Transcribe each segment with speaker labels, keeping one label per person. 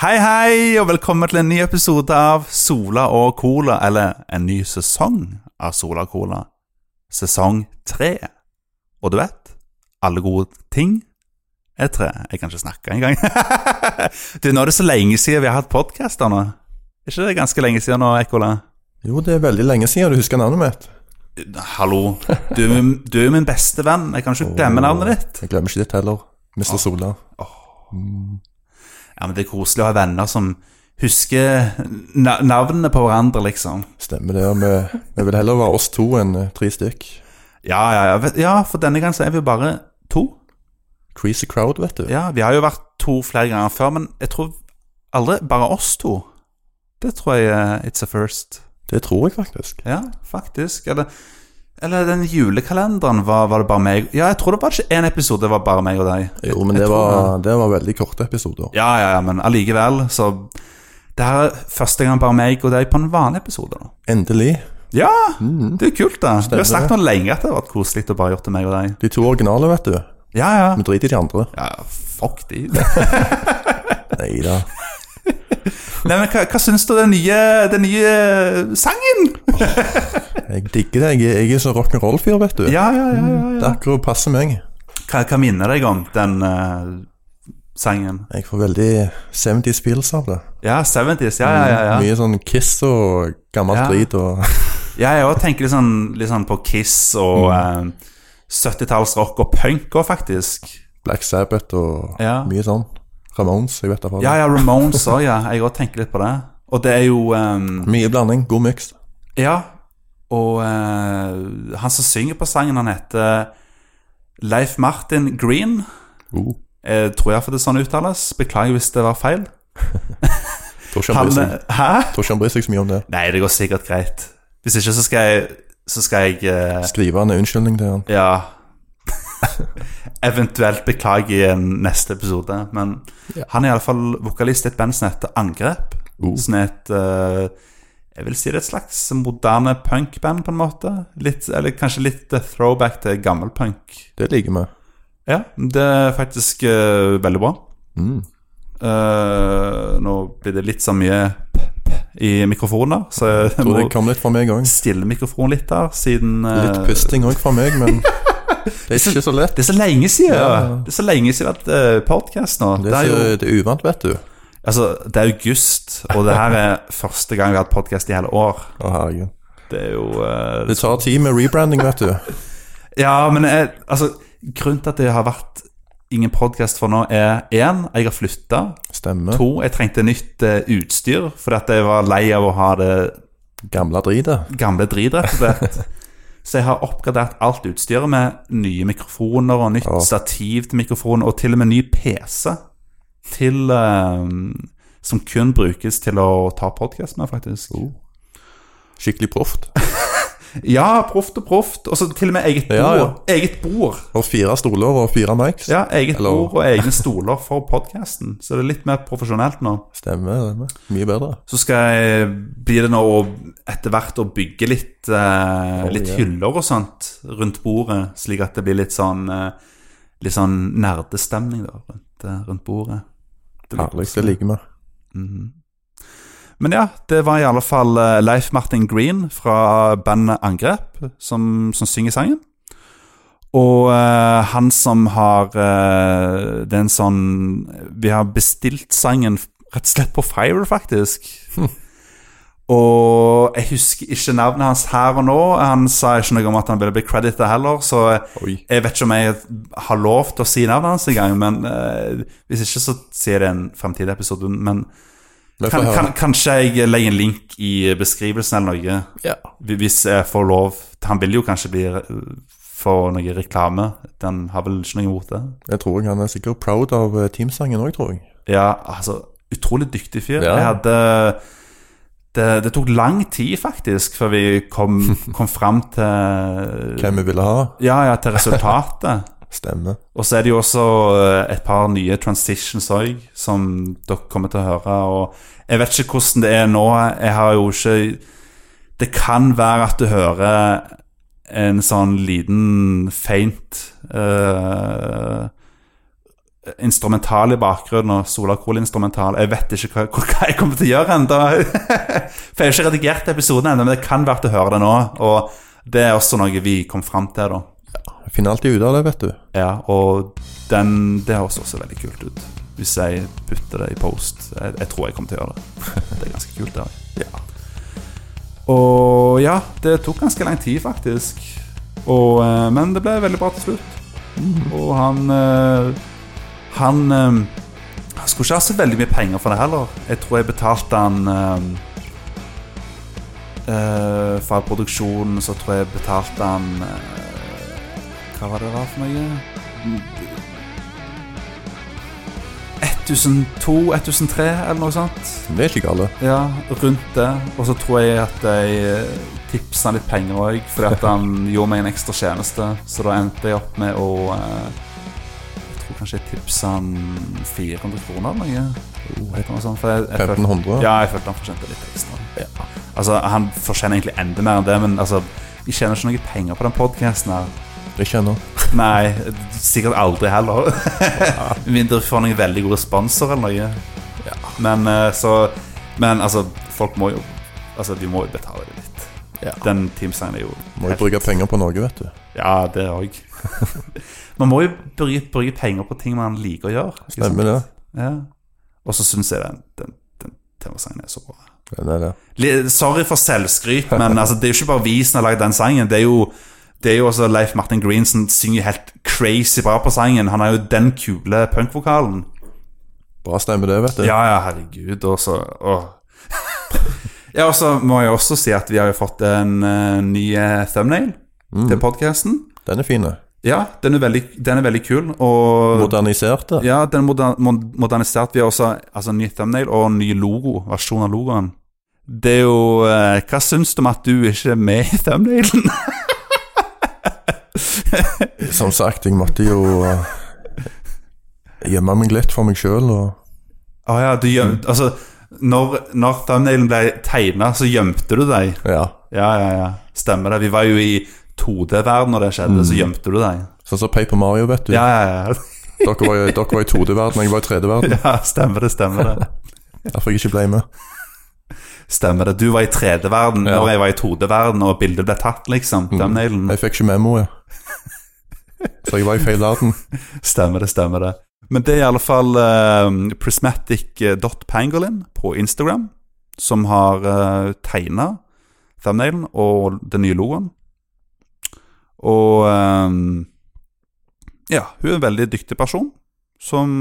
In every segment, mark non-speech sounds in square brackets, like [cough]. Speaker 1: Hei, hei, og velkommen til en ny episode av Sola og Cola, eller en ny sesong av Sola og Cola. Sesong tre. Og du vet, alle gode ting er tre. Jeg kan ikke snakke engang. [laughs] du, nå er det så lenge siden vi har hatt podcaster nå. Er ikke det ganske lenge siden nå, Ekkola?
Speaker 2: Jo, det er veldig lenge siden du husker navnet mitt.
Speaker 1: Hallo, du, er min- du er jo min beste venn. Jeg kan ikke glemme navnet ditt. Ah.
Speaker 2: Jeg glemmer ikke ditt heller. Mr. Sola.
Speaker 1: Ja, men det er koselig å ha venner som husker na navnene på hverandre, liksom.
Speaker 2: Stemmer det. og Vi, vi vil heller være oss to enn eh, tre stykk.
Speaker 1: Ja, ja, ja, vet- ja, for denne gangen så er vi jo bare to.
Speaker 2: Creasy crowd, vet du.
Speaker 1: Ja, vi har jo vært to flere ganger før, men jeg tror aldri bare oss to. Det tror jeg eh, it's a first.
Speaker 2: Det tror jeg faktisk.
Speaker 1: Ja, faktisk. Eller, eller den julekalenderen, var, var det bare meg? Ja, jeg tror det var ikke én episode, det var bare meg og deg.
Speaker 2: Jo, men
Speaker 1: Jeg
Speaker 2: det
Speaker 1: tror
Speaker 2: var, det var veldig korte episoder.
Speaker 1: Ja, ja, ja, men allikevel, så Det her er første gang bare meg og deg på en vanlig episode, da.
Speaker 2: Endelig.
Speaker 1: Ja, det er kult, da. Vi har
Speaker 2: Stemmer
Speaker 1: snakket om lenge at det har vært koselig å bare gjort det meg og deg.
Speaker 2: De to originale, vet du.
Speaker 1: Ja, ja.
Speaker 2: Vi driter i de andre.
Speaker 1: Ja, fuck de.
Speaker 2: Nei da.
Speaker 1: Nei, men hva, hva syns du om den nye, den nye sangen?
Speaker 2: Jeg digger det. Jeg, er- jeg er så rock'n'roll-fyr, vet du.
Speaker 1: Ja, ja, ja, ja,
Speaker 2: Det
Speaker 1: ja.
Speaker 2: er akkurat passe meg.
Speaker 1: Hva, hva minner deg om den eh, sangen?
Speaker 2: Jeg får veldig 70s feels av det.
Speaker 1: Ja, 70s. Ja, ja, ja. ja.
Speaker 2: Mye sånn Kiss og gammel
Speaker 1: Ja.
Speaker 2: drit og
Speaker 1: Ja, jeg også tenker litt sånn, litt sånn på Kiss og eh, 70-tallsrock og punk òg, faktisk.
Speaker 2: Black Sabbath og
Speaker 1: Ja.
Speaker 2: mye sånn. Ramones, jeg vet da faen.
Speaker 1: Ja, ja, Ramones òg, ja. Jeg òg tenker litt på det. Og det er jo eh,
Speaker 2: Mye blanding, god miks.
Speaker 1: Ja. Og eh, han som synger på sangen, han heter Leif Martin Green.
Speaker 2: Uh,
Speaker 1: Jeg tror iallfall det er sånn det uttales. Beklager hvis det var feil.
Speaker 2: tror, ikke
Speaker 1: Han,
Speaker 2: han eh, bryr seg,
Speaker 1: hæ?
Speaker 2: tror ikke han bryr seg så mye om det.
Speaker 1: Nei, det går sikkert greit. Hvis ikke, så skal jeg Så skal jeg eh,
Speaker 2: Skrive en unnskyldning til han.
Speaker 1: Ja. [laughs] Eventuelt beklage i en neste episode. Men han er iallfall vokalist i et band som heter Angrep.
Speaker 2: Oh.
Speaker 1: Som er et eh, Jeg vil si det er et slags moderne punkband, på en måte. Litt, eller kanskje litt eh, throwback til gammel punk.
Speaker 2: Det liker vi.
Speaker 1: Ja, det er faktisk eh, veldig bra.
Speaker 2: Mm.
Speaker 1: Eh, nå blir det litt så mye i mikrofoner, så jeg
Speaker 2: Tror
Speaker 1: må
Speaker 2: det kom litt fra meg òg.
Speaker 1: stille mikrofonen litt der, siden eh,
Speaker 2: Litt pusting òg fra meg, [laughs] men det er ikke så lett.
Speaker 1: Det er så lenge siden!
Speaker 2: Ja.
Speaker 1: Det er så lenge siden vi har hatt podkast nå.
Speaker 2: Det er,
Speaker 1: jo,
Speaker 2: så, det er uvant, vet du.
Speaker 1: altså, det er august, og det her er første gang vi har hatt podkast i hele år.
Speaker 2: Å, herregud.
Speaker 1: Det er jo eh,
Speaker 2: Det tar tid med rebranding, vet du.
Speaker 1: Ja, men jeg, altså, grunnen til at det har vært ingen podkast for nå, er én, jeg har flytta.
Speaker 2: Stemmer.
Speaker 1: To, jeg trengte nytt eh, utstyr, fordi at jeg var lei av å ha det
Speaker 2: Gamle dritet.
Speaker 1: gamle drit, rett og slett. Så jeg har oppgradert alt utstyret med nye mikrofoner og nytt
Speaker 2: Ja.
Speaker 1: stativ til mikrofon, og til og med ny PC til eh, Som kun brukes til å ta podkast med, faktisk.
Speaker 2: Oh. Skikkelig proft.
Speaker 1: Ja, proft og proft. Og så til og med eget bord.
Speaker 2: Ja, ja.
Speaker 1: Eget bord.
Speaker 2: Og fire stoler og fire mics.
Speaker 1: Ja, eget
Speaker 2: Eller-
Speaker 1: bord og egne stoler for podkasten. Så det er litt mer profesjonelt nå.
Speaker 2: Stemmer. stemmer. Mye bedre.
Speaker 1: Så skal jeg bli det nå å etter hvert å bygge litt, eh, litt
Speaker 2: yeah.
Speaker 1: hyller og sånt rundt bordet, slik at det blir litt sånn eh, Litt sånn nerdestemning da, rundt, eh, rundt bordet. Det blir
Speaker 2: Herlig. Det
Speaker 1: koselig.
Speaker 2: liker vi.
Speaker 1: Mhm. Men ja, det var i alle fall eh, Leif Martin Green fra bandet Angrep som, som synger sangen. Og eh, han som har eh, Det er en sånn Vi har bestilt sangen f- rett og slett på Fire, faktisk. Og jeg husker ikke navnet hans her og nå. Han sa ikke noe om at han ville bli credita heller, så
Speaker 2: Oi.
Speaker 1: jeg vet ikke om jeg har lov til å si navnet hans engang. Men eh, hvis ikke, så sier jeg det i en fremtidig episode. Men
Speaker 2: Vi
Speaker 1: kan,
Speaker 2: får høre.
Speaker 1: kan, kanskje jeg eh, legger en link i eh, beskrivelsen eller noe,
Speaker 2: Ja.
Speaker 1: hvis jeg får lov. Han vil jo kanskje bli eh, få noe reklame. Den har vel ikke noe imot det.
Speaker 2: Jeg tror han er sikkert proud av eh, teamsangen òg, tror jeg.
Speaker 1: Ja, altså Utrolig dyktig fyr.
Speaker 2: Ja.
Speaker 1: Jeg hadde det, det tok lang tid, faktisk, før vi kom,
Speaker 2: [laughs]
Speaker 1: kom fram til
Speaker 2: Hvem vi ville ha.
Speaker 1: Ja, ja, til resultatet.
Speaker 2: Stemmer.
Speaker 1: Og så er det jo også eh, et par nye transitions òg, som dere kommer til å høre. Og jeg vet ikke hvordan det er nå. Jeg har jo ikke Det kan være at du hører en sånn liten feint eh, instrumental i bakgrunnen, og Sola Cola-instrumental. Jeg vet ikke hva, hva jeg kommer til å gjøre ennå. [laughs] For jeg har ikke redigert episoden ennå, men det kan være at du hører det nå. Og det er også noe vi kom fram til, da.
Speaker 2: Jeg finner alltid ut av det, vet du.
Speaker 1: Ja, og den, det høres også veldig kult ut. Hvis jeg putter det i post. Jeg, jeg tror jeg kommer til å gjøre det. Det er ganske kult. Det. Ja. Og ja, det tok ganske lang tid, faktisk. Og, eh, men det ble veldig bra til slutt. Og han eh, Han eh, han skulle ikke ha så veldig mye penger for det heller. Jeg tror jeg betalte han eh, eh, Fra produksjonen så tror jeg betalte han eh, Hva var det det var for noe? 1002-1003 eller noe sånt.
Speaker 2: Det er ikke gale.
Speaker 1: Ja, rundt det. Og så tror jeg at jeg tipsa han litt penger òg, fordi at han gjorde meg en ekstra tjeneste. Så da endte jeg opp med å eh, Jeg tror kanskje jeg tipsa han 400 kroner eller noe. Et eller annet sånt, for jeg, jeg følte-
Speaker 2: 1500.
Speaker 1: ja, jeg følte han fortjente litt ekstra. Altså, Han fortjener egentlig enda mer enn det, men altså, vi tjener ikke noe penger på den podkasten her.
Speaker 2: Ikke ennå.
Speaker 1: Nei, sikkert aldri heller. [laughs] Med Mindre vi får noen veldig gode sponsorer eller noe. Men eh, så Men altså, folk må jo Altså, de må jo betale det litt.
Speaker 2: Ja.
Speaker 1: Den teamsignen er jo
Speaker 2: Må jo bruke penger på noe, vet du.
Speaker 1: Ja, det òg. [laughs] man må jo bruke, bruke penger på ting man liker å gjøre. ikke sant?
Speaker 2: Stemmer det.
Speaker 1: Ja. Og så syns jeg den, den, den temasangen er så bra.
Speaker 2: Den er det.
Speaker 1: Li- Sorry for selvskryt, [laughs] men altså, det er jo ikke bare vi som har lagd den sangen. Det er jo, det er jo også Leif Martin Green som synger jo helt crazy bra på sangen. Han har jo den kule punkvokalen.
Speaker 2: Bra stemme, det, vet du.
Speaker 1: Ja, ja, herregud, og så åh. [laughs] Ja, og så må jeg også si at vi har jo fått en eh, ny eh, thumbnail til podkasten.
Speaker 2: Den er fin. det.
Speaker 1: Ja, den er veldig, den er veldig kul, og
Speaker 2: Modernisert. det.
Speaker 1: ja, den er moder mod- modernisert. Vi har også altså, ny thumbnail og ny logo, versjon av logoen. Det er jo eh, Hva syns du om at du ikke er med i thumbnailen? [laughs]
Speaker 2: Som sagt, jeg måtte jo eh, gjemme meg litt for meg sjøl. Og
Speaker 1: Å ja, du gjemte Altså, når, når thumbnailen ble tegna, så gjemte du deg.
Speaker 2: ja.
Speaker 1: Ja, ja, ja. Stemmer det. Vi var jo i 2D-verden når det skjedde, så gjemte du deg.
Speaker 2: Sånn som Paper Mario, vet du.
Speaker 1: Ja, ja, [laughs] ja.
Speaker 2: [laughs] Dere var, i- dere var i 2D-verden, jeg var i 3D-verden.
Speaker 1: ja stemmer det, stemmer det.
Speaker 2: Derfor jeg ikke ble med.
Speaker 1: Stemmer det. Du var i 3D-verden
Speaker 2: Ja.
Speaker 1: når jeg var i 2D-verden, og bildet ble tatt, liksom. Thumbnailen.
Speaker 2: Jeg fikk ikke memoet. Så jeg var i feil verden.
Speaker 1: Stemmer det, stemmer det. Men det er i alle fall eh, prismatic.pangolin på Instagram som har uh, tegna thumbnailen og den nye logoen. Og eh, ja, hun er en veldig dyktig person som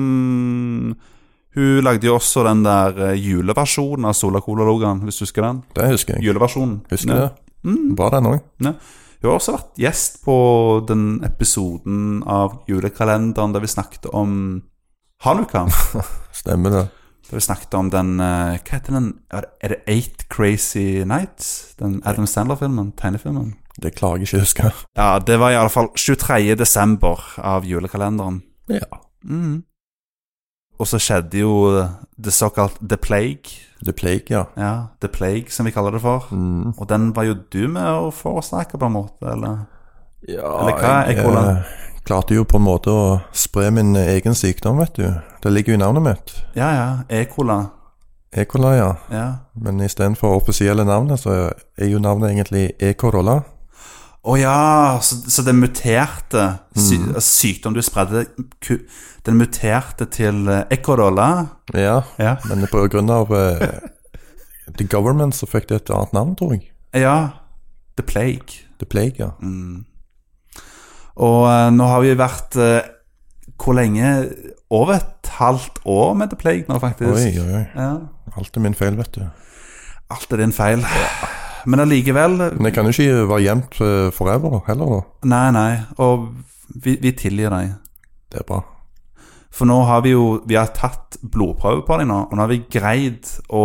Speaker 1: Hun lagde jo også den der eh, juleversjonen av Sola Cola-logoen, hvis du husker den.
Speaker 2: Det husker jeg.
Speaker 1: Juleversjonen. Mm.
Speaker 2: Husker
Speaker 1: Ja.
Speaker 2: det. Bra, den òg.
Speaker 1: Hun har også vært gjest på den episoden av julekalenderen der vi snakket om Hanukka.
Speaker 2: Stemmer det.
Speaker 1: Der vi snakket om den eh, Hva heter den? Er det- Er det Eight Crazy Nights? Den Adam Sandler-filmen? Tegnefilmen?
Speaker 2: Det klarer jeg ikke å huske.
Speaker 1: Ja, det var i alle fall 23. desember av julekalenderen.
Speaker 2: Ja.
Speaker 1: Mhm. Og så skjedde jo det såkalt The Plague.
Speaker 2: The Plague, ja.
Speaker 1: Ja, The Plague, som vi kaller det for.
Speaker 2: Mm.
Speaker 1: Og den var jo du med å forårsake, på en måte, eller?
Speaker 2: ja
Speaker 1: Eller hva er
Speaker 2: jeg,
Speaker 1: kola?
Speaker 2: eh, klarte jo på en måte å spre min egen sykdom, vet du. Det ligger jo i navnet mitt.
Speaker 1: Ja, ja. E-cola.
Speaker 2: E. coli, ja.
Speaker 1: Ja.
Speaker 2: Men istedenfor offisielle navnet, så er jo navnet egentlig E. corolla.
Speaker 1: Å ja, så, så den muterte sy
Speaker 2: Mm.
Speaker 1: altså, sykdom du spredde ku- Den muterte til eh, ekkodolla?
Speaker 2: Ja,
Speaker 1: Ja.
Speaker 2: men på grunn av eh, The Government så fikk det et annet navn, tror jeg.
Speaker 1: ja. The plague.
Speaker 2: The Plague, ja.
Speaker 1: Mm. Og eh, nå har vi vært eh, Hvor lenge? Over et halvt år med The plague nå, faktisk.
Speaker 2: Oi, oi, oi.
Speaker 1: Ja.
Speaker 2: Alt er min feil, vet du.
Speaker 1: Alt er din feil. Men allikevel
Speaker 2: Men jeg kan jo ikke være gjemt eh, forever heller, da.
Speaker 1: Nei, nei. Og vi, vi tilgir deg.
Speaker 2: Det er bra.
Speaker 1: For nå har vi jo Vi har tatt blodprøve på deg nå, og nå har vi greid å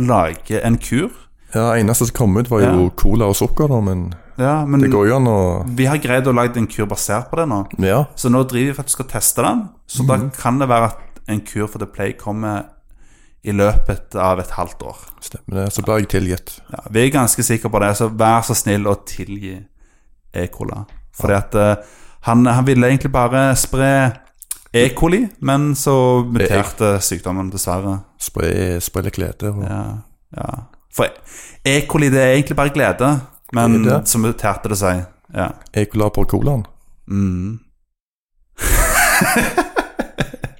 Speaker 1: lage en kur.
Speaker 2: Ja, Eneste som kom ut, var jo
Speaker 1: Ja. Mm.
Speaker 2: cola og sukker, da, men
Speaker 1: Ja, men
Speaker 2: det går jo an å
Speaker 1: Vi har greid å lage en kur basert på det nå.
Speaker 2: Ja.
Speaker 1: Så nå driver vi faktisk og tester den. Så da kan det være at en kur for The Play kommer i løpet av et halvt år.
Speaker 2: Stemmer det. Så ble jeg tilgitt.
Speaker 1: Ja, vi er ganske sikre på det, så vær så snill å tilgi E-Cola. Fordi at eh, han, han ville egentlig bare spre E. coli, men så muterte sykdommen dessverre.
Speaker 2: Spre, spre litt glede. Og,
Speaker 1: Ja, ja. For E. coli det er egentlig bare glede, men
Speaker 2: Er det?
Speaker 1: så muterte det seg. Ja.
Speaker 2: Jeg er glad på colaen.
Speaker 1: Mm. [laughs]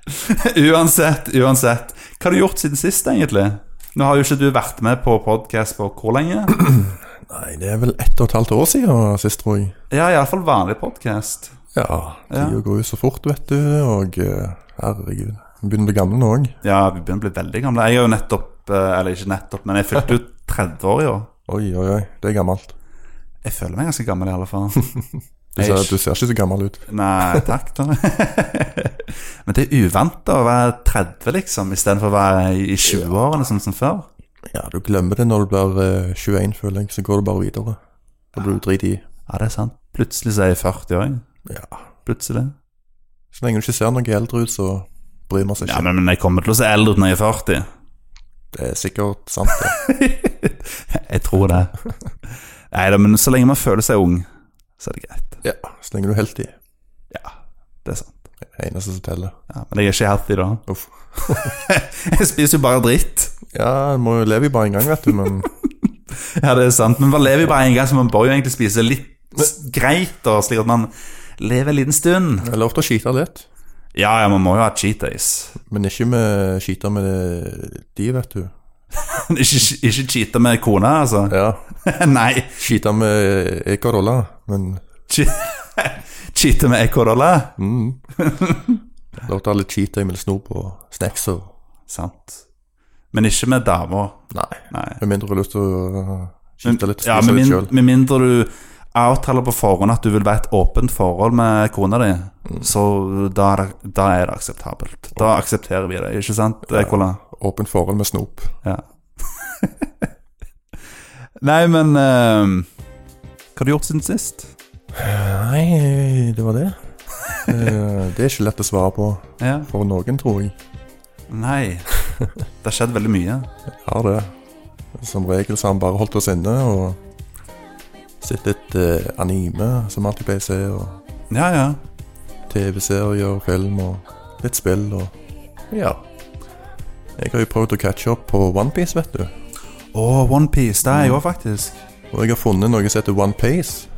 Speaker 1: uansett, uansett. Hva har du gjort siden sist, egentlig? Nå har jo ikke du vært med på podkast på hvor lenge?
Speaker 2: Nei, det er vel ett og et halvt år siden sist, tror jeg.
Speaker 1: Ja, iallfall vanlig podkast.
Speaker 2: Ja,
Speaker 1: Ja.
Speaker 2: tida går jo så fort, vet du. Og eh, herregud, jeg begynner å bli gammel nå òg.
Speaker 1: Ja, vi begynner å bli veldig gamle. Jeg er jo nettopp eh, Eller ikke nettopp, men jeg fylte jo 30 år i år.
Speaker 2: Oi, oi, oi. Det er gammelt.
Speaker 1: Jeg føler meg ganske gammel, i alle fall.
Speaker 2: [laughs] Du
Speaker 1: Jeg
Speaker 2: ser,
Speaker 1: er
Speaker 2: du ser ikke så gammel ut.
Speaker 1: Nei, takk, da. [laughs] Men det er uvant da, å være 30, liksom, istedenfor å være i 20-årene, sånn som før.
Speaker 2: Ja, du glemmer det når du blir eh, 21, føler jeg. Så går du bare videre. Da blir du drit i.
Speaker 1: Ja, det er sant. Plutselig så er jeg 40 år. jeg.
Speaker 2: Ja.
Speaker 1: Plutselig.
Speaker 2: Så lenge du ikke ser noe eldre ut, så bryr man seg
Speaker 1: Ja,
Speaker 2: ikke.
Speaker 1: men, men jeg kommer til å se eldre ut når jeg er 40.
Speaker 2: Det er sikkert sant, det.
Speaker 1: [laughs] Jeg tror det. Nei da, men så lenge man føler seg ung, så er det greit.
Speaker 2: [laughs] Ja, så lenge du er healthy.
Speaker 1: Ja, det er sant.
Speaker 2: Det er det eneste som teller.
Speaker 1: Ja, men jeg er ikke healthy da.
Speaker 2: Uff.
Speaker 1: [laughs] jeg spiser jo bare dritt.
Speaker 2: Ja, en må jo leve i bare en gang, vet du, [laughs] men
Speaker 1: Ja, det er sant. Men man lever jo bare en gang, så man bør jo egentlig spise litt s- greit, da, slik at man lever en liten stund.
Speaker 2: det er lov til å skite litt.
Speaker 1: Ja, ja, man må jo ha cheat days.
Speaker 2: Men ikke med skite med de, vet du.
Speaker 1: [laughs] ikke, ikke cheate med kona, altså. [laughs]
Speaker 2: Ja,
Speaker 1: Nei,
Speaker 2: skite med Ecorolla, men
Speaker 1: che [laughs] cheate med ekorolla.
Speaker 2: mm. Lov til å ha litt cheat day med litt snop og snacks og
Speaker 1: Sant. Men ikke med damer.
Speaker 2: Nei.
Speaker 1: Nei.
Speaker 2: Med mindre du har lyst til å skite litt og
Speaker 1: Ja,
Speaker 2: spise
Speaker 1: med,
Speaker 2: litt
Speaker 1: min,
Speaker 2: sjøl.
Speaker 1: med mindre du avtaler på forhånd at du vil være et åpent forhold med kona di,
Speaker 2: Mm.
Speaker 1: så da, er det- da er det akseptabelt. Da aksepterer vi det, ikke sant, Ekola?
Speaker 2: Åpent forhold med snop.
Speaker 1: Ja. [laughs] Nei, men eh, Hva har du gjort siden sist?
Speaker 2: Nei, det var det. [laughs] Eh, det er ikke lett å svare på
Speaker 1: Ja.
Speaker 2: for noen, tror jeg. [laughs]
Speaker 1: Nei. Det har skjedd veldig mye.
Speaker 2: Har det. Som regel så har han bare holdt oss inne og sett litt eh, anime, som alltid pleier å se, og
Speaker 1: Ja, ja.
Speaker 2: TV-serier og film og litt spill og Ja. Jeg har jo prøvd å catche opp på OnePiece, vet du.
Speaker 1: Å, OnePiece. Det
Speaker 2: Mm.
Speaker 1: er jeg òg, faktisk.
Speaker 2: Og jeg har funnet noe som heter OnePiece.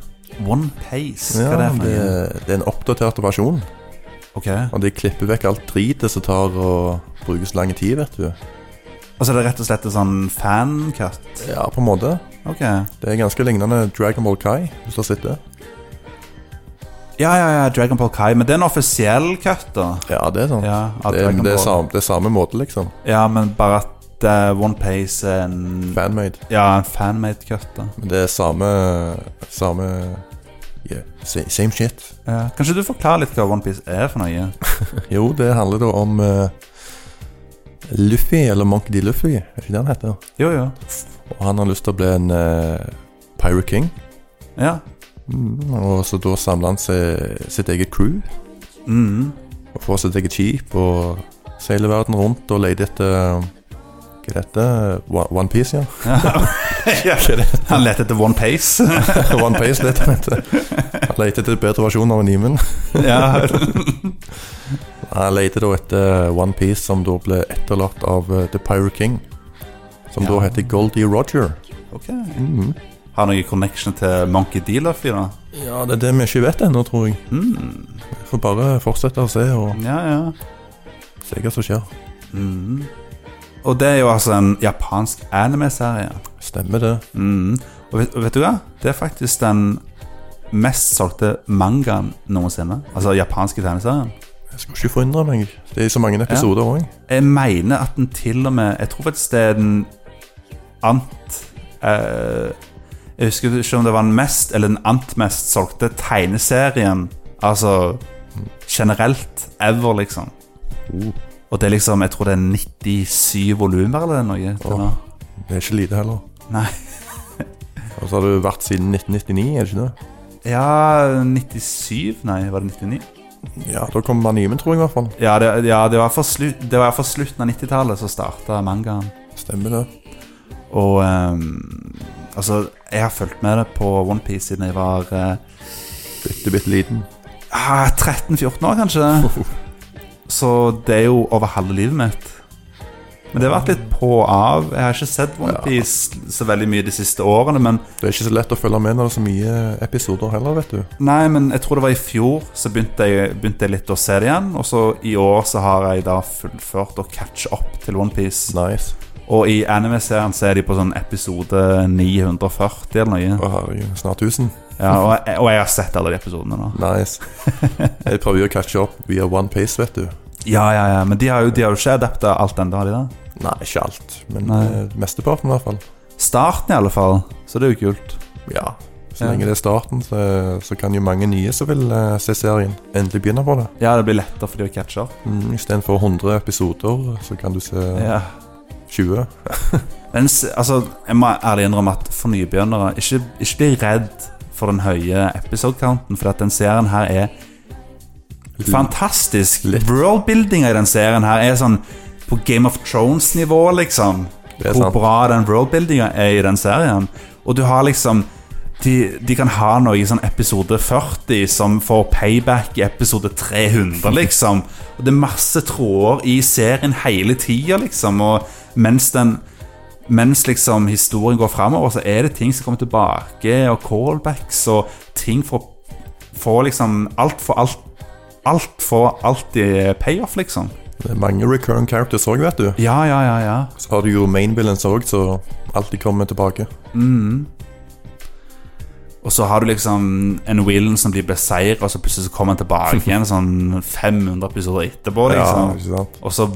Speaker 1: OnePiece. Hva
Speaker 2: Ja,
Speaker 1: er det for
Speaker 2: det,
Speaker 1: noe?
Speaker 2: det er en oppdatert versjon.
Speaker 1: Ok.
Speaker 2: Og de klipper vekk alt dritet som tar og brukes lang tid, vet du.
Speaker 1: Altså, det er rett og slett en sånn fan-cut?
Speaker 2: Ja, på en måte.
Speaker 1: Ok. Ja,
Speaker 2: Det er ganske lignende Dragon Ball Kai, hvis du har sett det.
Speaker 1: ja, ja. Dragon Ball Kai. Men det er en offisiell cut, da.
Speaker 2: Ja, det er sånn.
Speaker 1: Ja, at
Speaker 2: det,
Speaker 1: Dragon
Speaker 2: det, er
Speaker 1: Ball-
Speaker 2: samme, det er samme måte, liksom.
Speaker 1: Ja, men bare at uh, OnePiece er en
Speaker 2: Fanmade.
Speaker 1: Ja, en fanmade cut, da.
Speaker 2: Men det er samme Samme yeah, sa- Same shit.
Speaker 1: Ja. Kanskje du forklarer litt hva OnePiece er for noe?
Speaker 2: Jo, det handler da om eh, Luffy, eller Monkey D. Luffy, er det ikke det han heter?
Speaker 1: Jo, jo.
Speaker 2: Og han har lyst til å bli en eh, Pirate King.
Speaker 1: Ja.
Speaker 2: Mm, og så da samler han seg, sitt eget crew,
Speaker 1: Mm.
Speaker 2: og får sitt eget skip, og seiler verden rundt og leter etter Hva er dette? One- One Piece, ja.
Speaker 1: [laughs]
Speaker 2: [laughs]
Speaker 1: ja. Han leter etter OnePiece.
Speaker 2: One Piece leter han etter. Han leter etter bedre versjon av animen.
Speaker 1: [laughs] ja.
Speaker 2: Han leter da etter One Piece som da ble etterlatt av eh, The Pirate King. Som
Speaker 1: Ja.
Speaker 2: da heter Goldie Roger.
Speaker 1: [laughs] Ok. Mm. Har noen connection til Monkey D. Luffy, da?
Speaker 2: Ja, det er det vi ikke vet ennå, tror jeg.
Speaker 1: Mm.
Speaker 2: Får bare fortsette å se og
Speaker 1: Ja, ja.
Speaker 2: se hva som skjer.
Speaker 1: Mm. Og det er jo altså en japansk anime-serie.
Speaker 2: Stemmer det.
Speaker 1: Mm. Og, vet, og vet du hva? Det er faktisk den mest solgte mangaen noensinne. Altså japanske tegneserien.
Speaker 2: Jeg skulle ikke forundre meg. Det er så mange episoder òg.
Speaker 1: Jeg mener at den til og med Jeg tror faktisk det er den ant eh, Jeg husker ikke om det var den mest eller den ant mest solgte tegneserien. Altså generelt ever, liksom. Og det er liksom Jeg tror det er 97 volumer eller noe. Til
Speaker 2: Åh.
Speaker 1: nå.
Speaker 2: Det er ikke lite heller.
Speaker 1: Nei.
Speaker 2: [laughs] Og så har det vært siden 1999, er det ikke det?
Speaker 1: Ja, 97? Nei, var det 99?
Speaker 2: Ja, da kom animen, tror jeg i hvert fall.
Speaker 1: Ja, det, ja, det var for slu- det var for slutten av 90-tallet som starta mangaen.
Speaker 2: Stemmer det.
Speaker 1: Og ehm, altså, jeg har fulgt med det på OnePiece siden jeg var eh,
Speaker 2: Bitte, bitte liten.
Speaker 1: ah, 13-14 år, kanskje. Så det er jo over halve livet mitt. Men det har vært litt på og av. Jeg har ikke sett OnePiece så veldig mye de siste årene. Men,
Speaker 2: Det er ikke så lett å følge med når det er så mye episoder heller, vet du.
Speaker 1: nei, men jeg tror det var i fjor så begynte jeg, begynte jeg litt å se det igjen. Og så i år så har jeg da fullført å catche opp til OnePiece.
Speaker 2: Nice.
Speaker 1: Og i anime-serien så er de på sånn episode 940 eller noe.
Speaker 2: Å, herregud. Snart 1000.
Speaker 1: Ja, og, jeg, og jeg har sett alle de episodene nå. [laughs]
Speaker 2: Nice. Jeg prøver jo å catche opp via One Piece, vet du.
Speaker 1: Ja, ja, ja, men de har jo, de har jo ikke adapta alt ennå, har de det?
Speaker 2: Nei, ikke alt, men
Speaker 1: Nei.
Speaker 2: eh, mesteparten i hvert fall.
Speaker 1: Starten, i alle fall. Så det er jo kult.
Speaker 2: Ja. Så
Speaker 1: Ja.
Speaker 2: lenge det er starten, så, så kan jo mange nye som vil eh, se serien, endelig begynne på det.
Speaker 1: Ja, det blir lettere for de å catche opp.
Speaker 2: Mm, Istedenfor 100 episoder, så kan du se
Speaker 1: Ja.
Speaker 2: 20.
Speaker 1: Men s- altså, jeg må ærlig innrømme at for nybegynnere, ikke, ikke bli redd for den høye episodekanten, for at den serien her er fantastisk.
Speaker 2: Litt.
Speaker 1: Worldbuildinga i den serien her er sånn på Game of Thrones-nivå, liksom.
Speaker 2: Det er
Speaker 1: Hvor
Speaker 2: sant.
Speaker 1: bra den worldbuildinga er i den serien. Og du har liksom de, de kan ha noe i sånn episode 40 som får payback i episode 300, liksom. Og det er masse tråder i serien hele tida, liksom. Og mens den mens liksom historien går framover, så er det ting som kommer tilbake, og callbacks, og ting for, for liksom Alt for alt Alt får alltid payoff, liksom.
Speaker 2: Det er mange recurring characters òg, vet du.
Speaker 1: Ja, ja, ja. ja.
Speaker 2: Så har du jo mainbillens òg, så alltid kommer tilbake.
Speaker 1: Og så har du liksom en Willen som blir beseiret, og så plutselig så kommer han tilbake igjen [laughs] sånn 500 episoder etterpå.
Speaker 2: Ja,
Speaker 1: liksom
Speaker 2: ikke sant?
Speaker 1: Og så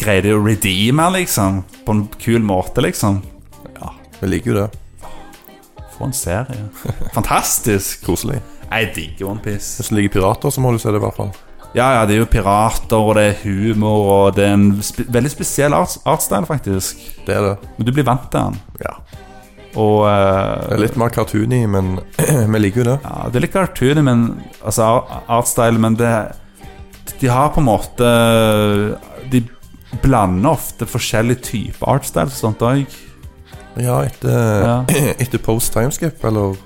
Speaker 1: greier de å redeeme, han, liksom. På en kul måte, liksom.
Speaker 2: Vi liker jo det.
Speaker 1: For en [laughs] serie. Fantastisk!
Speaker 2: Koselig.
Speaker 1: Jeg digger OnePiece.
Speaker 2: Hvis du liker pirater, så må du se det, i hvert fall.
Speaker 1: Ja, ja, det er jo pirater, og det er humor, og det er en spe veldig spesiell arts artstyle, faktisk.
Speaker 2: Det er det.
Speaker 1: Men du blir vant til den.
Speaker 2: Ja.
Speaker 1: Og
Speaker 2: Det
Speaker 1: eh,
Speaker 2: er litt mer cartoony, men [clears throat] vi liker jo det.
Speaker 1: ja, det er litt cartoony, men Altså ar- artstyle, men det De har på en måte De blander ofte forskjellige typer artstyle sånn og sånt òg.
Speaker 2: Ja, etter,
Speaker 1: Ja.
Speaker 2: [clears throat] etter Post Timeskip, eller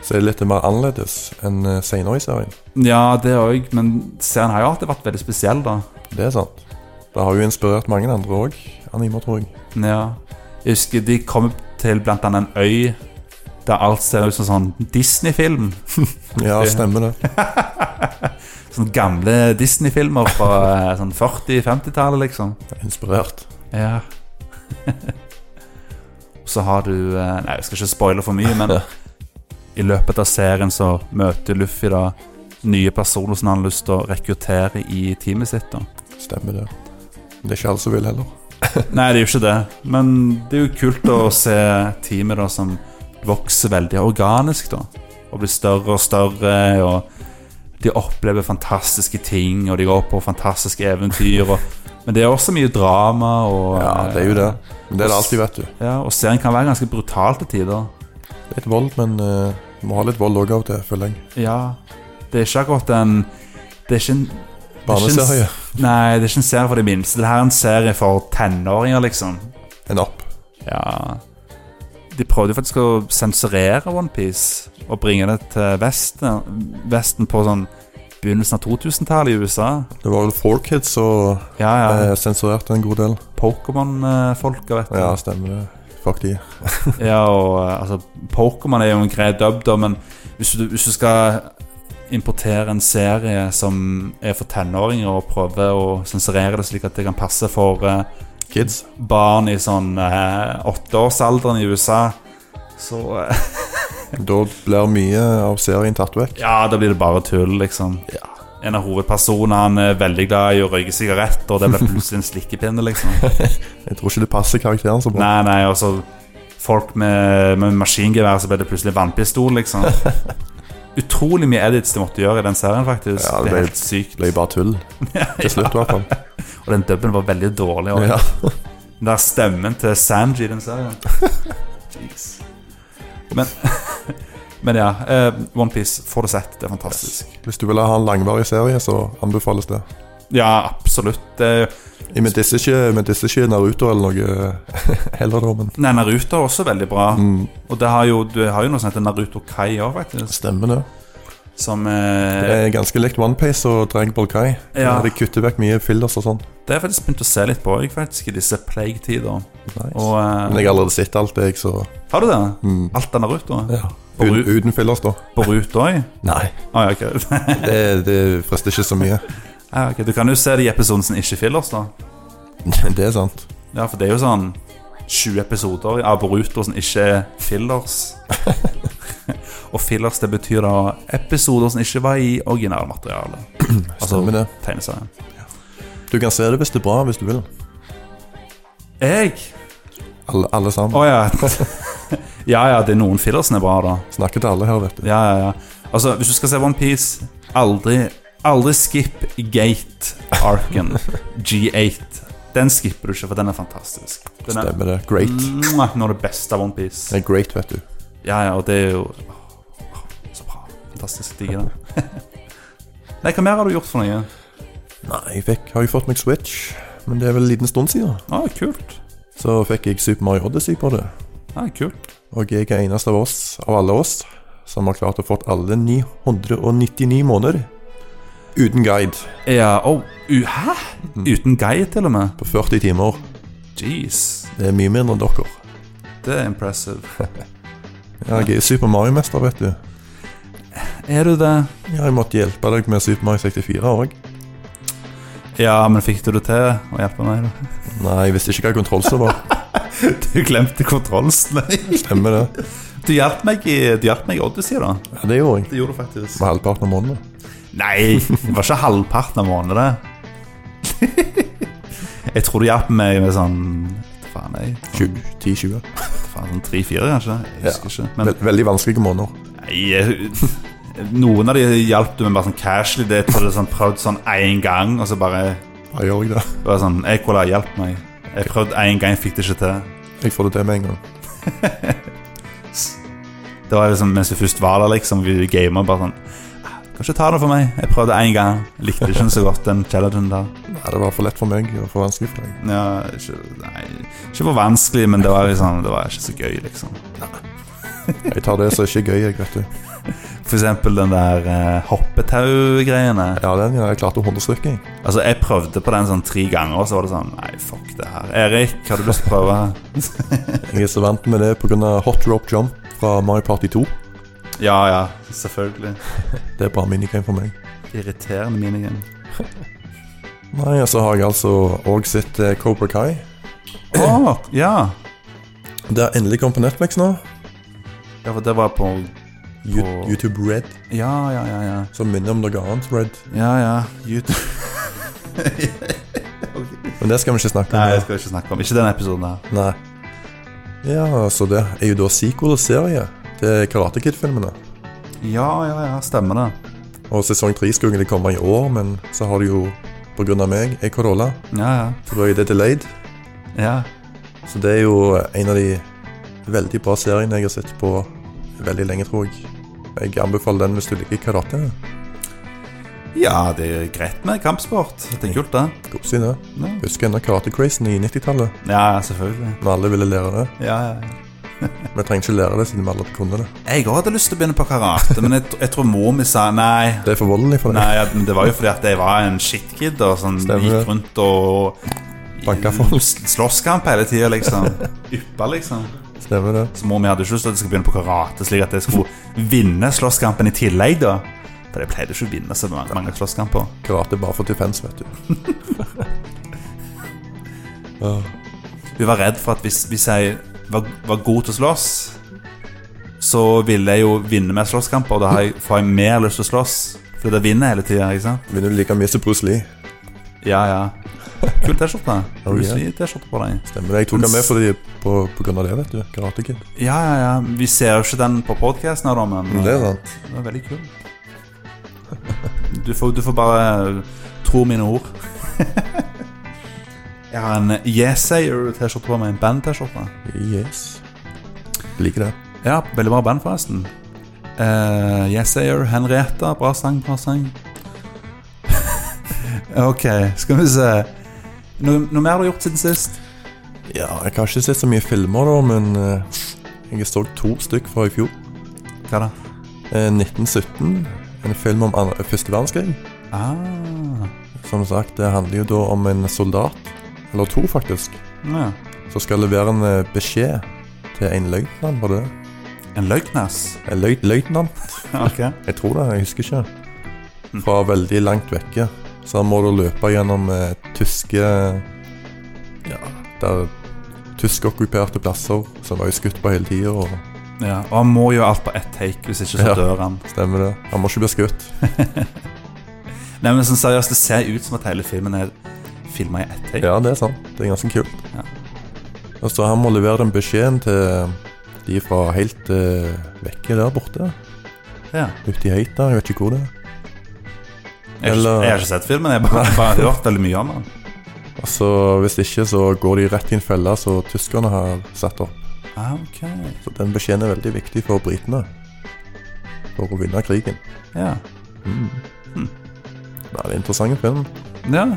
Speaker 2: Så er det litt mer annerledes enn eh, senere i serien.
Speaker 1: Ja, det òg, men serien har jo alltid vært veldig spesiell, da.
Speaker 2: Det er sant. Det har jo inspirert mange andre òg, animer, tror jeg.
Speaker 1: Ja. Jeg husker de kom til blant annet en øy der alt ser ut som sånn Disney-film. [laughs]
Speaker 2: Ja,
Speaker 1: Det-
Speaker 2: stemmer det.
Speaker 1: Sånne gamle Disney-filmer fra eh, sånn 40-50-tallet, liksom.
Speaker 2: [laughs] Inspirert.
Speaker 1: [laughs] Ja. så har du eh, Nei, jeg skal ikke spoile for mye, men i løpet av serien så møter Luffy da nye personer som han har lyst til å rekruttere i teamet sitt. da
Speaker 2: Stemmer det. Men Det er ikke alle som vil heller.
Speaker 1: Nei, det er jo ikke det, men det er jo kult å se teamet da som vokser veldig organisk, da. Og blir større og større, og de opplever fantastiske ting, og de går på fantastiske eventyr. Og, men det er også mye drama, og,
Speaker 2: Ja, det er jo det. Men det er det alltid, vet du.
Speaker 1: Ja, og serien kan være ganske brutal til tider.
Speaker 2: Litt vold, men eh, du må ha litt vold òg av og til, føler jeg.
Speaker 1: Ja, det er ikke akkurat en Det er ikke en det er ikke en-
Speaker 2: Barneserie.
Speaker 1: Nei, det er ikke en serie for de minste. Det her er en serie for tenåringer, liksom.
Speaker 2: En opp.
Speaker 1: Ja De prøvde jo faktisk å sensurere OnePiece og bringe det til Vesten, Vesten på sånn begynnelsen av 2000-tallet i USA.
Speaker 2: Det var vel Four Kids som
Speaker 1: Ja, ja.
Speaker 2: eh, sensurerte en god del.
Speaker 1: Pokémon-folka, vet du.
Speaker 2: Ja, stemmer det. Fuck de.
Speaker 1: [laughs] Ja, og eh, altså, Pokémon er jo en grei dubb, da, men hvis du, hvis du skal importere en serie som er for tenåringer, og prøve å sensurere det slik at det kan passe for eh,
Speaker 2: Kids.
Speaker 1: barn i sånn eh, åtteårsalderen i USA, så eh, [laughs]
Speaker 2: Da blir mye av serien tatt vekk.
Speaker 1: Ja, da blir det bare tull, liksom.
Speaker 2: Ja.
Speaker 1: En av hovedpersonene han er veldig glad i å røyke sigaretter, og det ble plutselig en slikkepinne, liksom.
Speaker 2: [laughs] Jeg tror ikke det passer karakteren så bra.
Speaker 1: Nei, nei, og så folk med, med maskingevær, så ble det plutselig vannpistol,
Speaker 2: [laughs]
Speaker 1: liksom. Utrolig mye edits de måtte gjøre i den serien, faktisk.
Speaker 2: Ja, det
Speaker 1: det,
Speaker 2: ble-
Speaker 1: er helt sykt.
Speaker 2: Det ble bare [laughs] tull. Til slutt, i hvert fall.
Speaker 1: Og den dubben var veldig dårlig. Og
Speaker 2: Ja.
Speaker 1: Den der stemmen til Sanji i den
Speaker 2: [laughs]
Speaker 1: serien. Jeez. Men, [laughs] men ja, eh, OnePiece, får det sett. Det er fantastisk.
Speaker 2: Hvis du vil ha en langvarig serie, så anbefales det.
Speaker 1: Ja, absolutt. Eh, Det-
Speaker 2: Jeg men disse ikke, men disse ikke Naruto eller noe eh, [laughs] heller, da, men
Speaker 1: Nei, Naruto er også veldig bra.
Speaker 2: mm,
Speaker 1: Og det har jo, du har jo noe som heter Naruto Kai òg, faktisk.
Speaker 2: stemmer det.
Speaker 1: Som eh,
Speaker 2: Det er ganske likt OnePiece og Dragon Ball Kai.
Speaker 1: Ja.
Speaker 2: De kutter vekk mye fillers og sånn.
Speaker 1: Det har jeg faktisk begynt å se litt på jeg, faktisk, i disse plague-tider.
Speaker 2: Nice.
Speaker 1: Og eh,
Speaker 2: Men jeg har allerede sett alt, jeg, så
Speaker 1: Har du det?
Speaker 2: mm.
Speaker 1: Alt av Naruto?
Speaker 2: ja.
Speaker 1: På
Speaker 2: uten,
Speaker 1: Ru-
Speaker 2: uten fillers, da.
Speaker 1: På Ruto òg?
Speaker 2: Nei.
Speaker 1: Å Ah, ja, ok. [laughs]
Speaker 2: Det, det frister ikke så mye. [laughs]
Speaker 1: ja, ok. Du kan jo se de episodene som ikke fillers, da.
Speaker 2: Det er sant.
Speaker 1: Ja, for det er jo sånn 20 episoder av Boruto som ikke er fillers. [laughs] Og fillers det betyr da episoder som ikke var i originalmaterialet. Altså
Speaker 2: Stemmer det.
Speaker 1: tegneserien.
Speaker 2: Du kan se det hvis det er bra, hvis du vil.
Speaker 1: Jeg?
Speaker 2: Alle, alle
Speaker 1: Å
Speaker 2: sammen.
Speaker 1: ja. [laughs] ja ja, det er noen fillers som er bra, da.
Speaker 2: Snakker til alle her, vet du.
Speaker 1: Ja, ja, ja. Altså, hvis du skal se OnePiece, aldri, aldri skip Gate-arken. G8. Den skipper du ikke, for den er fantastisk. Den er Mm.
Speaker 2: Stemmer det. Great.
Speaker 1: Mwah, noe av det beste av OnePiece.
Speaker 2: Det er great, vet du.
Speaker 1: Ja, ja, og det er jo åh, åh, Så bra. Fantastisk digg, det. [laughs] Nei, hva mer har du gjort for noe?
Speaker 2: Nei, jeg fikk, har jeg fått meg Switch, men det er vel en liten stund siden.
Speaker 1: Ah, kult.
Speaker 2: Så fikk jeg Super Mario Odyssey på det.
Speaker 1: Ja, kult.
Speaker 2: Og jeg er eneste av oss, av alle oss, som har klart å fått alle 999 måneder uten guide
Speaker 1: Ja, oh, u hæ? Uten guide, til og med?
Speaker 2: på 40 timer.
Speaker 1: Jeez.
Speaker 2: Det er mye mindre enn dere.
Speaker 1: Det er impressive.
Speaker 2: Ja, Jeg er Super Mario-mester, vet du.
Speaker 1: Er du det?
Speaker 2: Ja, jeg måtte hjelpe deg med Super Mario 64 òg.
Speaker 1: Ja, men fikk du det til å hjelpe meg? [laughs] da?
Speaker 2: Nei, jeg visste ikke hva kontrollser var.
Speaker 1: Du glemte kontrollsløy.
Speaker 2: Stemmer det.
Speaker 1: [laughs] Du hjalp meg i du hjalp meg i Odyssey, da.
Speaker 2: Ja, det gjorde jeg.
Speaker 1: Det gjorde du faktisk.
Speaker 2: Med halvparten av måneden.
Speaker 1: Nei, det var ikke halvparten av måneden. [laughs] Jeg tror du hjalp meg med sånn Faen, jeg.
Speaker 2: 20, 10-20.
Speaker 1: Faen, sånn tre-fire kanskje? Jeg husker ikke. Men
Speaker 2: Vel- veldig vanskelige måneder.
Speaker 1: nei, jeg- noen av de hjalp du med bare sånn casually. Det tror jeg sånn, prøvd sånn én gang, og så bare,
Speaker 2: Ja, gjør jeg det?
Speaker 1: bare sånn Jeg kunne hjelp meg. Jeg prøvde én gang, fikk det ikke til.
Speaker 2: Jeg får det til med en gang.
Speaker 1: Det var liksom mens vi først var der, liksom. Vi gamet bare sånn "Ah, Kan ikke ta det for meg. Jeg prøvde én gang. Likte ikke den så godt, den challengen der.
Speaker 2: Nei, det var for lett for meg og for vanskelig for deg.
Speaker 1: Ja, ikke, nei, ikke for vanskelig, men det var liksom Det var ikke så gøy, liksom.
Speaker 2: Jeg tar det som ikke er gøy, jeg, vet du.
Speaker 1: For eksempel den der eh, hoppetau-greiene.
Speaker 2: Ja, den ja, jeg klarte 100 stykker, jeg.
Speaker 1: Altså, jeg prøvde på den sånn tre ganger, og så var det sånn Nei, fuck det her. Erik, har du lyst til å prøve?
Speaker 2: Jeg er så vant med det pga. hot rope jump fra Mario Party 2.
Speaker 1: ja, ja, selvfølgelig.
Speaker 2: Det er bra minigame for meg.
Speaker 1: Irriterende minigame.
Speaker 2: Nei, og så har jeg altså òg sett eh, Cobra Kai.
Speaker 1: Å, ja.
Speaker 2: Det har endelig kommet på Netflix nå.
Speaker 1: ja! For det var på
Speaker 2: You-
Speaker 1: På-
Speaker 2: YouTube Red,
Speaker 1: Ja, ja, ja. Ja,
Speaker 2: som minner om noe annet Red.
Speaker 1: ja. ja. YouTube.
Speaker 2: Men det skal vi ikke snakke
Speaker 1: Nei, det
Speaker 2: om.
Speaker 1: skal vi ikke snakke om. Ikke den episoden her.
Speaker 2: Nei. Ja, så det er jo da sequel-serie til Karate Kid-filmene.
Speaker 1: Ja, ja, ja. Stemmer det.
Speaker 2: Og sesong tre skulle egentlig komme i år, men så har det jo pga. meg, jeg Corolla,
Speaker 1: Ja,
Speaker 2: så ble det delayed.
Speaker 1: ja. ja.
Speaker 2: Så det er jo en av de veldig bra seriene jeg har sett på veldig lenge, tror jeg. Jeg anbefaler den hvis du liker karate.
Speaker 1: Ja, det er greit med kampsport. Det er kult, det.
Speaker 2: God side.
Speaker 1: Ja,
Speaker 2: Husker ennå karate-crazen i 90-tallet,
Speaker 1: ja selvfølgelig.
Speaker 2: når alle ville lære det.
Speaker 1: Ja, ja, ja.
Speaker 2: Vi trenger ikke lære det siden vi alle kunne det.
Speaker 1: Jeg òg hadde lyst til å begynne på karate, men jeg, jeg tror mor mi sa nei.
Speaker 2: Det er for voldelig for deg.
Speaker 1: Nei, ja, men det var jo fordi at jeg var en shitkid og sånn,
Speaker 2: Stemmer det.
Speaker 1: gikk rundt og
Speaker 2: Banka folk.
Speaker 1: Slåsskamp hele tida, liksom. Yppa, liksom.
Speaker 2: Stemmer det.
Speaker 1: Så mor mi hadde ikke lyst til at jeg skulle begynne på karate, slik at jeg skulle vinne slåsskampen i tillegg, da. For jeg pleide ikke å vinne så mange, mange slåsskamper.
Speaker 2: Karate er bare for defense, vet du. Åh,
Speaker 1: Hun var redd for at hvis, hvis jeg var, var god til å slåss, så ville jeg jo vinne mer slåsskamper, og da har jeg, får jeg mer lyst til å slåss. Fordi det vinner jeg hele tida, ikke sant?
Speaker 2: Vinner du like mye som Bruce Lee?
Speaker 1: Ja, ja. Kul T-skjorte.
Speaker 2: Oh, yeah.
Speaker 1: T-skjorte på deg.
Speaker 2: Stemmer det. Jeg tok den med fordi, på, på grunn av det, vet du. Karate Kid.
Speaker 1: Ja, ja, ja. Vi ser jo ikke den på podkasten, da, men eh,
Speaker 2: Det er sant.
Speaker 1: det var veldig kul. Du får, du får bare tro mine ord. [laughs] Jeg har en Yesayer-T-skjorte på meg, en band-T-skjorte.
Speaker 2: Yes. Liker det.
Speaker 1: Ja, veldig bra band, forresten. Uh, Yesayer, Henrietta, bra sang, bra sang. [laughs] ok, skal vi se. Noe, noe mer du har gjort siden sist?
Speaker 2: Ja, jeg har ikke sett så mye filmer, da, men eh, jeg så to stykk fra i fjor.
Speaker 1: Hva da?
Speaker 2: Eh, 1917 En film om andre, første verdenskrig.
Speaker 1: Ah,
Speaker 2: Som sagt, det handler jo da om en soldat, eller to faktisk,
Speaker 1: ja.
Speaker 2: som skal levere en eh, beskjed til en løytnant, var det det?
Speaker 1: En
Speaker 2: [laughs]
Speaker 1: løgnas.
Speaker 2: En løy- løytnant?
Speaker 1: Ok.
Speaker 2: Jeg tror det, jeg husker ikke. Fra veldig langt vekke. Så han må da løpe gjennom eh, tyske Ja, der tyskokkuperte plasser som var jo skutt på hele tida, og
Speaker 1: Ja, og han må gjøre alt på ett take, hvis ikke så
Speaker 2: Ja.
Speaker 1: dør han.
Speaker 2: stemmer det. Han må ikke bli skutt.
Speaker 1: Nei, men sånn seriøst, det ser ut som at hele filmen er filma i ett take.
Speaker 2: Ja, det er sant. Det er ganske kult.
Speaker 1: Ja.
Speaker 2: Og så han må levere den beskjeden til de fra helt eh, vekke der borte.
Speaker 1: Ja.
Speaker 2: Ute i Heita, jeg vet ikke hvor det er.
Speaker 1: Jeg, har ikke-
Speaker 2: Eller-
Speaker 1: jeg har ikke sett filmen, jeg har bare, bare hørt veldig mye om den.
Speaker 2: Og så Hvis ikke, så går de rett i en felle som tyskerne har satt opp.
Speaker 1: Ah, ok.
Speaker 2: Så den beskjeden er veldig viktig for britene. For å vinne krigen.
Speaker 1: Ja.
Speaker 2: Mm.
Speaker 1: Mm.
Speaker 2: Nei, det er en interessant film.
Speaker 1: ja.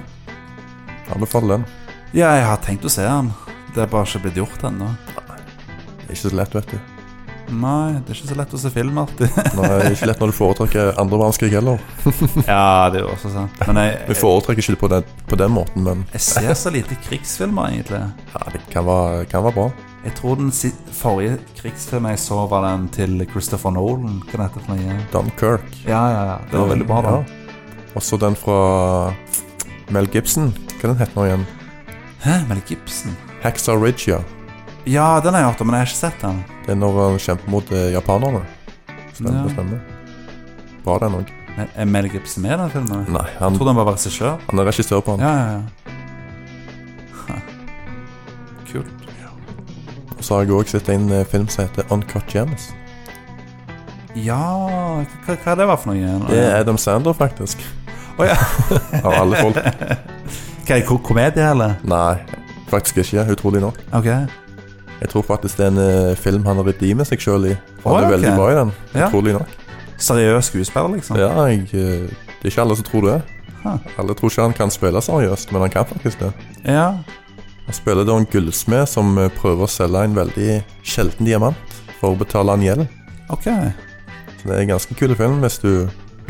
Speaker 2: Anbefaler den.
Speaker 1: Ja, jeg har tenkt å se den. Det er bare ikke blitt gjort ennå.
Speaker 2: Det er ikke så lett, vet du.
Speaker 1: Nei, det er ikke så lett å se film alltid. [laughs]
Speaker 2: Nå er det ikke lett når du foretrekker andre verdenskrig heller.
Speaker 1: ja, det er jo også sant. Men jeg,
Speaker 2: Vi
Speaker 1: jeg,
Speaker 2: foretrekker ikke det på den, på den måten, men
Speaker 1: jeg ser så lite krigsfilmer, egentlig.
Speaker 2: ja, det kan være, kan være bra.
Speaker 1: Jeg tror den si forrige krigsfilmen jeg så, var den til Christopher Nolan. Hva heter det for noe?
Speaker 2: Dunkirk.
Speaker 1: Ja, ja, ja. Det var veldig bra, da.
Speaker 2: Ja. Også den fra Mel Gibson. Hva den heter nå igjen?
Speaker 1: Hæ, Mel Gibson?
Speaker 2: Haxa Ridge, ja.
Speaker 1: Ja, den har jeg hørt om, men jeg har ikke sett den.
Speaker 2: Det er når han kjemper mot eh, japanerne. Stemmer,
Speaker 1: Ja.
Speaker 2: stemmer. Bra, den òg.
Speaker 1: Men Er Mel Gibson med i den filmen?
Speaker 2: Nei, han,
Speaker 1: Jeg trodde han var regissør.
Speaker 2: han er regissør på den.
Speaker 1: Ja, ja, ja. Hæ. [laughs] Kult.
Speaker 2: Og så har jeg òg sett en eh, film som heter Uncut Gems.
Speaker 1: Ja Hva, hva er det var for noe? igjen?
Speaker 2: Det er Adam Sander,
Speaker 1: [laughs]
Speaker 2: faktisk.
Speaker 1: Å, ja.
Speaker 2: Av alle folk.
Speaker 1: Hva er det, ko- komedie, eller?
Speaker 2: Nei, faktisk ikke. Utrolig nok.
Speaker 1: Ok.
Speaker 2: Jeg tror faktisk det er en eh, film han redeemer seg sjøl i. Han
Speaker 1: Å,
Speaker 2: er
Speaker 1: ok.
Speaker 2: veldig bra i den.
Speaker 1: Ja.
Speaker 2: Utrolig nok.
Speaker 1: Seriøs skuespiller, liksom?
Speaker 2: Ja, jeg, eh, det er ikke alle som tror det.
Speaker 1: Hæ.
Speaker 2: Alle tror ikke han kan spille seriøst, men han kan faktisk det.
Speaker 1: ja.
Speaker 2: Han spiller da en gullsmed som eh, prøver å selge en veldig sjelden diamant for å betale en gjeld.
Speaker 1: Ok.
Speaker 2: Så det er en ganske kul film hvis du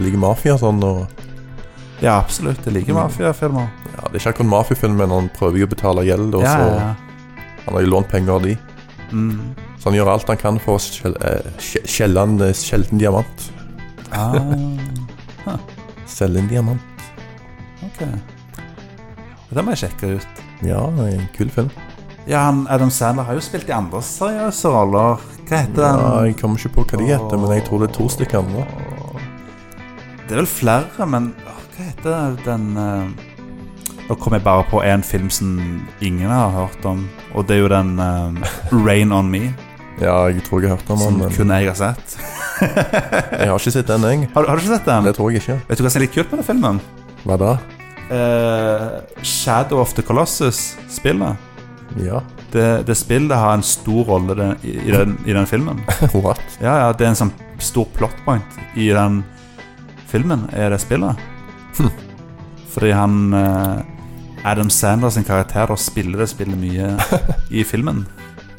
Speaker 2: liker mafia og sånn. Og,
Speaker 1: Ja, absolutt. Jeg liker
Speaker 2: Mm.
Speaker 1: mafiafilmer.
Speaker 2: ja, det er ikke akkurat mafiafilm, men han prøver jo å betale gjeld, og
Speaker 1: Ja,
Speaker 2: så
Speaker 1: ja, ja.
Speaker 2: han har jo lånt penger av de.
Speaker 1: Mm.
Speaker 2: Så han gjør alt han kan for å skjel- eh, skje- skjelle en eh, sjelden diamant.
Speaker 1: Ah,
Speaker 2: Selge en diamant.
Speaker 1: ok. Det må jeg sjekke ut.
Speaker 2: Ja, det er en kul film.
Speaker 1: Ja, han, Adam Sandler har jo spilt i andre seriøse roller. Hva heter den?
Speaker 2: Ja, jeg kommer ikke på hva de heter, men jeg tror det er to stykker andre.
Speaker 1: Det er vel flere, men åh, hva heter den eh, Nå kom jeg bare på en film som ingen har hørt om, og det er jo den eh, Rain On Me,
Speaker 2: Ja, jeg tror jeg har hørt om
Speaker 1: som
Speaker 2: den, men
Speaker 1: kun jeg har sett. [laughs]
Speaker 2: jeg har ikke sett den, jeg.
Speaker 1: Har, har du ikke sett den?
Speaker 2: Det tror jeg ikke.
Speaker 1: Vet du hva som er litt kult med den filmen?
Speaker 2: Hva da?
Speaker 1: Eh, Shadow of the Colossus-spillet.
Speaker 2: Ja, [laughs]
Speaker 1: Det, det spillet har en stor rolle den, i, i den, i den filmen.
Speaker 2: what?
Speaker 1: Ja, ja, det er en sånn stor plot point i den filmen, er det spillet.
Speaker 2: Hm.
Speaker 1: Fordi han eh, Adam Sanders sin karakter da spiller det spillet mye i filmen.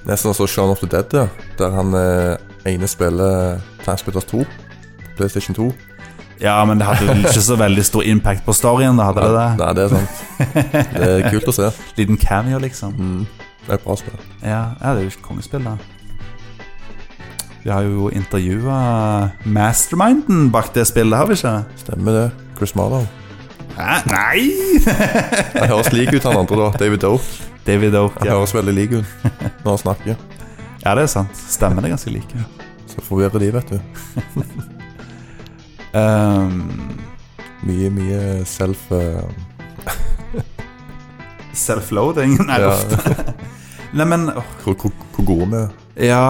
Speaker 2: Nesten sånn som Shaun of the Dead, ja. Der han eh, ene spiller Transmitters 2. PlayStation 2.
Speaker 1: Ja, men det hadde vel ikke så veldig stor impact på storyen. da hadde det det.
Speaker 2: Nei, det er [laughs] sant. Det er kult å se.
Speaker 1: Liten cameo, liksom.
Speaker 2: Mm. Det er et bra spill.
Speaker 1: Ja, ja det er jo et kongespill, da. Vi har jo intervjua masterminden bak det spillet, har vi ikke?
Speaker 2: Stemmer det. Chris Marlow.
Speaker 1: Hæ? Nei! [laughs]
Speaker 2: Han høres lik ut, han andre, [laughs] da. David Doke.
Speaker 1: David Oak,
Speaker 2: Han
Speaker 1: ja.
Speaker 2: høres veldig lik ut når han snakker.
Speaker 1: ja. Det er sant. Stemmen er ganske like.
Speaker 2: Så forvirrer de, vet du.
Speaker 1: Ehm,
Speaker 2: Mye, mye self... eh,
Speaker 1: Self-loading? [laughs] Nei,
Speaker 2: ja,
Speaker 1: uff. Nei, men åh,
Speaker 2: hvor, hvor, hvor gode vi er.
Speaker 1: Ja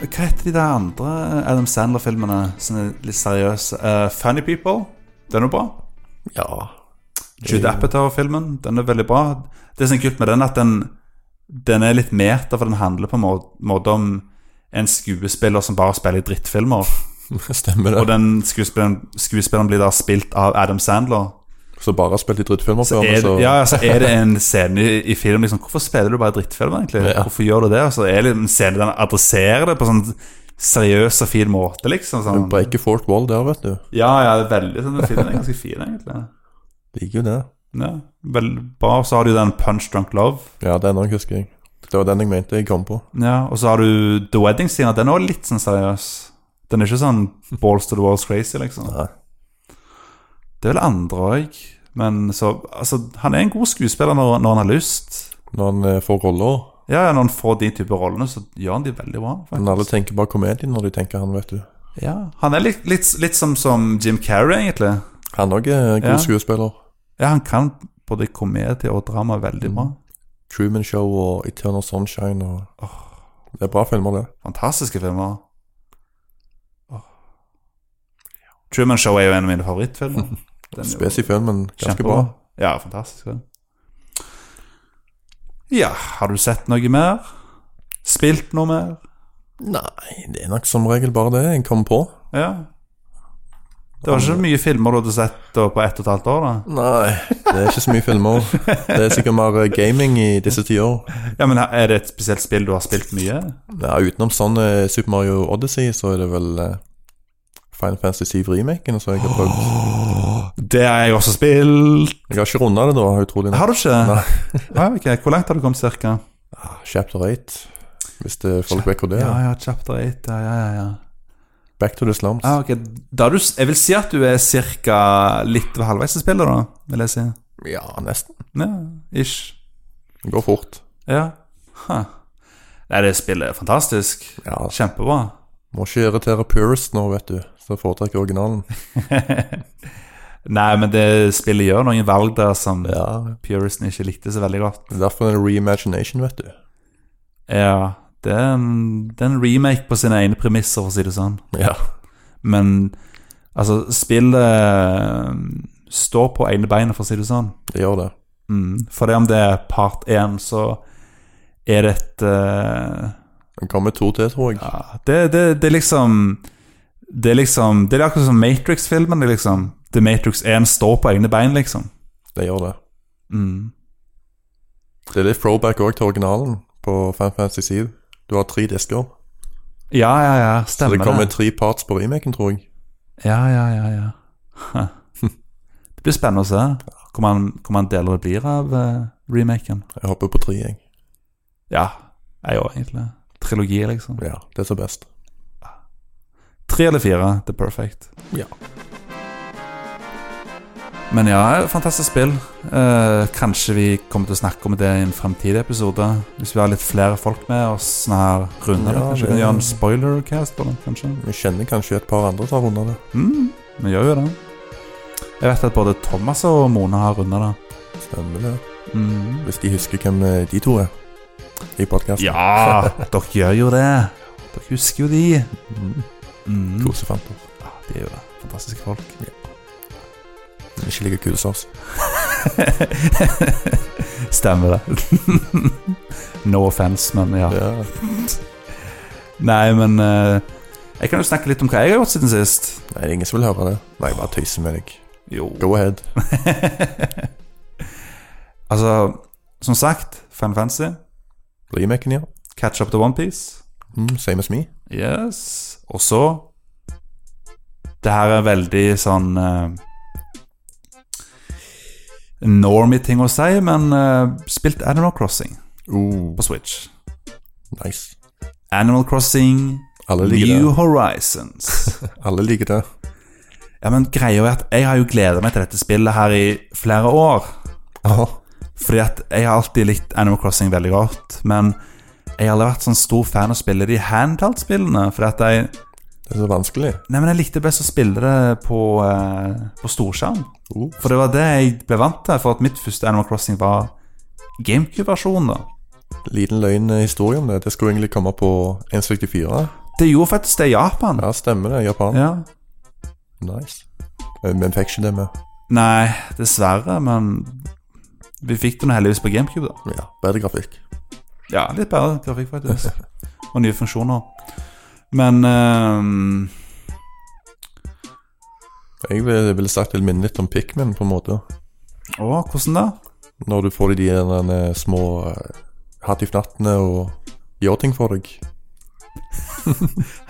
Speaker 1: Hva heter de der andre Adam Sandler-filmene som er litt seriøse? Eh, Funny People. Den er bra.
Speaker 2: Ja.
Speaker 1: Jude Apatow-filmen. Den er veldig bra. Det som er kult med den, er at den, den er litt meta, for den handler på en må- måte om en skuespiller som bare spiller i drittfilmer.
Speaker 2: Stemmer
Speaker 1: Og
Speaker 2: det.
Speaker 1: den skuespilleren, skuespilleren blir da spilt av Adam Sandler.
Speaker 2: Så bare har spilt i drittfilmer
Speaker 1: Så
Speaker 2: før,
Speaker 1: er,
Speaker 2: men så
Speaker 1: det- ja, så er det en scene i, i film liksom, Hvorfor spiller du bare drittfilm, egentlig?
Speaker 2: Ja.
Speaker 1: Hvorfor gjør du det? Og så er det en scene der han adresserer det på sånn seriøs og fin måte, liksom.
Speaker 2: Du
Speaker 1: Sånn.
Speaker 2: breker Fort Wall der, vet du.
Speaker 1: Ja, ja, det er veldig sånn, den filmen er ganske fin, egentlig.
Speaker 2: Liker jo det.
Speaker 1: Ja, veldig bra. Så har du den Punch Drunk Love.
Speaker 2: Ja, den òg husker jeg. Det var den jeg mente jeg kom på.
Speaker 1: Ja, og så har du The Wedding Singer. Den er også litt sånn seriøs. Den er ikke sånn balls to the walls crazy, liksom.
Speaker 2: Nei.
Speaker 1: Det er vel andre òg. Men så Altså, han er en god skuespiller når, når han har lyst.
Speaker 2: Når han eh, får roller.
Speaker 1: Ja, ja, når han får de typer rollene, så gjør han de veldig bra. faktisk.
Speaker 2: Men alle tenker bare komedie når de tenker han, vet du.
Speaker 1: Ja, Han er litt, litt, litt som, som Jim Carrey, egentlig.
Speaker 2: Han òg er god
Speaker 1: Ja.
Speaker 2: skuespiller.
Speaker 1: Ja, han kan både komedie og drama veldig bra.
Speaker 2: Truman Show og Eternal Sunshine og Det er bra filmer, det.
Speaker 1: Fantastiske filmer. Åh. Truman Show er jo en av mine [laughs] favorittfilmer. Den er jo-
Speaker 2: Spes i filmen, ganske bra.
Speaker 1: Ja, fantastisk. Ja. ja, har du sett noe mer? Spilt noe mer?
Speaker 2: Nei, det er nok som regel bare det jeg kom på.
Speaker 1: Ja. Det var ikke så mye filmer du hadde sett da på ett og et halvt år? da
Speaker 2: Nei, det er ikke så mye filmer. Det er sikkert mer eh, gaming i disse tider.
Speaker 1: Ja, men Er det et spesielt spill du har spilt mye?
Speaker 2: Ja, utenom sånn eh, Super Mario Odyssey, så er det vel eh, Final Fantasy 7-remaken som jeg har prøvd.
Speaker 1: Det har jeg også spilt.
Speaker 2: Jeg har ikke runda det, da, utrolig nok.
Speaker 1: Har du ikke? Ja, ok. Hvor langt har du kommet, cirka?
Speaker 2: Chapter 8, hvis det folk vet hvor det
Speaker 1: Ja,
Speaker 2: er.
Speaker 1: ja, chapter 8. Ja, ja, ja. ja.
Speaker 2: Back to the slums.
Speaker 1: Ah, ok. da er du, jeg vil si at du er cirka litt ved halvveis i spillet, da. Vil jeg si.
Speaker 2: Ja, nesten.
Speaker 1: Ja, ish.
Speaker 2: Det går fort.
Speaker 1: Ja. Huh. Nei, det spillet er fantastisk.
Speaker 2: Ja,
Speaker 1: Kjempebra.
Speaker 2: Må ikke irritere purist nå, vet du. Så jeg foretrekker originalen.
Speaker 1: Nei, men det spillet gjør noen valg der som
Speaker 2: [laughs] Ja,
Speaker 1: puristen ikke likte så veldig godt.
Speaker 2: det er Derfor er det reimagination, vet du.
Speaker 1: Ja, det er en, det er en remake på sine egne premisser, for å si det sånn.
Speaker 2: Ja.
Speaker 1: Men altså, spillet eh, står på egne bein, for å si det sånn.
Speaker 2: Det gjør det.
Speaker 1: Mm. For det om det er part én, så er det et eh,
Speaker 2: Det kommer to til, tror jeg.
Speaker 1: Ja, det, det, det er liksom Det er liksom Det er akkurat som Matrix-filmen, liksom. The Matrix 1 står på egne bein, liksom.
Speaker 2: Det gjør det.
Speaker 1: Mm.
Speaker 2: Det er litt throwback òg til originalen på Fan Fantasy 7. Du har tre disker.
Speaker 1: Ja, ja, ja.
Speaker 2: Så
Speaker 1: Stemmer
Speaker 2: det kommer tre parts på remaken, tror jeg.
Speaker 1: Ja, ja, ja, ja. [laughs] Huh. Det blir spennende å se hvor man, hvor man deler det blir av eh, remaken.
Speaker 2: Jeg hopper på tre, jeg.
Speaker 1: Ja, jeg òg, egentlig. Trilogi, liksom.
Speaker 2: Ja, det som er best.
Speaker 1: Tre eller fire, det er perfect.
Speaker 2: Ja.
Speaker 1: Men ja, fantastisk spill. Eh, kanskje vi kommer til å snakke om det i en fremtidig episode. Hvis vi har litt flere folk med oss sånn her runder det.
Speaker 2: Ja,
Speaker 1: Kanskje vi
Speaker 2: det-
Speaker 1: kan gjøre en spoilercast på det, kanskje.
Speaker 2: Vi kjenner kanskje et par andre som har runda det.
Speaker 1: Mm, vi gjør jo det. Jeg vet at både Thomas og Mona har runda det.
Speaker 2: Stemmer det.
Speaker 1: Mm.
Speaker 2: Hvis de husker hvem eh, de to er i podkasten.
Speaker 1: Ja, [laughs] dere gjør jo det. Dere husker jo de.
Speaker 2: Mm.
Speaker 1: Mm.
Speaker 2: Kosefanter.
Speaker 1: Ja, de er jo det. Fantastiske folk.
Speaker 2: Men Ikke like kule som oss.
Speaker 1: [laughs] Stemmer det. [laughs] no offense, men ja.
Speaker 2: Ja.
Speaker 1: Nei, men eh, jeg kan jo snakke litt om hva jeg har gjort siden sist.
Speaker 2: Nei, det er ingen som vil høre det. Nei, bare tøyser med deg.
Speaker 1: Jo.
Speaker 2: Go ahead.
Speaker 1: [laughs] altså, som sagt, Fan Fancy,
Speaker 2: Remaken, ja.
Speaker 1: Catch Up to Onepiece.
Speaker 2: Mm, same as me.
Speaker 1: Yes. Og så Det her er veldig sånn uh, Normy ting å si, men eh, spilt Animal Crossing
Speaker 2: Uh,
Speaker 1: på Switch.
Speaker 2: nice.
Speaker 1: Animal Crossing
Speaker 2: Alle liker
Speaker 1: New
Speaker 2: det.
Speaker 1: Horizons.
Speaker 2: Alle liker det.
Speaker 1: ja, men greia er at jeg har jo gleda meg til dette spillet her i flere år.
Speaker 2: Aha.
Speaker 1: Fordi at jeg har alltid likt Animal Crossing veldig godt, men jeg har aldri vært sånn stor fan av å spille de handheld-spillene. Fordi at jeg,
Speaker 2: Det er så vanskelig.
Speaker 1: nei, men jeg likte best å spille det på, eh, på storskjerm.
Speaker 2: Uh,
Speaker 1: For det var det jeg ble vant til, for at mitt første Animal Crossing var GameCube-versjonen. da.
Speaker 2: liten løgn eh, historie om det. Det skulle egentlig komme på 1.64.
Speaker 1: Det gjorde faktisk det i Japan.
Speaker 2: Ja, stemmer det. Japan.
Speaker 1: Ja.
Speaker 2: Nice. Men men fikk ikke det med.
Speaker 1: Nei, dessverre, men vi fikk det nå heldigvis på GameCube, da.
Speaker 2: Ja, Bedre grafikk.
Speaker 1: Ja, litt bedre grafikk faktisk. Og nye funksjoner. Men ehm,
Speaker 2: Jeg ville ville sagt det minner litt om Pikmin, på en måte.
Speaker 1: Å, hvordan da?
Speaker 2: Når du får de der, eh, små eh, hattifnattene og gjør ting for deg.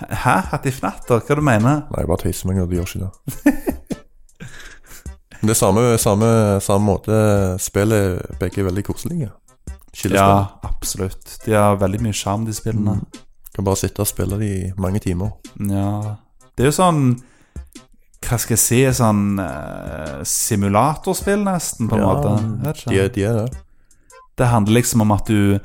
Speaker 1: Hæ? Hattifnatter? Hva du mener
Speaker 2: Nei, jeg bare tøyser meg, og det gjør ikke det. Men det er samme, samme, samme måte spillet begge er veldig koselige. Skillespill.
Speaker 1: Ja, absolutt. De har veldig mye sjarm, de spillene.
Speaker 2: Kan bare sitte og spille det i mange timer.
Speaker 1: Ja Det er jo sånn Hva skal jeg si Sånn eh, simulatorspill, nesten, på en
Speaker 2: Ja,
Speaker 1: måte. Jeg vet
Speaker 2: De
Speaker 1: ikke.
Speaker 2: er, de er det.
Speaker 1: Det handler liksom om at du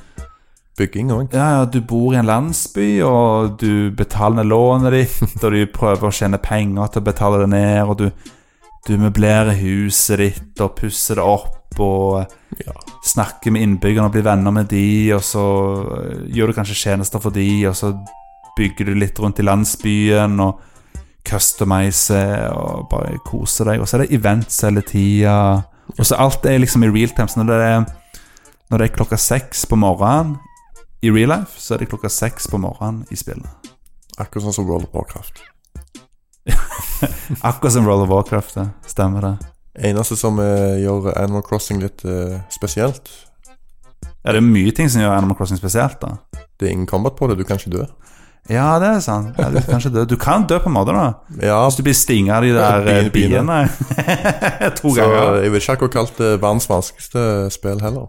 Speaker 2: Bygging òg.
Speaker 1: ja, ja, du bor i en landsby, og du betaler ned lånet ditt, og du prøver å tjene penger til å betale det ned, og du, du møblerer huset ditt og pusser det opp og
Speaker 2: Ja.
Speaker 1: snakker med innbyggerne og blir venner med de, og så eh, gjør du kanskje tjenester for de, og så bygger du litt rundt i landsbyen og customiser og bare koser deg. Og så er det events hele tida. Og så alt er liksom i real time. Så når det er, når det er klokka seks på morgenen i real life, så er det klokka seks på morgenen i spillet.
Speaker 2: Akkurat sånn som World of Warcraft.
Speaker 1: Akkurat som Roll of Warcraft, det. Stemmer det.
Speaker 2: Eneste som eh, gjør Animal Crossing litt eh, spesielt,
Speaker 1: Ja, det er mye ting som gjør Animal Crossing spesielt, da.
Speaker 2: det er ingen combat på det. Du kan ikke dø.
Speaker 1: Ja, det er sant. Ja, du kan ikke dø. Du kan dø på en måte, da.
Speaker 2: Ja,
Speaker 1: Hvis du blir stinget av de der
Speaker 2: Ja,
Speaker 1: eh,
Speaker 2: biene, biene.
Speaker 1: biene. [laughs] to
Speaker 2: så
Speaker 1: ganger.
Speaker 2: jeg vil ikke akkurat kalt det verdens vanskeligste
Speaker 1: [laughs]
Speaker 2: spill heller.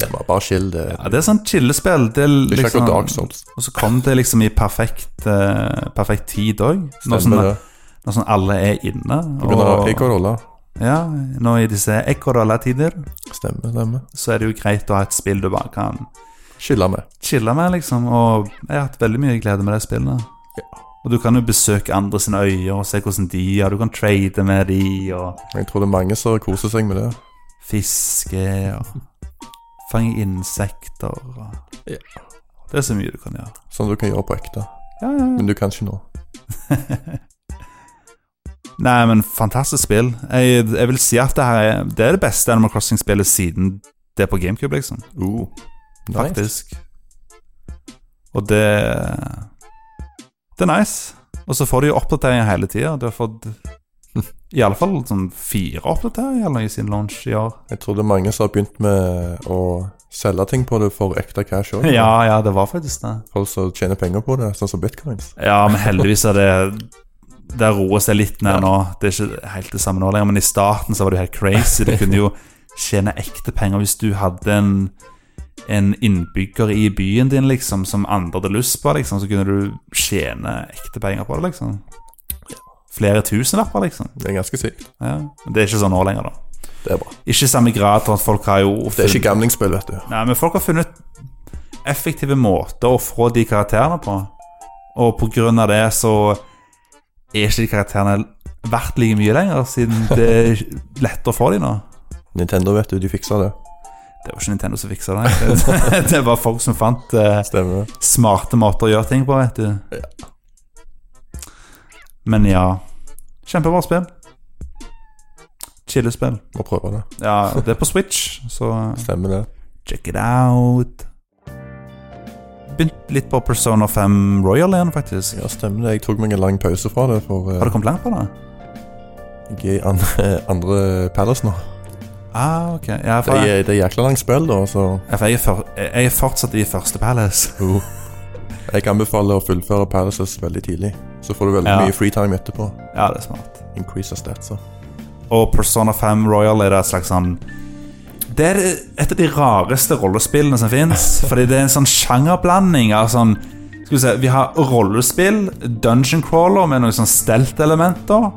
Speaker 2: det var bare chill, det.
Speaker 1: Ja, det er sånn chillespill. Det er
Speaker 2: Det er ikke
Speaker 1: liksom,
Speaker 2: akkurat Dark Souls.
Speaker 1: og så kom det liksom i perfekt, eh, perfekt tid òg. Når,
Speaker 2: Stemmer
Speaker 1: sånn,
Speaker 2: det.
Speaker 1: når sånn alle er inne.
Speaker 2: På grunn av
Speaker 1: og-
Speaker 2: Eikorolla.
Speaker 1: Ja, nå i disse ekorrollatider
Speaker 2: Stemmer, stemmer.
Speaker 1: så er det jo greit å ha et spill du bare kan
Speaker 2: Skille med.
Speaker 1: chille med, liksom. Og jeg har hatt veldig mye glede med det spillet. Og du kan jo besøke andre sine øyer og se hvordan de er. Du kan trade med de og
Speaker 2: Jeg tror det er mange som koser seg med det.
Speaker 1: fiske og fange insekter og
Speaker 2: Ja.
Speaker 1: Det er så mye du kan gjøre.
Speaker 2: sånn Som du kan gjøre på ekte.
Speaker 1: Ja, ja, ja.
Speaker 2: Men du kan ikke nå.
Speaker 1: Nei, men fantastisk spill. Jeg, jeg vil si at det her er det, er det beste Animal Crossing-spillet siden det på GameCube, liksom.
Speaker 2: Uh, nice.
Speaker 1: Faktisk. Og det Det er nice. Og så får du jo oppdateringer hele tida. Du har fått [laughs] i alle fall sånn fire oppdateringer eller noe siden launch i år.
Speaker 2: Jeg tror det er mange som har begynt med å selge ting på det for ekte cash òg.
Speaker 1: [laughs] Ja, ja, det var faktisk det.
Speaker 2: Folk som tjener penger på det, sånn som bitcoins.
Speaker 1: Ja, men heldigvis er det Det roer seg litt ned nå. Det er ikke helt det samme nå lenger, men i starten så var det jo helt crazy. Du kunne jo tjene ekte penger hvis du hadde en en innbygger i byen din liksom som andre hadde lyst på, liksom, så kunne du tjene ekte penger på det. liksom Flere tusenlapper, liksom.
Speaker 2: Det er ganske sykt.
Speaker 1: Ja. Men det er ikke sånn nå lenger, da.
Speaker 2: Det er bra.
Speaker 1: Ikke i samme grad for at folk har jo
Speaker 2: Det er ikke gamlingspill, vet du.
Speaker 1: Nei, men folk har funnet effektive måter å få de karakterene på. Og på grunn av det så er ikke de karakterene verdt like mye lenger, siden det er lettere å få de nå.
Speaker 2: Nintendo, vet du, de fiksa det.
Speaker 1: Det var ikke Nintendo som fiksa det. [laughs] Det var folk som fant eh,
Speaker 2: Stemmer.
Speaker 1: smarte måter å gjøre ting på, vet du. Men ja. Kjempebra spill. Chillespill.
Speaker 2: Må prøve det.
Speaker 1: Ja, det er på Switch, så
Speaker 2: Stemmer det.
Speaker 1: Check it out. Begynt litt på Persona 5 Royal igjen, faktisk.
Speaker 2: Ja, stemmer det. Jeg tok meg en lang pause fra det, for eh,
Speaker 1: Har du kommet langt på det?
Speaker 2: jeg er i andre, [laughs] andre Palace nå.
Speaker 1: Ah, ok. Ja, for
Speaker 2: Det
Speaker 1: jeg,
Speaker 2: er, det er jækla langt spill, da, så
Speaker 1: ja, for jeg, er for, jeg er fortsatt i første Palace. [laughs]
Speaker 2: Jo. Jeg anbefaler å fullføre Palaces veldig tidlig. Så får du veldig
Speaker 1: Ja.
Speaker 2: mye freetime etterpå.
Speaker 1: Ja, det er smart.
Speaker 2: Increase of statser.
Speaker 1: Og Persona 5 Royal er det et slags sånn Det er et av de rareste rollespillene som fins. Fordi det er en sånn sjangerblanding av sånn Skal vi se Vi har rollespill, dungeon crawler med noen sånn stelt-elementer.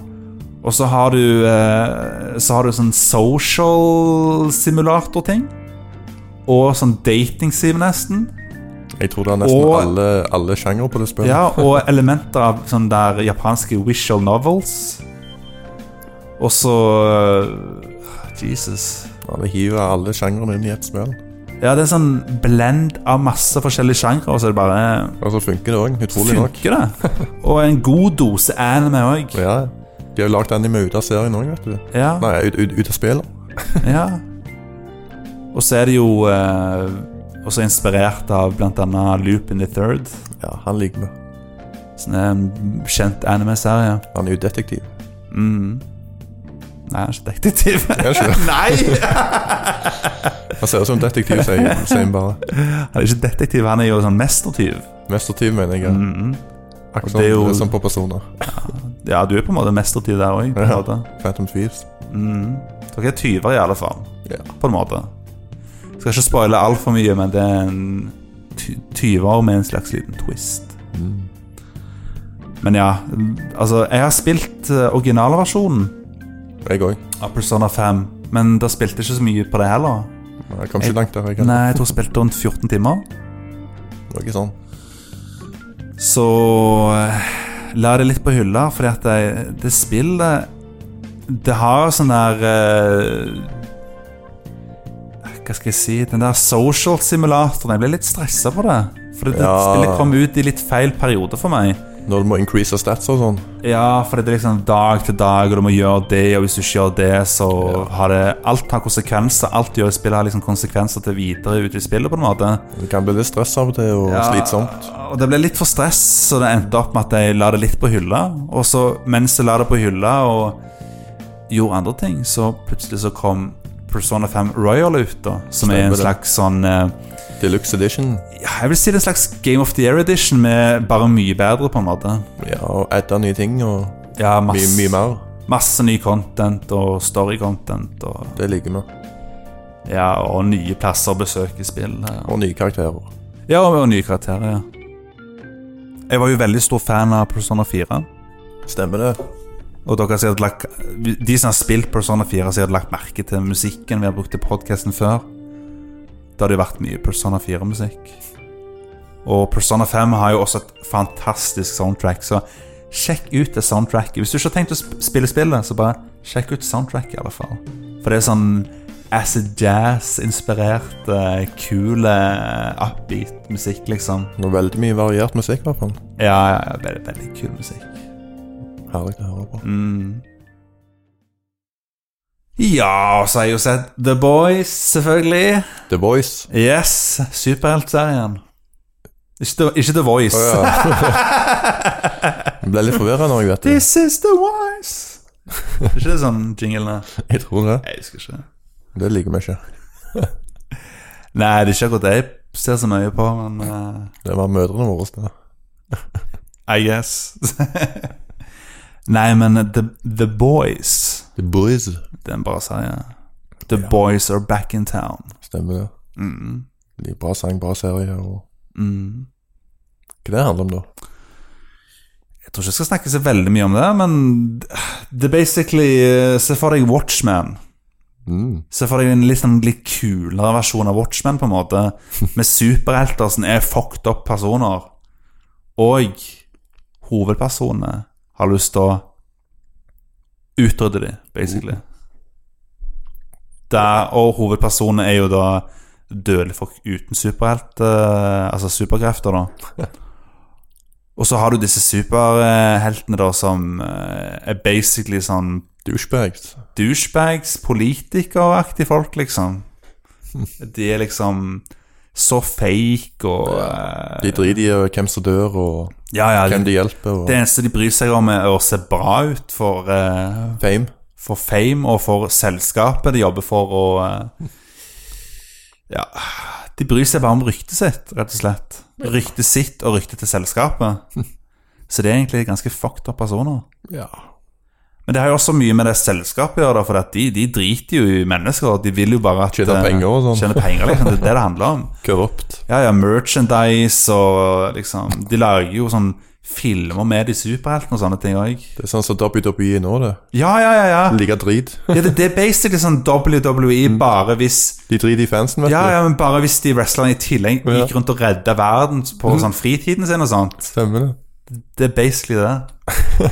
Speaker 1: Og så har du eh, Så har du sånn social simulator-ting. Og sånn dating-sim, nesten.
Speaker 2: Jeg tror det er nesten
Speaker 1: Og-
Speaker 2: alle, alle sjangere på det spillet.
Speaker 1: Ja, og elementer av sånne der japanske visual novels. Og så eh, Jesus.
Speaker 2: Ja, det hiver alle sjangrene inn i ett spill.
Speaker 1: Ja, det er en sånn blend av masse forskjellige sjangre, og så er det bare
Speaker 2: Og så funker det òg, utrolig nok.
Speaker 1: Funker det?
Speaker 2: [laughs]
Speaker 1: Og en god dose anime òg.
Speaker 2: Ja, De har jo lagd anime ut av serien òg, vet du.
Speaker 1: Ja,
Speaker 2: Nei, ut, ut, ut av spillet.
Speaker 1: ja. Og så er det jo eh, også inspirert av blant annet Loop in the Third.
Speaker 2: Ja, han liker vi.
Speaker 1: Sånn en kjent anime-serie. [laughs]
Speaker 2: Han er jo detektiv.
Speaker 1: Mm. Nei, han er ikke detektiv. [laughs]
Speaker 2: Er det ikke det?
Speaker 1: Nei!
Speaker 2: Han ser ut som en detektiv, sier sier han bare.
Speaker 1: Han er ikke detektiv, han er jo sånn mestertyv.
Speaker 2: Mestertyv, mener jeg.
Speaker 1: Mm -mm.
Speaker 2: Akkurat
Speaker 1: det er jo-
Speaker 2: sånn- som på personer.
Speaker 1: Ja, du er på en måte mestertyv der òg.
Speaker 2: Ja.
Speaker 1: måte
Speaker 2: Phantom Thieves.
Speaker 1: Mm. Dere er tyver, i alle fall.
Speaker 2: Ja.
Speaker 1: På en måte. Skal ikke spoile altfor mye, men det er en ty tyver med en slags liten twist.
Speaker 2: Mm.
Speaker 1: Men ja, altså Jeg har spilt eh, originalversjonen
Speaker 2: Jeg òg.
Speaker 1: av Persona 5, men da spilte jeg ikke så mye på det heller.
Speaker 2: Jeg kom ikke
Speaker 1: Jeg-
Speaker 2: langt der. Jeg kan.
Speaker 1: Nei, jeg tror jeg spilte rundt 14 timer.
Speaker 2: Noe sånn.
Speaker 1: Så eh, la det litt på hylla, fordi at det, det spillet Det har sånn der eh, Hva skal jeg si Den der social simulatoren. Jeg ble litt stressa på det. For det,
Speaker 2: Ja.
Speaker 1: spillet kom ut i litt feil periode for meg.
Speaker 2: Når du må increase stats og sånn.
Speaker 1: Ja, for det er liksom dag til dag, og du må gjøre det, og hvis du ikke gjør det, så har det Alt har konsekvenser. Alt du gjør i spillet, har liksom konsekvenser til videre ut i spillet, på en måte.
Speaker 2: Det kan bli litt stress av og til, og slitsomt.
Speaker 1: Og det ble litt for stress, så det endte opp med at jeg la det litt på hylla. Og så mens jeg la det på hylla og gjorde andre ting, så plutselig så kom Persona 5 Royal ut, da. Som er
Speaker 2: Stemmer
Speaker 1: en
Speaker 2: det.
Speaker 1: slags sånn eh,
Speaker 2: Deluxe edition.
Speaker 1: ja, Jeg vil si det er en slags Game of the Year edition, med bare mye bedre, på en måte.
Speaker 2: Ja, og adda nye ting og
Speaker 1: Ja,
Speaker 2: mye,
Speaker 1: masse,
Speaker 2: mye mer.
Speaker 1: masse ny content og story-content og
Speaker 2: Det liker vi.
Speaker 1: Ja, og nye plasser å besøke i spill. Ja.
Speaker 2: Og nye karakterer.
Speaker 1: Ja, og nye karakterer, ja. Jeg var jo veldig stor fan av Persona 4.
Speaker 2: Stemmer det.
Speaker 1: Og dere har sikkert lagt, De som har spilt Persona 4, har sikkert lagt merke til musikken vi har brukt i podkasten før. Det har det jo vært mye Persona 4-musikk. Og Persona 5 har jo også et fantastisk soundtrack, så sjekk ut det soundtracket. Hvis du ikke har tenkt å sp- spille spillet, så bare sjekk ut soundtracket, i alle fall. For det er sånn acid jazz-inspirert, eh, kul, eh, upbeat musikk, liksom.
Speaker 2: Det er veldig mye variert musikk, i hvert fall.
Speaker 1: Ja, ja, ja, veldig, veldig kul musikk.
Speaker 2: Herlig å høre på.
Speaker 1: Mm. Ja, og så har jeg jo sett The Boys, selvfølgelig.
Speaker 2: The Voice.
Speaker 1: Yes, superheltserien. Ikke, The- ikke The Voice.
Speaker 2: Å
Speaker 1: [laughs]
Speaker 2: ja. Jeg ble litt forvirra når jeg vet det.
Speaker 1: This is The Voice. Er ikke det sånn jinglene?
Speaker 2: Jeg tror det.
Speaker 1: Jeg husker ikke.
Speaker 2: Det liker vi ikke.
Speaker 1: Nei, det er ikke akkurat det jeg ser så mye på, men eh,
Speaker 2: Det var mødrene våre. Det.
Speaker 1: I guess. [laughs] Nei, men The, The Boys
Speaker 2: The Boys.
Speaker 1: Det er en bra serie. The Boys are back in town.
Speaker 2: Stemmer det.
Speaker 1: Mm.
Speaker 2: De bra sang, bra serie. Og...
Speaker 1: Mm.
Speaker 2: Hva det handler om, da?
Speaker 1: Jeg tror ikke jeg skal snakke så veldig mye om det, men det er basically eh, Se for deg Watchman.
Speaker 2: Mm.
Speaker 1: Se for deg en litt, sånn litt kulere versjon av Watchman, på en måte. Med superhelter som er fucked up personer. Og hovedpersonene har lyst til å utrydde dem, basically. Der, og hovedpersonen er jo da dødelige folk uten superhelt... eh, altså superkrefter, da. Og så har du disse superheltene, da, som eh, er basically sånn
Speaker 2: Douchebags.
Speaker 1: douchebags, politikeraktige folk,
Speaker 2: [laughs]
Speaker 1: liksom. De er liksom så fake og
Speaker 2: De
Speaker 1: eh,
Speaker 2: driter i eh, hvem som dør, og
Speaker 1: Ja, ja.
Speaker 2: hvem
Speaker 1: Det,
Speaker 2: de hjelper, og
Speaker 1: det eneste de bryr seg om, er å se bra ut for, eh,
Speaker 2: fame.
Speaker 1: for fame og for selskapet de jobber for, og eh, Ja. De bryr seg bare om ryktet sitt, rett og slett. Ryktet sitt og ryktet til
Speaker 2: [laughs]
Speaker 1: selskapet. Så det er egentlig ganske fucked up personer.
Speaker 2: Ja.
Speaker 1: Men det har jo også mye med det selskapet å gjøre, da, for at de, de driter jo i mennesker. De vil jo bare at
Speaker 2: Tjene
Speaker 1: eh,
Speaker 2: penger og sånn.
Speaker 1: Tjene penger, liksom. Det er det det handler
Speaker 2: [laughs]
Speaker 1: om.
Speaker 2: Korrupt.
Speaker 1: Ja, ja, merchandise og liksom De lager jo sånn filmer med de superheltene og sånne ting òg.
Speaker 2: Det er sånn som WWE nå, det.
Speaker 1: Ja, ja, ja. ja.
Speaker 2: Like drit.
Speaker 1: ja det, det er basically sånn WWE,
Speaker 2: Mm.
Speaker 1: bare hvis
Speaker 2: De driter i fansen, vet
Speaker 1: Ja,
Speaker 2: du.
Speaker 1: ja, men bare hvis de wrestlerne i tillegg
Speaker 2: Ja. Mm.
Speaker 1: gikk rundt og redda verden på sånn fritiden sin og sånt.
Speaker 2: Stemmer det.
Speaker 1: Det er basically det.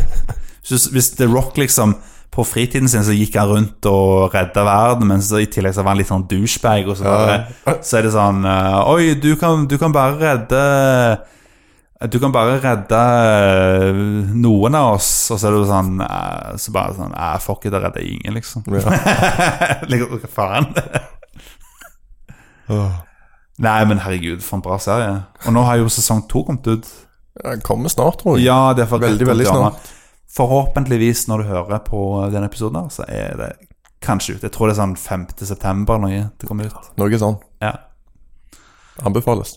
Speaker 1: Så hvis The Rock liksom på fritiden sin så gikk han rundt og redda verden, men så i tillegg så var han litt sånn douchebag, og så, bare, så er det sånn eh, Oi, du kan, du kan bare redde Du kan bare redde eh, noen av oss, og så er det jo sånn eh, Så bare sånn eh, Fuck it, jeg redder ingen, liksom.
Speaker 2: Ja.
Speaker 1: [laughs] liksom hva faen? [laughs]
Speaker 2: Åh.
Speaker 1: Nei, men herregud, for en bra serie. Og nå har jo sesong to kommet ut.
Speaker 2: Ja, Kommer snart, tror jeg.
Speaker 1: Ja, det er for
Speaker 2: Veldig, veldig
Speaker 1: ja.
Speaker 2: snart.
Speaker 1: Forhåpentligvis, når du hører på denne episoden, her, så er det kanskje ut. Jeg tror det er sånn 5. september eller noe det kommer ut.
Speaker 2: Noe sånn.
Speaker 1: Ja.
Speaker 2: Anbefales.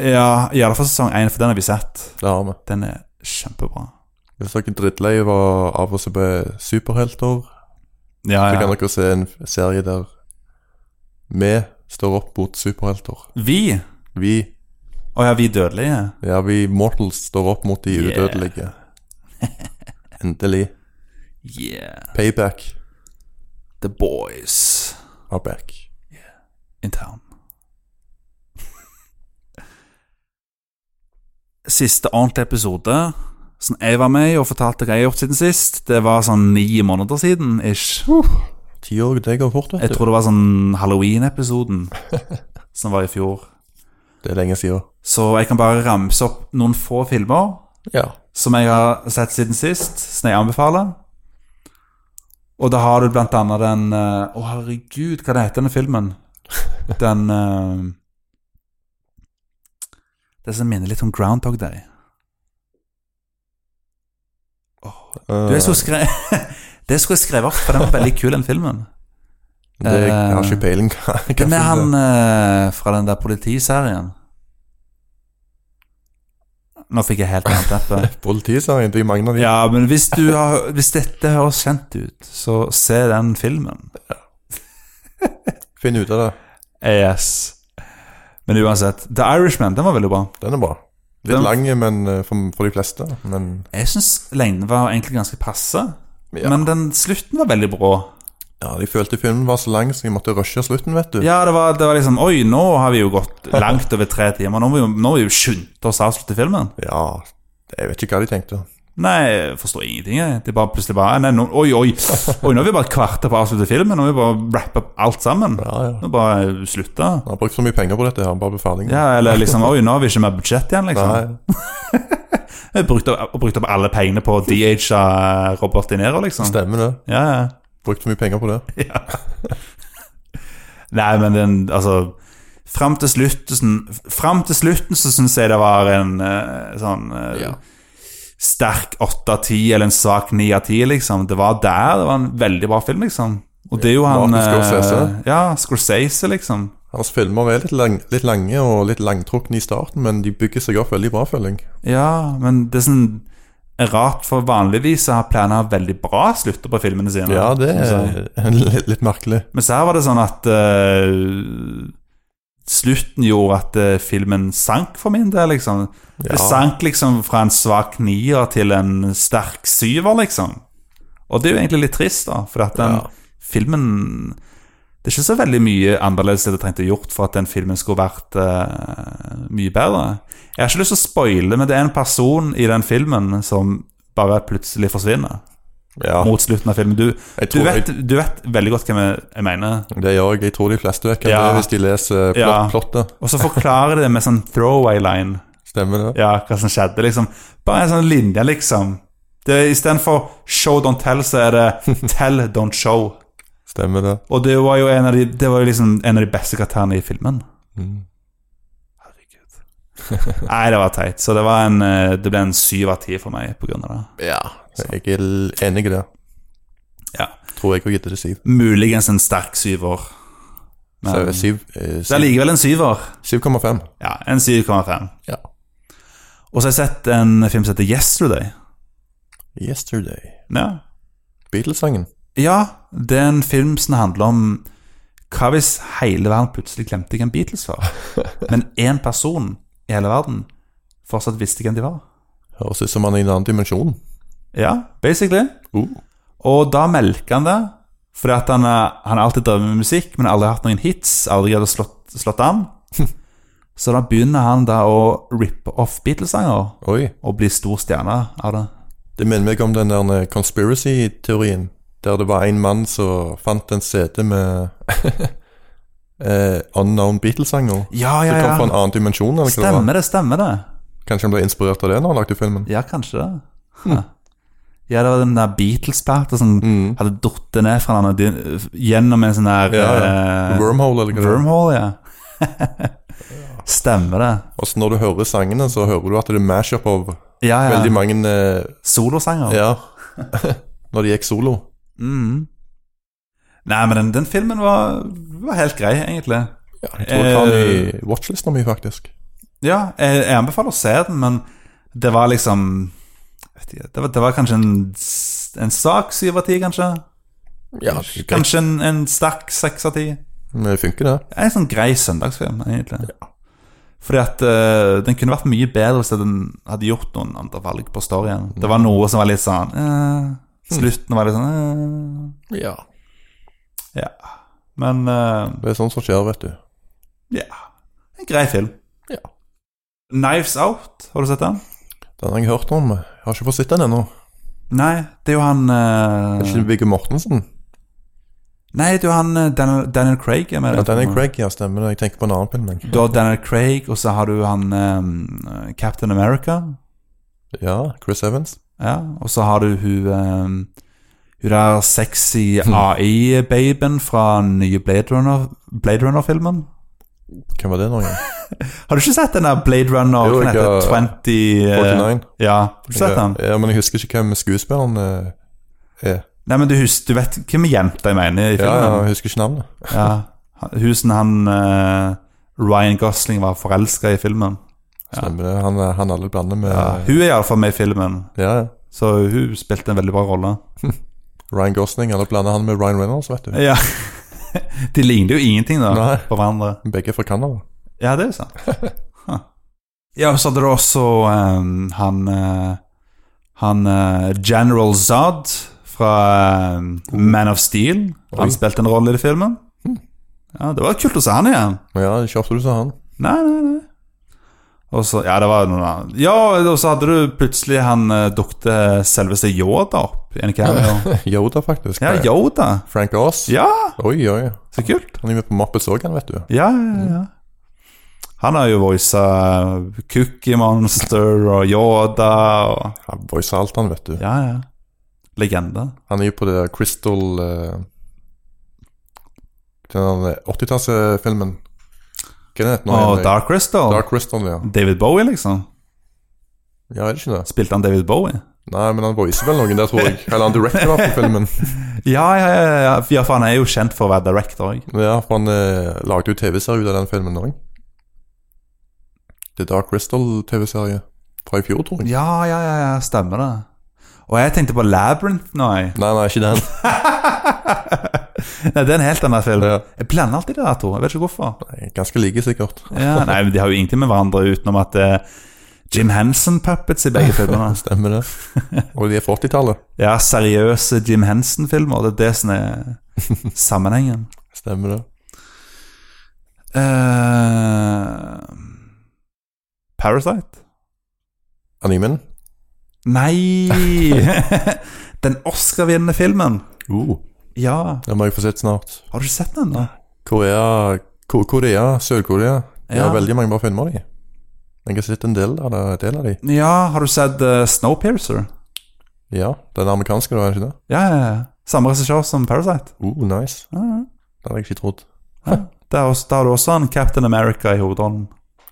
Speaker 1: ja, i alle fall sesong 1, for den har vi sett.
Speaker 2: Det har vi.
Speaker 1: Den er kjempebra.
Speaker 2: Hvis dere er drittlei av å- av å se på superhelter,
Speaker 1: Ja,
Speaker 2: så kan
Speaker 1: ja.
Speaker 2: dere se en f- serie der vi står opp mot superhelter.
Speaker 1: Vi,
Speaker 2: Vi,
Speaker 1: å ja, vi dødelige.
Speaker 2: ja, vi mortals står opp mot de
Speaker 1: Yeah. [laughs]
Speaker 2: udødelige. Endelig.
Speaker 1: Yeah.
Speaker 2: Payback
Speaker 1: The boys
Speaker 2: are back.
Speaker 1: in town. Siste ordentlige episode som jeg var med i og fortalte hva jeg har gjort siden sist, det var sånn ni måneder siden, ish.
Speaker 2: Ti år det går fort,
Speaker 1: Jeg
Speaker 2: vet du.
Speaker 1: tror det var sånn
Speaker 2: [laughs]
Speaker 1: Halloween-episoden som var i fjor.
Speaker 2: Det er lenge siden.
Speaker 1: Så jeg kan bare ramse opp noen få filmer
Speaker 2: Ja.
Speaker 1: som jeg har sett siden sist, som jeg anbefaler. Og da har du blant annet den eh, Å, herregud, hva det heter den
Speaker 2: [laughs]
Speaker 1: filmen? Den eh, Det som minner litt om Groundhog Day.
Speaker 2: Eh,
Speaker 1: Du, jeg skulle skre... [laughs] det skulle jeg skrevet opp, for den var veldig kul, den filmen.
Speaker 2: det, jeg har
Speaker 1: eh,
Speaker 2: ikke peiling hva hva
Speaker 1: Det
Speaker 2: film
Speaker 1: med han
Speaker 2: det
Speaker 1: eh,
Speaker 2: er.
Speaker 1: fra den der politiserien. Nå fikk jeg helt jernteppe.
Speaker 2: eh, Politiserien, det er mange av de.
Speaker 1: [laughs] Ja, men hvis, du har, hvis dette høres kjent ut, så se den filmen.
Speaker 2: Finn ut av det.
Speaker 1: Yes. Men uansett, The Irishman, den var veldig bra.
Speaker 2: Den er bra. Litt
Speaker 1: Den-
Speaker 2: lang, men eh, for, for de fleste. Men
Speaker 1: Jeg syns lengden var egentlig ganske passe,
Speaker 2: Ja.
Speaker 1: men den slutten var veldig brå.
Speaker 2: ja, de følte filmen var så lang, så jeg måtte rushe slutten, vet du.
Speaker 1: Ja, det var, det var liksom Oi, nå har vi jo gått langt over tre timer. Nå må vi jo- nå må vi jo skynde oss å avslutte filmen.
Speaker 2: ja. Jeg vet ikke hva de tenkte.
Speaker 1: Nei, jeg forstår ingenting, jeg. Det er bare plutselig bare nei, nå, Oi, oi. Oi, nå er vi bare et kvarter på å avslutte filmen. Nå må vi bare rappe opp alt sammen.
Speaker 2: Ja, ja.
Speaker 1: Nå bare slutte.
Speaker 2: Han har brukt så mye penger på dette, her, han bare blir ferdig.
Speaker 1: Ja, eller liksom Oi, nå har vi ikke mer budsjett igjen, liksom.
Speaker 2: Nei.
Speaker 1: Jeg brukte opp, brukt opp alle pengene på DH-a Robert De Niro, liksom.
Speaker 2: Stemmer det.
Speaker 1: Ja, ja.
Speaker 2: Brukt for mye penger på det.
Speaker 1: Nei, men den, altså Fram til slutten, fram til slutten så syns jeg det var en eh, sånn eh,
Speaker 2: Ja.
Speaker 1: sterk åtte av ti, eller en svak ni av ti, liksom. Det var der. Det var en veldig bra film, liksom. Og det er jo han
Speaker 2: Martin Scorsese.
Speaker 1: eh, Ja, Scorsese, liksom.
Speaker 2: Hans filmer er litt, lang, litt lange og litt langtrukne i starten, men de bygger seg opp veldig bra, føler jeg.
Speaker 1: Ja, men det er sånn er rart, for vanligvis så har planer veldig bra slutter på filmene sine. Altså,
Speaker 2: Ja, det
Speaker 1: synes jeg.
Speaker 2: er [laughs] litt, litt merkelig.
Speaker 1: Men så her var det sånn at eh, Slutten gjorde at eh, filmen sank for min del, liksom.
Speaker 2: Ja.
Speaker 1: Det sank liksom fra en svak nier til en sterk syver, liksom. Og det er jo egentlig litt trist, da, for at den
Speaker 2: Ja.
Speaker 1: filmen Det er ikke så veldig mye annerledes det det trengte gjort for at den filmen skulle vært eh, mye bedre. Jeg har ikke lyst til å spoile, men det er en person i den filmen som bare plutselig forsvinner
Speaker 2: Ja,
Speaker 1: mot slutten av filmen. Du,
Speaker 2: jeg
Speaker 1: du,
Speaker 2: tror
Speaker 1: vet, du vet veldig godt hvem jeg, jeg mener.
Speaker 2: jeg, det gjør jeg. Jeg tror de fleste vet hvem
Speaker 1: Ja.
Speaker 2: det er hvis de leser eh, plott,
Speaker 1: Ja.
Speaker 2: plottet.
Speaker 1: Og så forklarer det med sånn throwaway line.
Speaker 2: Stemmer det?
Speaker 1: Ja, hva som skjedde, liksom. Bare en sånn linje, liksom. Det er Istedenfor show, don't tell, så er det tell, don't show.
Speaker 2: Stemmer det.
Speaker 1: Og det var jo en av de, det var jo liksom en av de beste karakterene i filmen.
Speaker 2: Mm.
Speaker 1: Herregud. Nei, det var teit. Så det, var en, eh, det ble en syv av ti for meg på grunn av det.
Speaker 2: Ja. Jeg er l- enig i det.
Speaker 1: Ja.
Speaker 2: Tror jeg òg gitt det til Siv.
Speaker 1: Muligens en sterk syver. Men
Speaker 2: Så,
Speaker 1: det
Speaker 2: Siv, eh,
Speaker 1: er
Speaker 2: Siv
Speaker 1: likevel en syver.
Speaker 2: 7,5.
Speaker 1: Ja, en 7,5.
Speaker 2: Ja.
Speaker 1: Og så har jeg sett en film som heter Yesterday.
Speaker 2: Yesterday.
Speaker 1: Ja.
Speaker 2: Beatles-sangen.
Speaker 1: Ja, det er en film som handler om Hva hvis hele verden plutselig glemte hvem Beatles [laughs] var? Men én person i hele verden fortsatt visste hvem de var.
Speaker 2: Høres ut som han er i en annen dimensjon.
Speaker 1: Ja, basically.
Speaker 2: Uh.
Speaker 1: Og da melker han det. Fordi at han, eh, han har alltid drevet med musikk, men aldri hatt noen hits. Aldri hadde slått, slått an. [laughs] Så da begynner han da å rippe off Beatles-sanger
Speaker 2: Oi.
Speaker 1: og bli stor stjerne av det.
Speaker 2: Det minner meg om den der eh, conspiracy-teorien. Der det var en mann som fant en CD med [laughs] eh, Unknown Beatles-sanger.
Speaker 1: Ja,
Speaker 2: Det
Speaker 1: ja,
Speaker 2: kom fra en
Speaker 1: ja.
Speaker 2: annen dimensjon. eller hva det var.
Speaker 1: Stemmer det, stemmer det.
Speaker 2: Kanskje han ble inspirert av det når han lagde filmen?
Speaker 1: Ja, kanskje det. Huh. Ja, det var den der Beatles-plata som hadde datt ned fra den din- gjennom en sånn der
Speaker 2: Mm. Ja, ja.
Speaker 1: eh,
Speaker 2: Wormhole, eller hva det var.
Speaker 1: wormhole, ja. [laughs] Stemmer det.
Speaker 2: Og så når du hører sangene, så hører du at det er mash-up av
Speaker 1: Ja, ja.
Speaker 2: Veldig mange eh,
Speaker 1: Solosanger.
Speaker 2: Ja. [laughs] Når de gikk solo.
Speaker 1: Mm. Nei, men den, den filmen var, var helt grei, egentlig.
Speaker 2: Ja, jeg tror jeg har den i watchlista mi, faktisk.
Speaker 1: Ja, jeg, jeg anbefaler å se den, men det var liksom jeg vet ikke, det var, det var kanskje en, s- en sak syv av ti, kanskje.
Speaker 2: Ja, det er greit.
Speaker 1: Kanskje en, en sterk seks av ti.
Speaker 2: Men det funker, det.
Speaker 1: En sånn grei søndagsfilm, egentlig. Fordi at eh, den kunne vært mye bedre hvis den hadde gjort noen andre valg på storyen. Det var noe som var litt sånn
Speaker 2: Mm.
Speaker 1: eh, Slutten var litt sånn
Speaker 2: Ja.
Speaker 1: eh, Ja. Men eh,
Speaker 2: Det er sånt som skjer, vet du.
Speaker 1: Ja. En grei film.
Speaker 2: Ja.
Speaker 1: Knives Out, har du sett den?
Speaker 2: Den har jeg hørt om. Jeg har ikke fått sett den ennå.
Speaker 1: Nei, det er jo han eh,
Speaker 2: Er det ikke Viggo Mortensen?
Speaker 1: Nei, det er jo han eh, Daniel, Daniel Craig er med. i
Speaker 2: Ja,
Speaker 1: den
Speaker 2: den er
Speaker 1: filmen.
Speaker 2: Craig, ja, stemmer det. Jeg tenker på en annen film. jeg.
Speaker 1: Du har Daniel Craig, og så har du han eh, Captain America.
Speaker 2: Ja, Chris Evans.
Speaker 1: Ja, og så har du hun eh, Hun der sexy
Speaker 2: Hmm.
Speaker 1: AI-babyen fra den nye Blade Runner- Blade Runner-filmen.
Speaker 2: Hvem var det nå igjen?
Speaker 1: har du ikke sett den der Blade Runner
Speaker 2: Jo,
Speaker 1: hva den
Speaker 2: jeg
Speaker 1: heter
Speaker 2: har-
Speaker 1: 20 eh,
Speaker 2: 49.
Speaker 1: Ja, har du sett den?
Speaker 2: Ja, men jeg husker ikke hvem skuespilleren eh, er.
Speaker 1: Nei, men du, hus- du vet hvem jenta jeg mener i
Speaker 2: Ja, ja,
Speaker 1: filmen?
Speaker 2: jeg husker ikke navnet.
Speaker 1: Ja, Husen han eh, Ryan Gosling var forelska i filmen.
Speaker 2: Stemmer det. Han, er- han alle blander med
Speaker 1: Ja,
Speaker 2: Ja,
Speaker 1: hun er iallfall med i filmen,
Speaker 2: ja.
Speaker 1: så hun spilte en veldig bra rolle.
Speaker 2: Ryan Gosling. Alle blander han med Ryan Reynolds, vet du.
Speaker 1: Ja. [laughs] De ligner jo ingenting da
Speaker 2: Nei,
Speaker 1: på hverandre.
Speaker 2: begge er fra Canada.
Speaker 1: Ja, det er jo sant. Huh. Ja, så hadde du også eh, han eh, Han eh, General Zod fra eh, Man of Steel. Han
Speaker 2: Oi.
Speaker 1: spilte en rolle i den filmen. Ja, Det var kult å se han igjen.
Speaker 2: Ja, ikke ofte du sa han. [laughs]
Speaker 1: Nei, nei, nei. Og så, ja, det var noen annen Ja, og så hadde du plutselig han uh, dukte selveste Yoda opp i en cameo.
Speaker 2: Yoda, faktisk.
Speaker 1: Ja, Yoda.
Speaker 2: Frank Oz.
Speaker 1: Ja,
Speaker 2: Oi, oi.
Speaker 1: så kult.
Speaker 2: Han er med på Muppets òg, han, vet du.
Speaker 1: Ja, ja, ja. Han har jo voisa Cookie Monster og Yoda og
Speaker 2: Han voicer alt, han, vet du.
Speaker 1: Ja, ja. Legende.
Speaker 2: Han er jo på det der Crystal eh, Den der 80-tallsfilmen. Hva er det heter nå?
Speaker 1: Og
Speaker 2: igjen?
Speaker 1: Dark Crystal.
Speaker 2: Dark Crystal, ja.
Speaker 1: David Bowie, liksom.
Speaker 2: Ja, er det ikke det?
Speaker 1: Spilte han David Bowie?
Speaker 2: Nei, men han voicer vel noen der, tror jeg. Eller han director i hvert fall
Speaker 1: [laughs]
Speaker 2: filmen.
Speaker 1: Ja, ja, ja, ja, ja, for han er jo kjent for å være director òg.
Speaker 2: Ja, for han eh, lagde jo TV-serie ut av den filmen òg. The Dark Crystal-TV-serie fra i fjor, tror jeg.
Speaker 1: Ja, ja, ja, ja, stemmer det. Og jeg tenkte på Labyrinth nå, jeg.
Speaker 2: Nei, nei,
Speaker 1: [laughs]
Speaker 2: ikke den.
Speaker 1: Nei, det er en helt annen film.
Speaker 2: Ja.
Speaker 1: Jeg blander alltid de der to. Jeg vet ikke hvorfor.
Speaker 2: Nei, Ganske like, sikkert.
Speaker 1: Ja, nei, men De har jo ingenting med hverandre utenom at det er Jim Henson-puppets i [laughs] begge filmene.
Speaker 2: Stemmer det. Og de er fra 80-tallet.
Speaker 1: Ja, seriøse Jim Henson-filmer. Det er det som er sammenhengen.
Speaker 2: Stemmer det.
Speaker 1: Eh, Parasite?
Speaker 2: Animen?
Speaker 1: Nei! den Oscar-vinnende filmen.
Speaker 2: Uh.
Speaker 1: Ja.
Speaker 2: Den må jeg få sett snart.
Speaker 1: Har du ikke sett den, da?
Speaker 2: Korea, Ko- Korea Sør-Korea. De
Speaker 1: Ja.
Speaker 2: har veldig mange bra filmer, de. Jeg har sett en del av, det, del av de.
Speaker 1: Ja, har du sett eh, Snowpiercer?
Speaker 2: Ja, Den amerikanske, da, er det ikke det?
Speaker 1: Ja, ja, ja. Samme regissør som Parasite.
Speaker 2: Oh, nice.
Speaker 1: Ja, ja.
Speaker 2: Det hadde jeg ikke trodd.
Speaker 1: Der, også, der har du også en Captain America i hovedånden.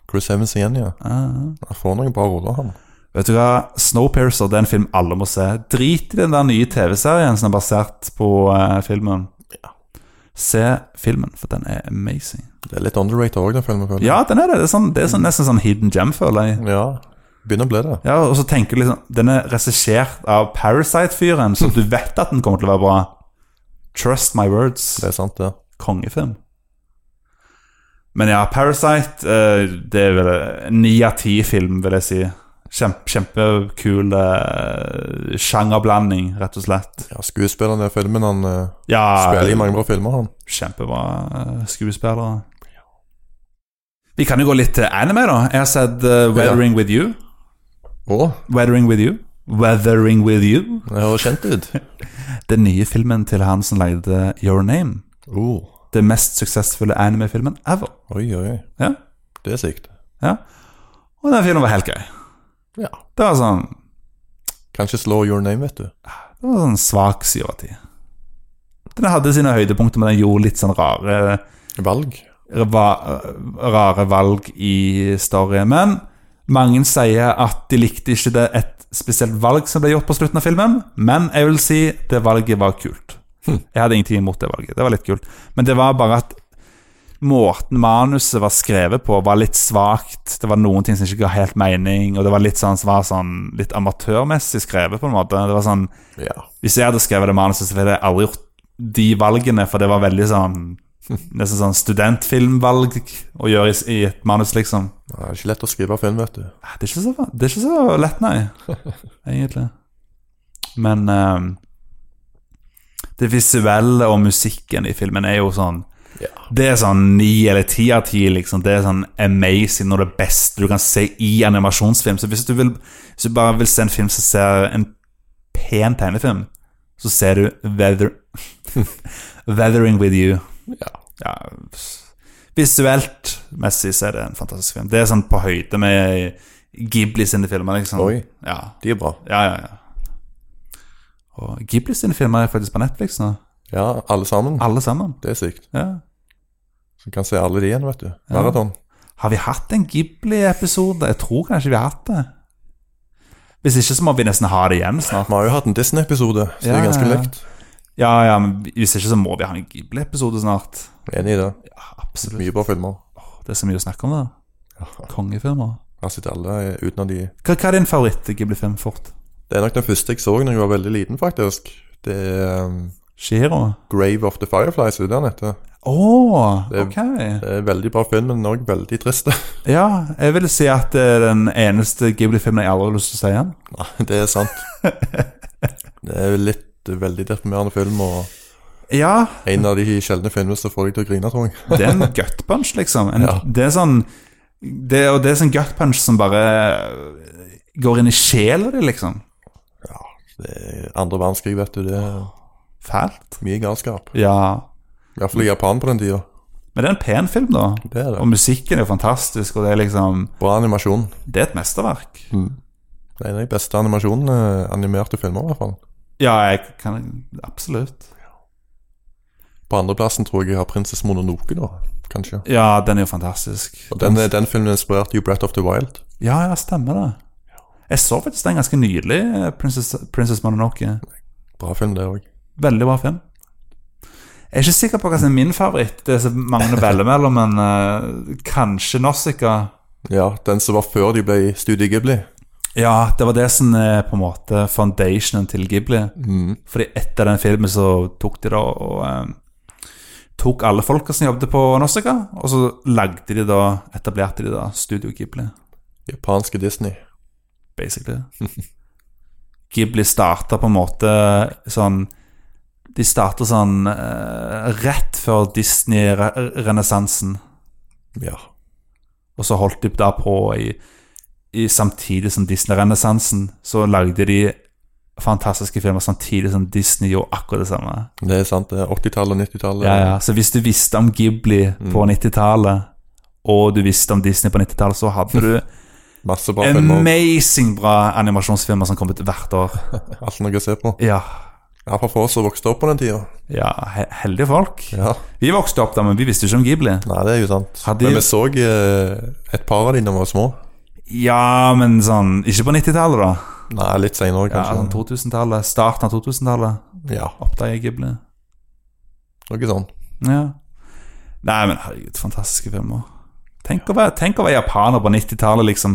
Speaker 2: Chris Evans igjen, ja.
Speaker 1: Ja, ja.
Speaker 2: Han får noen bra roller, han.
Speaker 1: Vet du hva? Snowpiercer det er en film alle må se. Drit i den der nye TV-serien som er basert på eh, filmen. Se filmen, for den er amazing.
Speaker 2: Det er litt underrated òg, den filmen. føler jeg.
Speaker 1: Ja, den er det. Det er, sånn, det er sånn, nesten sånn hidden gem, føler jeg.
Speaker 2: ja. Begynner å bli det.
Speaker 1: Ja, Og så tenker du liksom Den er regissert av Parasite-fyren, så du vet at den kommer til å være bra. Trust my words.
Speaker 2: Det er sant, det.
Speaker 1: kongefilm. Men ja, Parasite eh, Det er vel eh, ni av ti film, vil jeg si. Kjempe, kjempekul eh, sjangerblanding, rett og slett.
Speaker 2: Ja, Skuespilleren i filmen, han eh,
Speaker 1: Ja,
Speaker 2: spiller i mange bra filmer, han.
Speaker 1: kjempebra eh, skuespillere. Vi kan jo gå litt til anime, da. Jeg har sett eh, Weathering With You.
Speaker 2: Å,
Speaker 1: Weathering With You. Weathering With You.
Speaker 2: det høres kjent ut.
Speaker 1: Den nye filmen til han som lagde Your Name.
Speaker 2: [laughs] Oh.
Speaker 1: Den mest suksessfulle anime-filmen ever.
Speaker 2: Oi, oi, oi.
Speaker 1: Ja.
Speaker 2: Det er sykt.
Speaker 1: Og den filmen var helt gøy.
Speaker 2: Ja.
Speaker 1: Det var sånn
Speaker 2: Kanskje slå Your Name, vet du.
Speaker 1: Det var sånn svak syv av ti. Den hadde sine høydepunkter, men den gjorde litt sånn rare,
Speaker 2: Valg.
Speaker 1: rva- rare valg i storyen. Men Mange sier at de likte ikke det et spesielt valg som ble gjort på slutten av filmen, men jeg vil si det valget var kult. Jeg hadde ingenting imot det valget. Det var litt kult. Men det var bare at måten manuset var skrevet på, var litt svakt. Det var noen ting som ikke ga helt mening, og det var litt sånn, som var sånn litt amatørmessig skrevet, på en måte. Det var sånn
Speaker 2: Ja.
Speaker 1: hvis jeg hadde skrevet det manuset, så ville jeg aldri gjort de valgene, for det var veldig sånn Nesten sånn studentfilmvalg å gjøre i, s- i et manus, liksom.
Speaker 2: Det er ikke lett å skrive film, vet du.
Speaker 1: Ah, Det er ikke så, det er ikke så lett, nei. Egentlig. Men eh, det visuelle og musikken i filmen er jo sånn
Speaker 2: Ja.
Speaker 1: Det er sånn ni eller ti av ti, liksom. Det er sånn amazing og det beste du kan se i animasjonsfilm. Så hvis du, vil, hvis du bare vil se en film som ser en pen tegnefilm, så ser du Weather... [laughs] Weathering with you.
Speaker 2: Ja.
Speaker 1: Ja, s- visuelt messig så er det en fantastisk film. Det er sånn på høyde med Ghibli sine filmer, liksom.
Speaker 2: Oi.
Speaker 1: Ja,
Speaker 2: De er bra.
Speaker 1: ja, ja. ja. Og Ghibli sine filmer er faktisk på Netflix nå.
Speaker 2: Ja, alle sammen.
Speaker 1: Alle sammen.
Speaker 2: Det er sykt.
Speaker 1: Ja.
Speaker 2: Så kan se alle de igjen, vet du. Maraton.
Speaker 1: Har vi hatt en Ghibli-episode? Jeg tror kanskje vi har hatt det. Hvis ikke så må vi nesten ha det igjen snart.
Speaker 2: Vi har jo hatt en Disney-episode, så det
Speaker 1: Ja,
Speaker 2: er ganske
Speaker 1: ja, ja.
Speaker 2: likt.
Speaker 1: Ja, ja, men hvis ikke så må vi ha en Ghibli-episode snart.
Speaker 2: Enig i det.
Speaker 1: Ja, absolutt.
Speaker 2: Mye bra filmer.
Speaker 1: Det er så mye å snakke om, da. Kongefilmer.
Speaker 2: Jeg har sett alle eh, utenom de
Speaker 1: Hva, hva er din favoritt-Ghibli-film fort?
Speaker 2: Det er nok den første jeg så da jeg var veldig liten, faktisk. Det er um,
Speaker 1: Shiro?
Speaker 2: Grave of the Fireflies, er det den heter.
Speaker 1: Å,
Speaker 2: Det-
Speaker 1: ok.
Speaker 2: Det er en veldig bra film, men òg veldig trist. [laughs]
Speaker 1: Ja, jeg vil si at det er den eneste Ghibli-filmen jeg aldri har lyst til å se igjen.
Speaker 2: Nei, det er sant. Det er litt eh, veldig deprimerende film, og
Speaker 1: Ja,
Speaker 2: en av de sjeldne filmene som får deg til å grine, tror jeg.
Speaker 1: det er en gut punch, liksom. En,
Speaker 2: Ja.
Speaker 1: Det er sånn det, Og det er sånn gut punch som bare går inn i sjela di, liksom.
Speaker 2: Det er andre verdenskrig, vet du. Det er
Speaker 1: Fælt.
Speaker 2: mye galskap.
Speaker 1: Ja.
Speaker 2: I hvert fall i Japan på den tida.
Speaker 1: Men det er en pen film, da.
Speaker 2: Det er
Speaker 1: Og
Speaker 2: det.
Speaker 1: musikken er jo fantastisk, og det er liksom
Speaker 2: Bra animasjon.
Speaker 1: Det er et mesterverk.
Speaker 2: Det er en av de beste animasjonene, eh, animerte filmer, i hvert fall.
Speaker 1: Ja, jeg kan Absolutt.
Speaker 2: På andreplassen tror jeg jeg har 'Prinsesse Mononoke', da. Kanskje.
Speaker 1: Ja, den er jo fantastisk.
Speaker 2: Og den, eh, den filmen inspirerte jo 'Breath of the Wild'.
Speaker 1: Ja, ja, stemmer det. Jeg så faktisk den ganske nylig, eh, Princess, Princess Mononoke.
Speaker 2: Bra film, det òg.
Speaker 1: Veldig bra film. Jeg er ikke sikker på hva som er min favoritt. Det er så mange å velge mellom, men eh, kanskje Norsika.
Speaker 2: Ja, den som var før de ble Studio Ghibli.
Speaker 1: Ja, det var det som er på en måte foundationen til Ghibli. Fordi etter den filmen så tok de da og eh, Tok alle folka som jobbet på Norsika, og så lagde de da, etablerte de da Studio Ghibli,
Speaker 2: Japanske Disney.
Speaker 1: [laughs] basically. Ghibli starta på en måte sånn De starta sånn eh, rett før Disney-renessansen.
Speaker 2: Ja.
Speaker 1: Og så holdt de da på i, i Samtidig som Disney-renessansen, så lagde de fantastiske filmer samtidig som Disney gjorde akkurat det samme.
Speaker 2: Det er sant. det er 80-tallet og 90-tallet.
Speaker 1: Ja, ja. Så hvis du visste om Ghibli på 90-tallet, og du visste om Disney på 90-tallet, så hadde du
Speaker 2: Masse bra filmer.
Speaker 1: amazing bra animasjonsfilmer som kom ut hvert år.
Speaker 2: Alt noe å se på.
Speaker 1: Ja.
Speaker 2: Iallfall for oss som vokste opp på den tida.
Speaker 1: ja he- heldige folk.
Speaker 2: Ja.
Speaker 1: Vi vokste opp da, men vi visste ikke om Ghibli.
Speaker 2: Nei, det er jo sant.
Speaker 1: Hadde-
Speaker 2: Men vi så eh, et par av de da vi var små.
Speaker 1: Ja, men sånn Ikke på 90-tallet, da.
Speaker 2: Nei, litt seinere,
Speaker 1: Ja, sånn
Speaker 2: kanskje.
Speaker 1: 2000-tallet. Starten av 2000-tallet
Speaker 2: Ja,
Speaker 1: oppdaga jeg Ghibli.
Speaker 2: noe sånn.
Speaker 1: Ja. Nei, men herregud, fantastiske filmer. Tenk å være, tenk å være japaner på 90-tallet, liksom.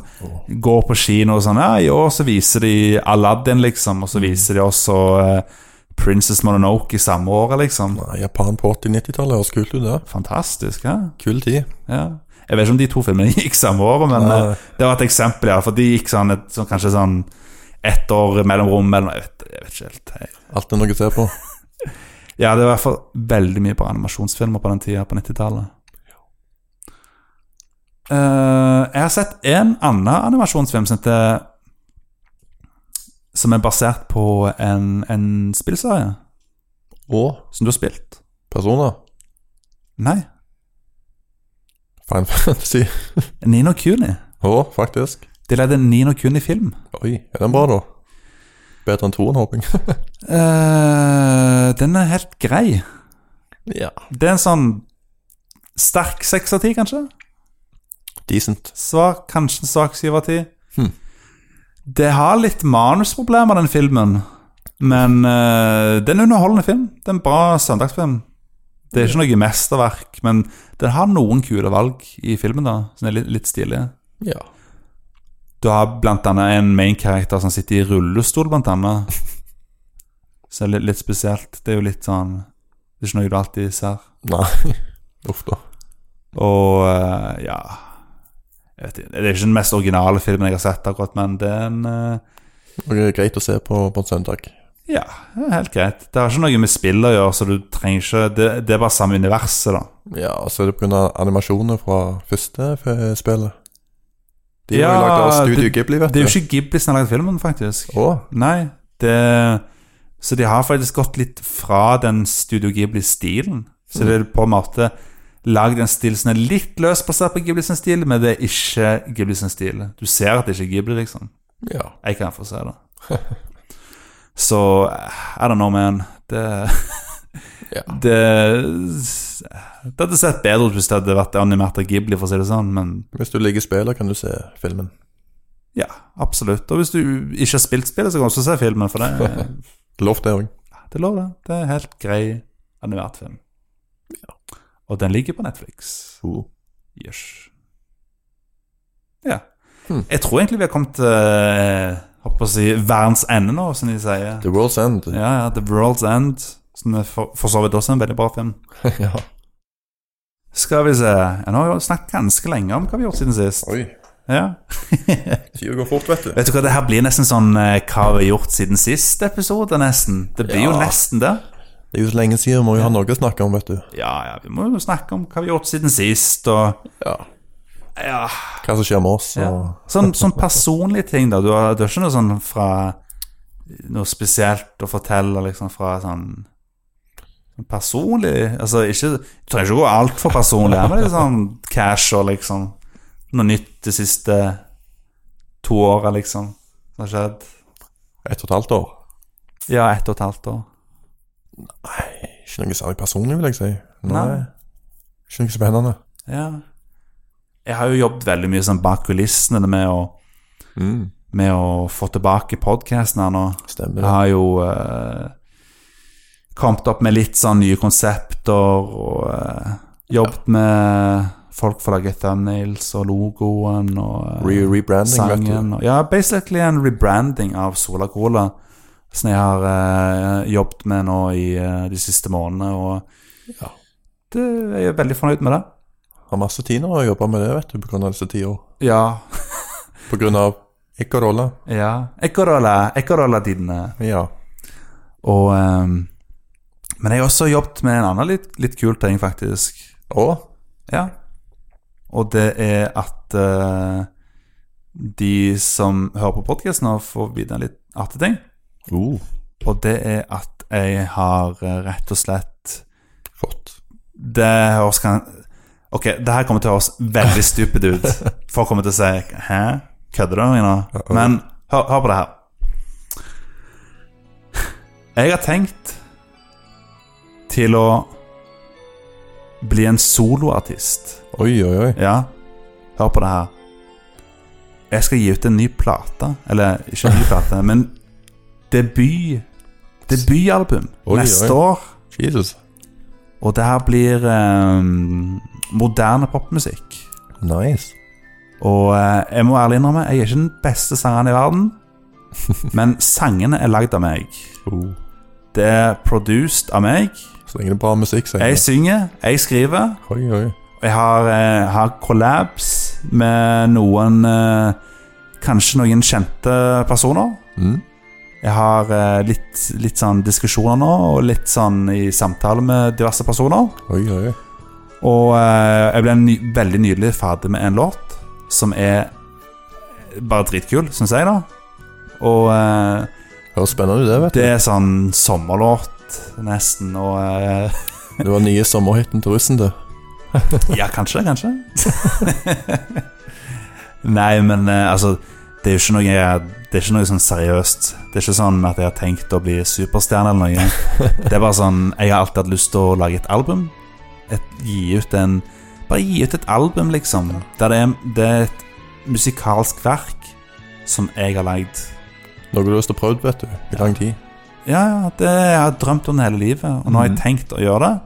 Speaker 1: Gå på kino og sånn Ja, i år så viser de Aladdin, liksom, og så viser de også eh, Princess Mononoke i samme året, liksom.
Speaker 2: Nei, Japan på 80-90-tallet høres kult ut, det.
Speaker 1: Fantastisk, ja.
Speaker 2: Kul tid.
Speaker 1: ja. Jeg vet ikke om de to filmene [laughs] gikk samme året, men
Speaker 2: Nei.
Speaker 1: eh, det var et eksempel, ja. For de gikk sånn, et, sånn kanskje sånn ett år mellomrom mellom Jeg vet, jeg vet ikke helt. Jeg,
Speaker 2: Alt er noe å se på.
Speaker 1: Ja, det var i hvert fall veldig mye bra animasjonsfilmer på den tida, på 90-tallet. Eh, jeg har sett en annen animasjonsfilm som heter Som er basert på en, en spillserie
Speaker 2: Og
Speaker 1: som du har spilt.
Speaker 2: personer.
Speaker 1: Nei.
Speaker 2: Fine Fantasy.
Speaker 1: Nino Kuni.
Speaker 2: Og faktisk.
Speaker 1: De lagde en Nino Kuni-film.
Speaker 2: Oi, er den bra, da? Bedre enn toen, håper jeg.
Speaker 1: Eh, den er helt grei.
Speaker 2: ja.
Speaker 1: Det er en sånn sterk seks av ti, kanskje?
Speaker 2: Decent.
Speaker 1: Svak, kanskje en svak syv av ti.
Speaker 2: Hmm.
Speaker 1: Det har litt manusproblemer, den filmen. Men eh, det er en underholdende film. Det er en bra søndagsfilm. Det er ikke noe mesterverk, men den har noen kule valg i filmen, da, som er litt, litt stilige.
Speaker 2: Ja.
Speaker 1: Du har blant annet en main-karakter som sitter i rullestol, blant annet. Så det er litt, litt spesielt. Det er jo litt sånn Det er ikke noe du alltid ser.
Speaker 2: Nei. Uff da.
Speaker 1: Og eh, ja jeg vet, ikke, Det er ikke den mest originale filmen jeg har sett akkurat, men det er en eh,
Speaker 2: Og det er greit å se på på en søndag.
Speaker 1: Ja, det er helt greit. Det har ikke noe med spill å gjøre, så du trenger ikke Det, det er bare samme universet, da.
Speaker 2: Ja, og så er det pga. animasjoner fra første f- spillet. De
Speaker 1: Ja,
Speaker 2: er jo lagd av Studio
Speaker 1: det-
Speaker 2: Ghibli, vet du.
Speaker 1: Det er jo ikke Ghibli som har lagd filmen, faktisk.
Speaker 2: Å,
Speaker 1: Nei, det Så de har faktisk gått litt fra den Studio Ghibli-stilen. Så det er på en måte lagd en stil som er litt løst basert på Ghibli sin stil, men det er ikke Ghibli sin stil. Du ser at det ikke er Ghibli, liksom.
Speaker 2: ja.
Speaker 1: Jeg kan få se det. [laughs] Så I don't know, man. Det
Speaker 2: ja.
Speaker 1: Det Det hadde sett bedre ut hvis det hadde vært animert av Ghibli, for å si det sånn, men
Speaker 2: Hvis du liker spillet, kan du se filmen.
Speaker 1: ja, absolutt. Og hvis du ikke har spilt spillet, så kan du også se filmen, for det,
Speaker 2: Lov det òg.
Speaker 1: det er lov, det. Det er en helt grei animert film. Og den ligger på Netflix. Jøss. Ja.
Speaker 2: Hmm.
Speaker 1: Jeg tror egentlig vi har kommet til eh, holdt på å si, verdens ende nå, som de sier.
Speaker 2: The World's End.
Speaker 1: Ja, ja, The World's End, som er for, for så vidt også en veldig bra film.
Speaker 2: [laughs] ja.
Speaker 1: Skal vi se Ja, Nå har vi snakket ganske lenge om hva vi har gjort siden sist.
Speaker 2: Oi.
Speaker 1: Ja.
Speaker 2: Tida går fort, vet du.
Speaker 1: Vet du hva, det her blir nesten sånn eh, hva vi har gjort siden sist episode, nesten. Det blir jo
Speaker 2: Ja.
Speaker 1: nesten det.
Speaker 2: Det er jo så lenge siden, må jo ha noe å snakke om, vet du.
Speaker 1: Ja, ja, vi må jo snakke om hva vi har gjort siden sist, og
Speaker 2: Ja.
Speaker 1: ja.
Speaker 2: Hva som skjer med oss, og
Speaker 1: Sånn, sånn personlige ting, da. Du har, du har ikke noe sånn fra Noe spesielt å fortelle, liksom, fra sånn sånn Personlig Altså, ikke Du trenger ikke å gå altfor personlig her, men litt sånn casual, liksom. Noe nytt de siste to åra, liksom. Som har skjedd.
Speaker 2: ett og et halvt år.
Speaker 1: Ja, ett og et halvt år.
Speaker 2: Ikke noe særlig personlig, vil jeg si. eh,
Speaker 1: Nei.
Speaker 2: Ikke noe spennende.
Speaker 1: Ja. Jeg har jo jobbet veldig mye sånn bak kulissene med å, med å få tilbake podkasten her nå.
Speaker 2: Stemmer
Speaker 1: Jeg
Speaker 2: det.
Speaker 1: har jo eh, kommet opp med litt sånn nye konsepter og eh, jobbet med folk for å lage thumbnails og logoen og eh,
Speaker 2: Re Rebranding, vet du.
Speaker 1: sangen. Og, ja, basically en rebranding av Sola Cola som jeg har eh, jobbet med nå i eh, de siste månedene, og
Speaker 2: Ja.
Speaker 1: det, jeg er veldig fornøyd med det.
Speaker 2: Har masse tid nå å jobbe med det, vet du, på grunn av disse ti år.
Speaker 1: Ja.
Speaker 2: På grunn av Icorolla.
Speaker 1: ja. Ekkorolla, ekkorolla dine.
Speaker 2: Ja.
Speaker 1: Og ehm, Men jeg har også jobbet med en annen litt, litt kul ting, faktisk.
Speaker 2: Og
Speaker 1: Ja. Og det er at eh, de som hører på podkasten, får vite en litt artig ting.
Speaker 2: uh.
Speaker 1: Og det er at jeg har eh, rett og slett
Speaker 2: fått.
Speaker 1: Det høres kan Ok, det her kommer til å høres veldig stupid ut. Folk kommer til å si 'hæ, kødder du med meg nå?'
Speaker 2: Uh-oh.
Speaker 1: Men hør, hør på det her. Jeg har tenkt til å bli en soloartist.
Speaker 2: Oi, oi, oi.
Speaker 1: Ja, hør på det her. Jeg skal gi ut en ny plate. Eller ikke en ny plate, men debut. Debutalbum
Speaker 2: Oi,
Speaker 1: neste
Speaker 2: oi.
Speaker 1: år.
Speaker 2: Jesus.
Speaker 1: Og det her blir eh, moderne popmusikk.
Speaker 2: Nice.
Speaker 1: Og eh, jeg må ærlig innrømme, jeg er ikke den beste sangeren i
Speaker 2: [laughs]
Speaker 1: verden. Men sangene er lagd av meg.
Speaker 2: Uh.
Speaker 1: Det er produced av meg.
Speaker 2: Så lenge det er bra musikk, sier
Speaker 1: Jeg
Speaker 2: jeg.
Speaker 1: synger, jeg skriver.
Speaker 2: Oi, oi.
Speaker 1: Og jeg har, eh, har collabs med noen eh, Kanskje noen kjente personer.
Speaker 2: Mm.
Speaker 1: Jeg har eh, litt, litt sånn diskusjoner nå, og litt sånn i samtale med diverse personer.
Speaker 2: Oi, oi.
Speaker 1: Og eh, jeg ble ny veldig nydelig ferdig med en låt som er bare dritkul, syns jeg, da. Og eh,
Speaker 2: Høres spennende ut, det, vet du.
Speaker 1: det er sånn sommerlåt, nesten, og eh,
Speaker 2: Det var nye sommerhiten til russen, det.
Speaker 1: Ja, kanskje, kanskje. [laughs] Nei, men eh, altså det er jo ikke noe, jeg- det er ikke noe sånn seriøst. Det er ikke sånn at jeg har tenkt å bli superstjerne eller noe. Det er bare sånn Jeg har alltid hatt lyst til å lage et album. Et, gi ut en Bare gi ut et album, liksom. Der det er, det er et musikalsk verk som jeg har lagd.
Speaker 2: Noe du har lyst til å prøve, vet du. I lang tid.
Speaker 1: Ja, ja, det har jeg drømt om hele livet, og nå har jeg tenkt å gjøre det.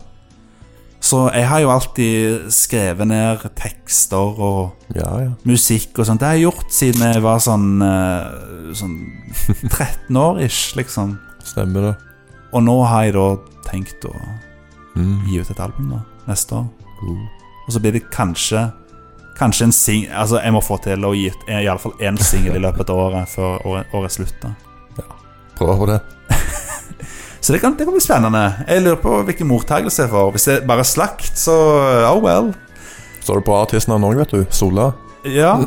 Speaker 1: Så jeg har jo alltid skrevet ned tekster og
Speaker 2: Ja, ja.
Speaker 1: musikk og sånt. Det har jeg gjort siden jeg var sånn, eh, sånn 13 år ish, liksom.
Speaker 2: Stemmer det.
Speaker 1: Og nå har jeg da tenkt å
Speaker 2: Mm.
Speaker 1: gi ut et album da, neste år.
Speaker 2: Uh.
Speaker 1: Og så blir det kanskje Kanskje en sing... Altså, jeg må få til å gi ut i alle fall én singel i løpet av året før året, året slutter.
Speaker 2: Prøv på det.
Speaker 1: Så det kan, det kan bli spennende. Jeg lurer på hvilken mottakelse jeg får. Hvis det er bare slakt, så oh well.
Speaker 2: Så er det på artistnavn òg, vet du. Sola.
Speaker 1: Ja.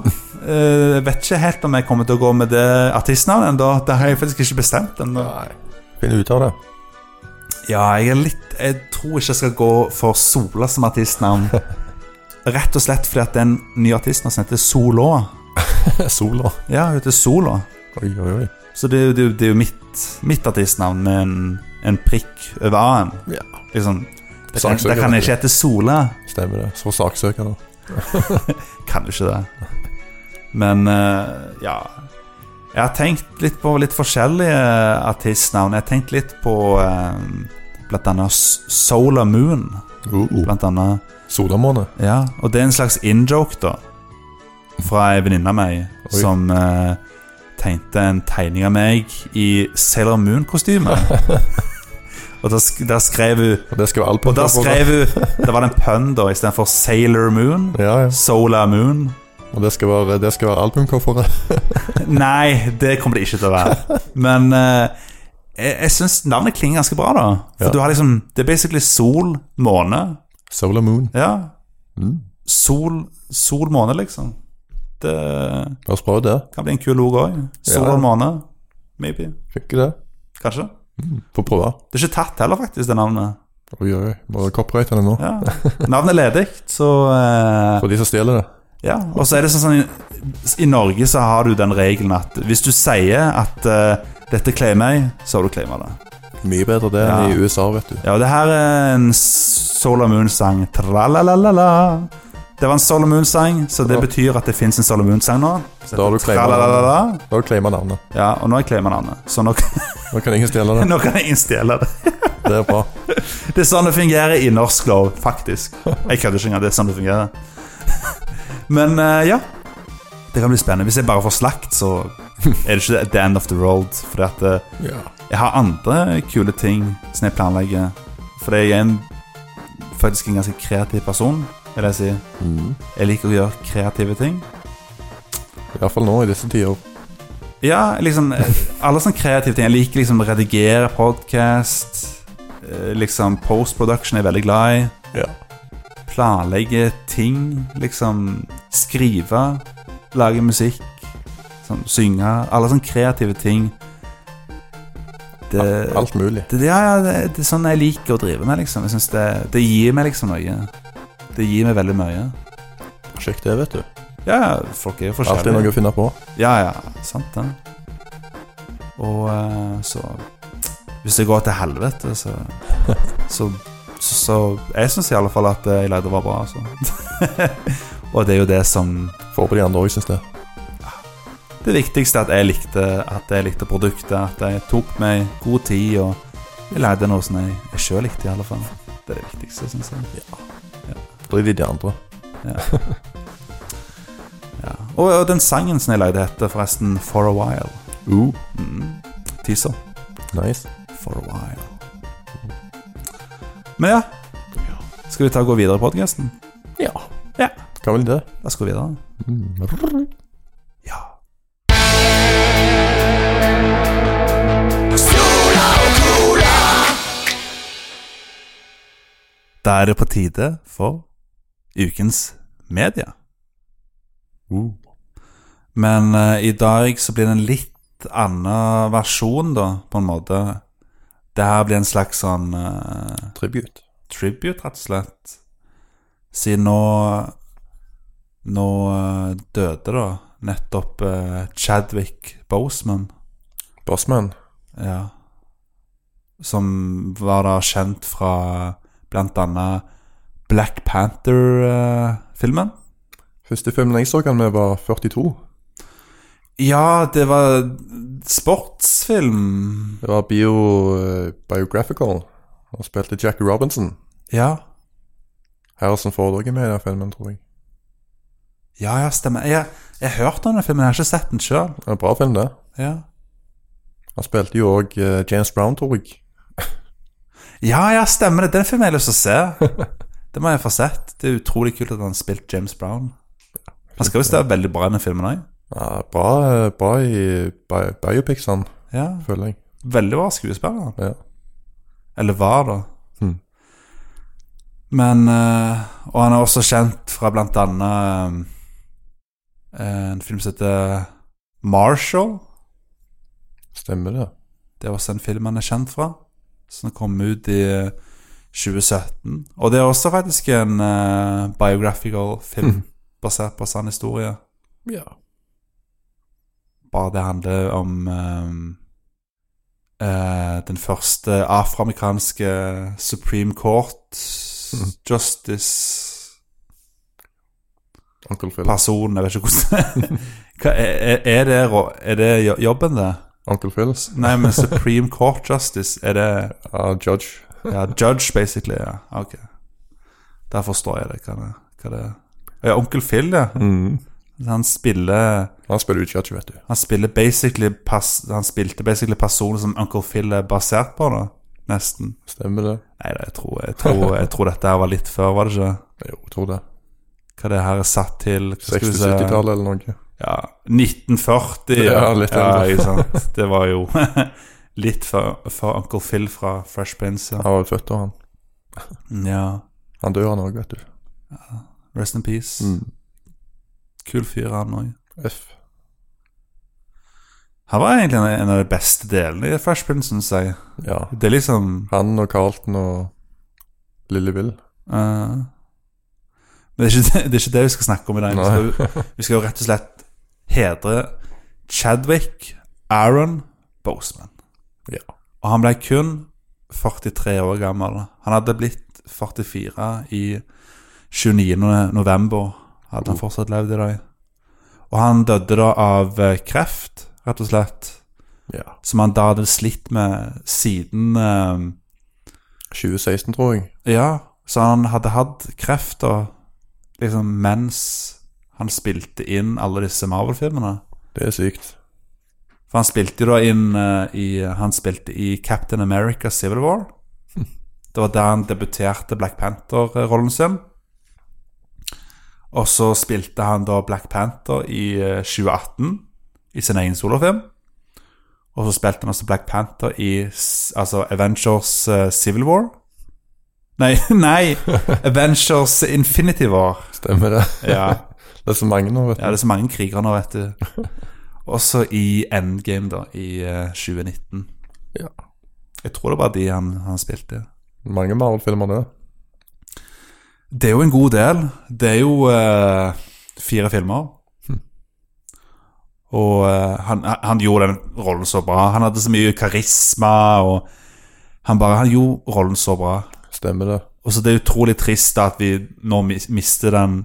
Speaker 1: eh, Jeg vet ikke helt om jeg kommer til å gå med det artistnavnet ennå. Det har jeg faktisk ikke bestemt ennå.
Speaker 2: Finn ut av det.
Speaker 1: Ja, jeg er litt Jeg tror ikke jeg skal gå for Sola som [laughs] artistnavn. Rett og slett fordi at det er en ny artist nå som heter Solå.
Speaker 2: [laughs] Sola.
Speaker 1: Ja, hun heter Sola.
Speaker 2: Oi, oi, oi.
Speaker 1: Så det, er jo- det, er jo- det er jo mitt, mitt artistnavn med en, en prikk over A-en.
Speaker 2: Ja.
Speaker 1: Liksom, det, kan,
Speaker 2: Saksøker,
Speaker 1: det kan jeg
Speaker 2: vet du.
Speaker 1: ikke hete Sola.
Speaker 2: Stemmer det. Så saksøker da.
Speaker 1: Kan jo ikke det. Men eh, ja Jeg har tenkt litt på litt forskjellige artistnavn. Jeg har tenkt litt på eh, blant annet S- Solar Moon.
Speaker 2: Uh, uh.
Speaker 1: Blant annet
Speaker 2: Solamåne.
Speaker 1: Ja, og det er en slags in-joke da Fra ei venninne av meg
Speaker 2: Oi.
Speaker 1: Som eh, tegnte en tegning av meg I Sailor
Speaker 2: [laughs]
Speaker 1: Moon-kostyme Og da, sk da skrev hun
Speaker 2: Og det skal være alt
Speaker 1: Og da skrev hun Da var det en pønn da I stedet for Sailor Moon
Speaker 2: Ja, ja.
Speaker 1: Solar Moon
Speaker 2: Og det skal være, det skal være albumcoveret.
Speaker 1: Nei, det kommer det ikke til å være Men eh, jeg, jeg synes navnet klinger ganske bra da For
Speaker 2: Ja.
Speaker 1: du har liksom Det er basically sol, måne
Speaker 2: [laughs] Solar Moon.
Speaker 1: Ja,
Speaker 2: Mm.
Speaker 1: sol, sol, måne liksom Det...
Speaker 2: La oss prøve det.
Speaker 1: Kan bli en kul logo òg. Sol
Speaker 2: Ja.
Speaker 1: og måne. Maybe.
Speaker 2: Funker det?
Speaker 1: Kanskje.
Speaker 2: Få prøve.
Speaker 1: Det er ikke tatt heller, faktisk, det navnet.
Speaker 2: Oi, oi, oi. Bare copyrighte det nå. [laughs]
Speaker 1: Ja. Navnet er ledig, så eh,
Speaker 2: For de som stjeler det.
Speaker 1: Ja. Og så er det sånn, sånn I Norge så har du den regelen at hvis du sier at eh, 'dette claimer jeg', så har du claima det.
Speaker 2: Mye bedre det enn
Speaker 1: Ja.
Speaker 2: i USA, vet du.
Speaker 1: Ja, og det her er en Solar Moon-sang. Tralalala. Det var en Solar Moon-sang, så det
Speaker 2: Ja.
Speaker 1: betyr at det fins en Solar Moon-sang nå. Så
Speaker 2: Da har du
Speaker 1: heter
Speaker 2: claimet
Speaker 1: Tralalala.
Speaker 2: Da har du claima navnet.
Speaker 1: Ja, og nå har jeg claima navnet, så nå, [laughs]
Speaker 2: Nå kan ingen stjele [laughs] det.
Speaker 1: nå kan jeg innstille det.
Speaker 2: Det er bra.
Speaker 1: Det er sånn det fungerer i norsk lov, faktisk. Jeg kødder ikke engang. Det er sånn det fungerer. [laughs] Men eh, ja. Det kan bli spennende. Hvis jeg bare får slakt, så er det ikke the end of the road. Fordi at eh,
Speaker 2: Ja.
Speaker 1: jeg har andre kule ting som jeg planlegger. Fordi jeg er en, faktisk en ganske kreativ person, vil jeg si.
Speaker 2: Mm.
Speaker 1: Jeg liker å gjøre kreative ting.
Speaker 2: Iallfall nå i disse tider.
Speaker 1: Ja, liksom eh, Alle sånne kreative ting. Jeg liker liksom å redigere podkast. Liksom post-production er jeg veldig glad i.
Speaker 2: Ja.
Speaker 1: planlegge ting, liksom skrive, lage musikk, sånn, synge Alle sånne kreative ting. Det,
Speaker 2: Alt mulig.
Speaker 1: det, ja, ja, det, det er sånn jeg liker å drive med, liksom. Jeg synes det, det gir meg liksom noe. Det gir meg veldig mye.
Speaker 2: Sjekk det, vet du.
Speaker 1: Ja, ja, folk er jo
Speaker 2: Alltid
Speaker 1: forskjellige.
Speaker 2: noe å finne på.
Speaker 1: Ja, ja, sant det. Og eh, så Hvis det går til helvete, så Så, så, så Jeg syns i alle fall at det jeg lagde, var bra, altså. [laughs] Og det er jo det som
Speaker 2: Får på de andre òg, syns jeg.
Speaker 1: Det viktigste er at jeg likte At jeg likte produktet, at jeg tok meg god tid, og jeg lagde noe som jeg, jeg sjøl likte, i alle fall. Det er det viktigste, syns jeg.
Speaker 2: Drit i de andre.
Speaker 1: Ja. Og, og den sangen som jeg lagde, heter forresten For a While.
Speaker 2: Uh,
Speaker 1: Mm. Teaser.
Speaker 2: nice.
Speaker 1: for a while. Men ja, skal vi ta og gå videre i podcasten?
Speaker 2: Ja.
Speaker 1: Ja.
Speaker 2: Hva vil det?
Speaker 1: La oss gå videre.
Speaker 2: Mm.
Speaker 1: Ja. Da er det på tide for ukens media.
Speaker 2: Uh.
Speaker 1: Men eh, i dag så blir det en litt annen versjon, da, på en måte. Det her blir en slags sånn eh,
Speaker 2: Tribute.
Speaker 1: tribute, rett og slett. Siden nå Nå eh, døde da nettopp eh, Chadwick Boseman,
Speaker 2: Bossman.
Speaker 1: ja. Som var da kjent fra blant annet Black eh, Panther-filmen.
Speaker 2: Første filmen jeg så han med, var 42.
Speaker 1: Ja, det var sportsfilm.
Speaker 2: Det var bio, eh, Biographical. Han spilte Jackie Robinson.
Speaker 1: Ja,
Speaker 2: Harrison Ford også er med i den filmen, tror jeg.
Speaker 1: ja, ja stemmer. Jeg, jeg hørte om den filmen, jeg har ikke sett den sjøl.
Speaker 2: Det er en bra film, det.
Speaker 1: Ja.
Speaker 2: Han spilte jo òg James Brown, tror jeg.
Speaker 1: ja, ja, stemmer det. Den filmen har jeg lyst til å se. [laughs] Det må jeg få sett. Det er utrolig kult at han har spilt James Brown. Han skal visst være veldig bra i den filmen òg.
Speaker 2: Ja, bra, eh, bra i bi biopics, han,
Speaker 1: Ja.
Speaker 2: føler jeg.
Speaker 1: Veldig bra skuespiller. han.
Speaker 2: Ja.
Speaker 1: Eller var, da.
Speaker 2: Mhm.
Speaker 1: Men eh, Og han er også kjent fra blant annet eh, en film som heter Marshall.
Speaker 2: Stemmer det.
Speaker 1: Det er også en film han er kjent fra, som kom ut i eh, 2017. Og det er også faktisk en eh, biographical film
Speaker 2: Mhm.
Speaker 1: basert på sann historie.
Speaker 2: Ja.
Speaker 1: Bare det handler om eh, eh, den første afroamerikanske Supreme Court
Speaker 2: Mhm.
Speaker 1: Justice-personen.
Speaker 2: Onkel Phil.
Speaker 1: Jeg vet ikke
Speaker 2: [laughs]
Speaker 1: hvordan Hva, er, er, det, ro- er det jo- jobben, det?
Speaker 2: Onkel Phils.
Speaker 1: Nei,
Speaker 2: [laughs]
Speaker 1: men Supreme Court Justice, er det
Speaker 2: Ja, Judge.
Speaker 1: Ja, judge, basically. Ja, ok. Der forstår jeg det. Hva det, hva det Ja, onkel Phil, ja.
Speaker 2: Mm.
Speaker 1: Han spiller
Speaker 2: Han spiller jo Judge, vet du.
Speaker 1: Han spiller basically pas, Han spilte basically personen som onkel Phil er basert på, da. Nesten.
Speaker 2: Stemmer det.
Speaker 1: Nei da, jeg tror, jeg,
Speaker 2: [laughs]
Speaker 1: tror, jeg tror dette her var litt før, var det ikke?
Speaker 2: Jo, jeg tror det.
Speaker 1: Hva det her er satt til hva skal vi se?
Speaker 2: 60-70-tallet eller noe.
Speaker 1: Ja, 1940.
Speaker 2: Ja, litt
Speaker 1: ja,
Speaker 2: eldre.
Speaker 1: ikke
Speaker 2: [laughs]
Speaker 1: sant. Det var jo [laughs] litt før, før onkel Phil fra Fresh Prince. Ja.
Speaker 2: Han var født av han.
Speaker 1: ja.
Speaker 2: Han dør han òg, vet du.
Speaker 1: Rest in peace.
Speaker 2: Mm.
Speaker 1: Kul fyr, han òg.
Speaker 2: F.
Speaker 1: Han var egentlig en- en av de beste delene i Fresh Prince, syns jeg.
Speaker 2: Ja.
Speaker 1: Det er liksom
Speaker 2: Han og Carlton og Lille Bill.
Speaker 1: eh, Men det er, ikke det, det er ikke det vi skal snakke om i dag. Vi skal,
Speaker 2: Nei. [laughs]
Speaker 1: vi skal jo rett og slett hedre Chadwick Aaron Boseman.
Speaker 2: Ja.
Speaker 1: Og han ble kun 43 år gammel. Han hadde blitt 44 i 29. november. Hadde
Speaker 2: Oh.
Speaker 1: han fortsatt levd i dag. Og han døde da av eh, kreft, rett og slett.
Speaker 2: ja.
Speaker 1: som han da hadde slitt med siden eh,
Speaker 2: 2016, tror jeg.
Speaker 1: Ja, så han hadde hatt kreft og liksom mens han spilte inn alle disse Marvel-filmene.
Speaker 2: Det er sykt.
Speaker 1: For han spilte jo da inn eh, i Han spilte i Captain America Civil War. Det var der han debuterte Black Panther-rollen sin. Og så spilte han da Black Panther i eh, 2018 i sin egen solofilm. Og så spilte han også Black Panther i s- altså Avengers eh, Civil War. Nei, [laughs] nei! Avengers Infinity War.
Speaker 2: Stemmer det.
Speaker 1: Ja.
Speaker 2: [laughs] Det er så mange nå, vet du.
Speaker 1: Ja, det er så mange krigere nå, vet du. Også i Endgame, da, i eh, 2019.
Speaker 2: Ja.
Speaker 1: Jeg tror det var de han, han spilte.
Speaker 2: Mange Marvel-filmer, det.
Speaker 1: Det er jo en god del. Det er jo eh, fire filmer. Og eh, han, han gjorde den rollen så bra. Han hadde så mye karisma, og han bare Han gjorde rollen så bra.
Speaker 2: Stemmer det.
Speaker 1: Og så det er utrolig trist at vi nå mis- mister den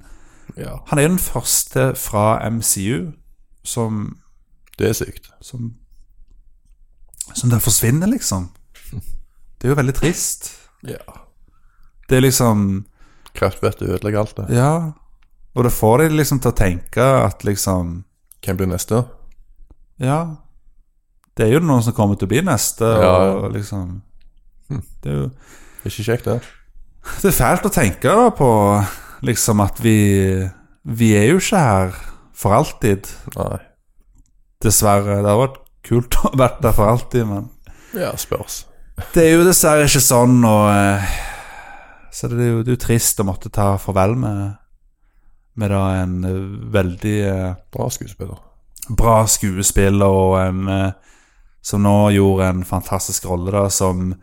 Speaker 2: Ja.
Speaker 1: Han er jo den første fra MCU som
Speaker 2: Det er sykt.
Speaker 1: som Som den forsvinner, liksom. Det er jo veldig trist.
Speaker 2: Ja.
Speaker 1: Det er liksom
Speaker 2: Kraftvettet ødelegger alt det.
Speaker 1: Ja. Og det får deg liksom til å tenke at liksom
Speaker 2: Hvem blir neste?
Speaker 1: Ja. Det er jo noen som kommer til å bli neste,
Speaker 2: Ja. Hm.
Speaker 1: og liksom Det er jo
Speaker 2: Ikke kjekt, det.
Speaker 1: Det er fælt å tenke da på liksom at vi Vi er jo ikke her for alltid.
Speaker 2: Nei.
Speaker 1: Dessverre. Det hadde vært kult å være der for alltid, men
Speaker 2: Ja, spørs.
Speaker 1: Det er jo dessverre ikke sånn, og eh, Så det er jo, det er jo trist å måtte ta farvel med Med da en eh, veldig eh,
Speaker 2: Bra skuespiller. [laughs]
Speaker 1: bra skuespiller og en eh, Som nå gjorde en fantastisk rolle, da, som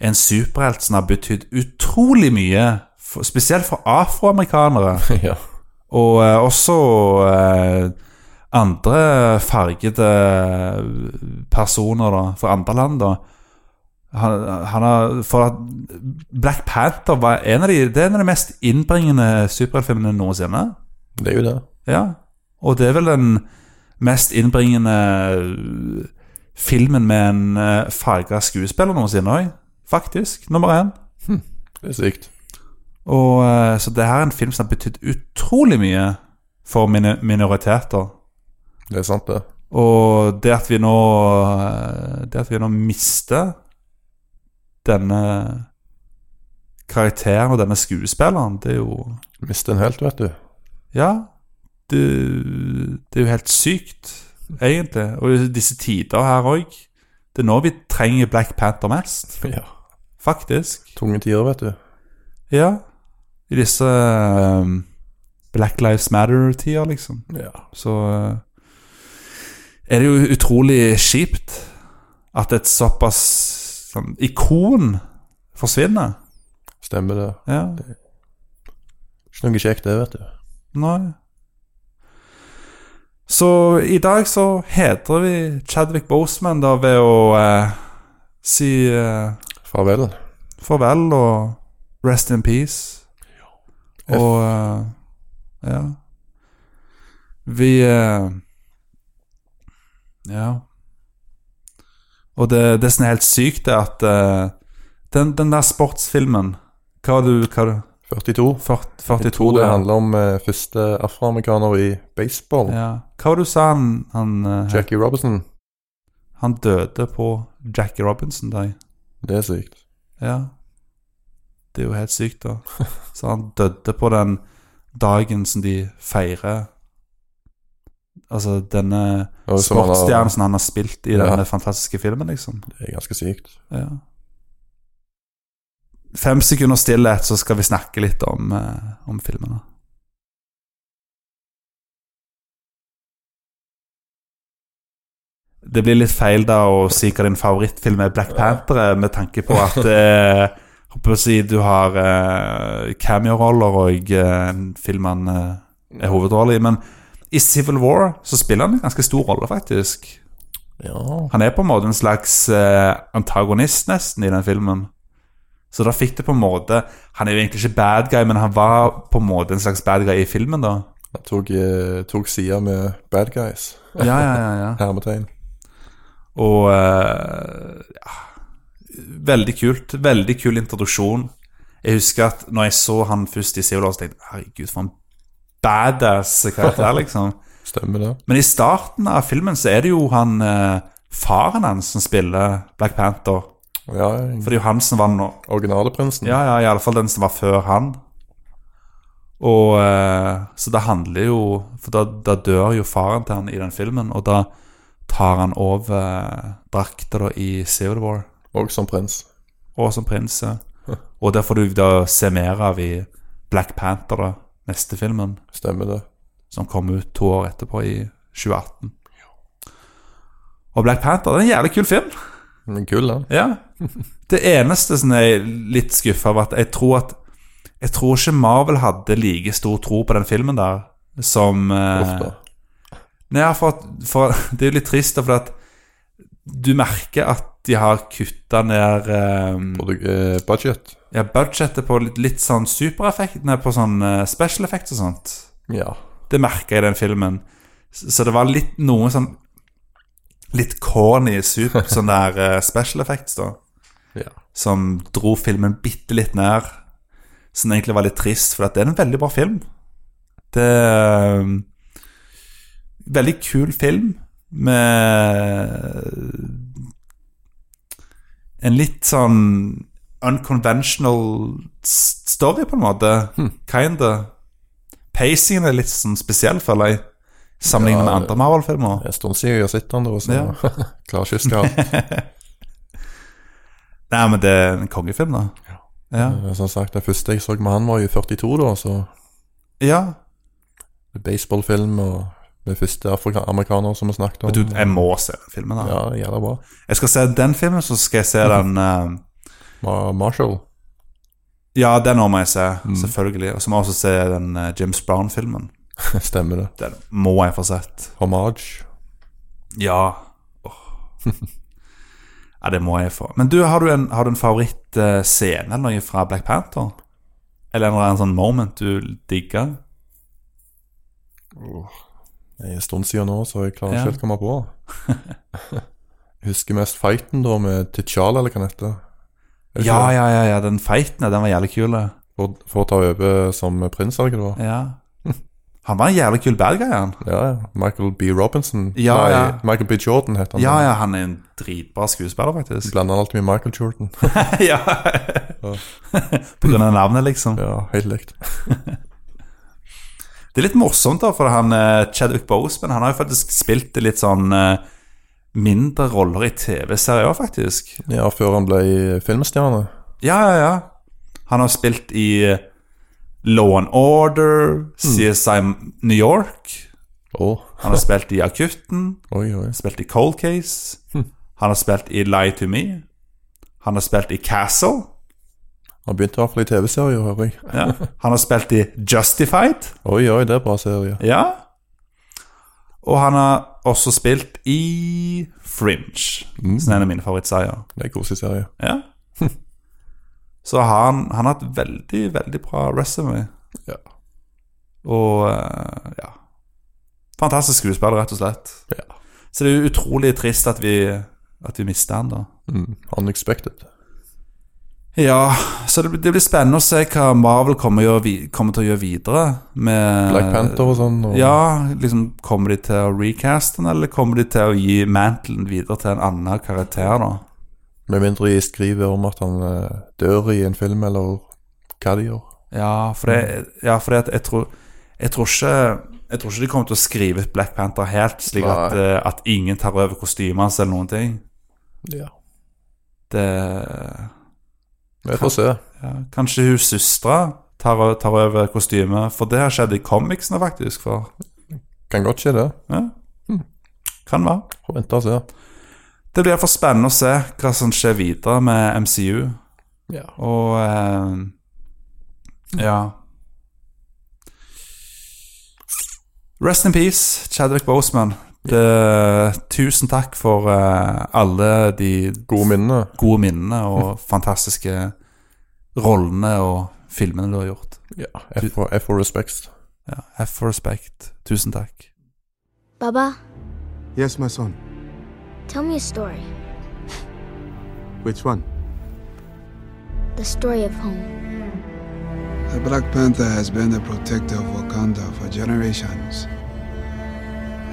Speaker 1: en superhelt som har betydd utrolig mye. For, spesielt for afroamerikanere,
Speaker 2: ja.
Speaker 1: og eh, også eh, andre fargede personer da, fra andre land. da Han, han har, for at Black Panther var en av de, det er en av de mest innbringende superheltfilmene noensinne.
Speaker 2: Det er jo det.
Speaker 1: Ja. Og det er vel den mest innbringende øh, filmen med en øh, farga skuespiller noensinne òg. Faktisk. Nummer én.
Speaker 2: Det er sykt.
Speaker 1: Og, eh, så det her er en film som har betydd utrolig mye for mine, minoriteter.
Speaker 2: Det er sant, det.
Speaker 1: Og det at vi nå eh, Det at vi nå mister denne karakteren og denne skuespilleren, det er jo
Speaker 2: Miste en helt,
Speaker 1: [laughs]
Speaker 2: vet du.
Speaker 1: Ja, det, det er jo helt sykt, egentlig. Og i disse tider her òg. Det er nå vi trenger Black Panther mest,
Speaker 2: Ja.
Speaker 1: faktisk.
Speaker 2: Tunge tider, vet du.
Speaker 1: Ja. I disse um, Black Lives Matter-tider, liksom.
Speaker 2: Ja.
Speaker 1: Så uh, er det jo utrolig kjipt at et såpass sånn, ikon forsvinner.
Speaker 2: Stemmer det.
Speaker 1: Ja.
Speaker 2: Ikke noe kjekt, det, vet du.
Speaker 1: Nei. Så i dag så hedrer vi Chadwick Boseman da ved å eh, si eh,
Speaker 2: Farvel.
Speaker 1: farvel og rest in peace.
Speaker 2: Ja.
Speaker 1: Og eh, ja. Vi eh, Ja. Og det, det som er helt sykt, er at eh, den, den der sportsfilmen Hva var du, hva var du
Speaker 2: 42.
Speaker 1: 40,
Speaker 2: Jeg
Speaker 1: 42?
Speaker 2: tror det
Speaker 1: ja.
Speaker 2: handler om eh, første afroamerikaner i baseball.
Speaker 1: Ja. Hva var det du sa han han, eh,
Speaker 2: Jackie Robinson.
Speaker 1: han døde på Jackie Robinson Day?
Speaker 2: Det er sykt.
Speaker 1: Ja. Det er jo helt sykt, da. Så han døde på den dagen som de feirer Altså denne
Speaker 2: Og som han har-
Speaker 1: sportsstjernen som han har spilt i
Speaker 2: Ja.
Speaker 1: denne fantastiske filmen, liksom.
Speaker 2: Det er ganske sykt.
Speaker 1: Ja. Fem sekunder stillhet, så skal vi snakke litt om, eh, om filmene. Det blir litt feil da å si hva din favorittfilm er Black Panther, er, med tanke på at eh, håper å si du har eh, cameo-roller og eh, en film han eh, er hovedrolle i. Men i Civil War så spiller han en ganske stor rolle, faktisk.
Speaker 2: Ja.
Speaker 1: Han er på en måte en slags eh, antagonist nesten i den filmen. Så da fikk det på en måte Han er jo egentlig ikke bad guy, men han var på en måte en slags bad guy i filmen, da.
Speaker 2: Han tok, eh, tok sida med bad guys.
Speaker 1: Ja, ja, ja, ja.
Speaker 2: Hermetegn.
Speaker 1: [laughs] Og eh, ja, Veldig kult. Veldig kul introduksjon. Jeg husker at når jeg så han først i Civil War, så tenkte jeg herregud, for en badass [laughs] karakter, liksom.
Speaker 2: Stemmer det.
Speaker 1: Men i starten av filmen så er det jo han eh, faren hans som spiller Black Panther.
Speaker 2: Ja,
Speaker 1: For det er jo han som var nå
Speaker 2: originale prinsen.
Speaker 1: Ja, ja, i alle fall den som var før han. Og eh, Så det handler jo For da, da dør jo faren til han i den filmen, og da tar han over eh, drakta da i Civil War,
Speaker 2: Og som prins.
Speaker 1: og som prins. ja. Og det får du da se mer av i Black Panther, da, neste filmen,
Speaker 2: Stemmer det.
Speaker 1: som kom ut to år etterpå, i 2018. Og Black Panther det er en jævlig kul film.
Speaker 2: Men kul, da.
Speaker 1: Ja. Det eneste som jeg er litt skuffa over, at jeg tror at Jeg tror ikke Marvel hadde like stor tro på den filmen der som eh,
Speaker 2: Ofte.
Speaker 1: Nei, ja, for, at, [laughs] for Det er jo litt trist, da, for at du merker at de har kutta ned eh,
Speaker 2: Produ eh, budget.
Speaker 1: ja, budsjettet på litt, litt sånn supereffektene, på sånn eh, special effects og sånt.
Speaker 2: Ja.
Speaker 1: Det merka jeg i den filmen. Så så det var litt noe sånn Litt corny super, sånn der eh, special effects, da
Speaker 2: ja.
Speaker 1: som dro filmen bitte litt ned. Som egentlig var litt trist, for at det er en veldig bra film. Det er en Veldig kul film med en litt sånn unconventional s- story, på en måte.
Speaker 2: Hmm.
Speaker 1: Kinda. Pacingen er litt sånn spesiell, føler jeg, sammenlignet
Speaker 2: Ja,
Speaker 1: med
Speaker 2: det-
Speaker 1: andre Marvel-filmer.
Speaker 2: Det er en stund siden jeg har sett han, da. [laughs] Så
Speaker 1: Ja.
Speaker 2: klar kyss til alt.
Speaker 1: Nei, men det er en kongefilm, da. Ja.
Speaker 2: Eh, Som sagt, den første jeg så med han, var i 42, da. Så
Speaker 1: ja.
Speaker 2: baseballfilm og med første afroamerikaner som vi snakket om.
Speaker 1: Du, eh, jeg må se den filmen, da.
Speaker 2: Ja, jævla bra.
Speaker 1: Jeg skal se den filmen, så skal jeg se den eh,
Speaker 2: Ma Marshall. [laughs]
Speaker 1: Ja, den også må jeg se,
Speaker 2: Mm.
Speaker 1: selvfølgelig. Og så må jeg også se den eh, James Brown-filmen.
Speaker 2: Stemmer det.
Speaker 1: Den må jeg få sett.
Speaker 2: [laughs] Homage.
Speaker 1: Ja. Åh. Ja, det må jeg få. Men du, har du en, har du en favorittscene eller noe fra Black Panther? Eller er det en sånn moment du digger?
Speaker 2: Det er en stund siden nå, så jeg klarer
Speaker 1: Ja.
Speaker 2: ikke helt å komme
Speaker 1: [laughs]
Speaker 2: på. jeg husker mest fighten da med T'Challa, eller hva han heter. Er det ikke
Speaker 1: Ja,
Speaker 2: det?
Speaker 1: ja, ja, ja, den fighten ja, den var jævlig kul. ja.
Speaker 2: For, for å ta over som prins, eller hva det var. [laughs]
Speaker 1: Ja. Han var en jævlig kul bad guy, han.
Speaker 2: Ja, ja. Michael B. Robinson.
Speaker 1: Ja,
Speaker 2: Nei,
Speaker 1: ja.
Speaker 2: Michael B. Jordan heter han.
Speaker 1: Ja, ja, han er en dritbra skuespiller,
Speaker 2: [laughs]
Speaker 1: faktisk.
Speaker 2: Blander han alltid med Michael
Speaker 1: [laughs]
Speaker 2: Jordan.
Speaker 1: ja.
Speaker 2: Ja.
Speaker 1: [laughs] På grunn av navnet, liksom.
Speaker 2: ja, helt likt.
Speaker 1: Det er litt morsomt, da, for han eh, Chadwick Boseman han har jo faktisk spilt litt sånn eh, mindre roller i TV-serier, også, faktisk.
Speaker 2: Ja, før han ble filmstjerne.
Speaker 1: Ja, ja, ja. Han har spilt i eh, Law and Order, CSI New York.
Speaker 2: Åh,
Speaker 1: Han har spilt i Akutten.
Speaker 2: oi, oi.
Speaker 1: Han har spilt i Cold Case. Han har spilt i Lie to Me. Han har spilt i Castle.
Speaker 2: Han begynte i hvert fall i TV-serier, hører jeg.
Speaker 1: Ja. Han har spilt i Justified.
Speaker 2: Oi, oi, det er bra serie.
Speaker 1: Ja. Og han har også spilt i Fringe, som er en av mine favorittseier.
Speaker 2: Det er en koselig serie.
Speaker 1: Ja. [laughs] Så han, han har et veldig, veldig bra resume.
Speaker 2: Ja.
Speaker 1: Og eh, ja Fantastisk skuespiller, rett og slett.
Speaker 2: Ja.
Speaker 1: Så det er jo utrolig trist at vi, at vi mister han, da.
Speaker 2: Mm. Unexpected.
Speaker 1: Ja, så det, blir- det blir spennende å se hva Marvel kommer, gjøre, vi- kommer til å gjøre videre med
Speaker 2: Black Panther og sånn. Og...
Speaker 1: Ja, liksom Kommer de til å recaste den, eller kommer de til å gi mantelen videre til en annen karakter, da?
Speaker 2: Med mindre de skriver om at han eh, dør i en film, eller hva de gjør.
Speaker 1: Ja, for det, Mm. ja, for det at jeg tror Jeg tror ikke Jeg tror ikke de kommer til å skrive ut Black Panther helt slik at,
Speaker 2: Nei.
Speaker 1: eh, at ingen tar over kostymet hans eller noen ting.
Speaker 2: Ja.
Speaker 1: Det
Speaker 2: Vi får se.
Speaker 1: ja, Kanskje hun søstera tar, tar over kostymet, for det har skjedd i comicsene, faktisk. for
Speaker 2: Kan godt skje det.
Speaker 1: Ja. Mm. Kan være.
Speaker 2: Får vente og se.
Speaker 1: Det blir iallfall spennende å se hva som skjer videre med MCU.
Speaker 2: Ja.
Speaker 1: Og eh, ja. Rest in peace, Chadwick Boseman. Det, tusen takk for eh, alle de
Speaker 2: Gode minner.
Speaker 1: gode minnene og fantastiske rollene og filmene du har gjort.
Speaker 2: Ja. F for, F for respects.
Speaker 1: Ja, F for respect. Tusen takk.
Speaker 3: Baba,
Speaker 4: Yes, my son.
Speaker 3: tell me a story.
Speaker 4: Which one?
Speaker 3: The story of home.
Speaker 5: The Black Panther has been the protector of Wakanda for generations.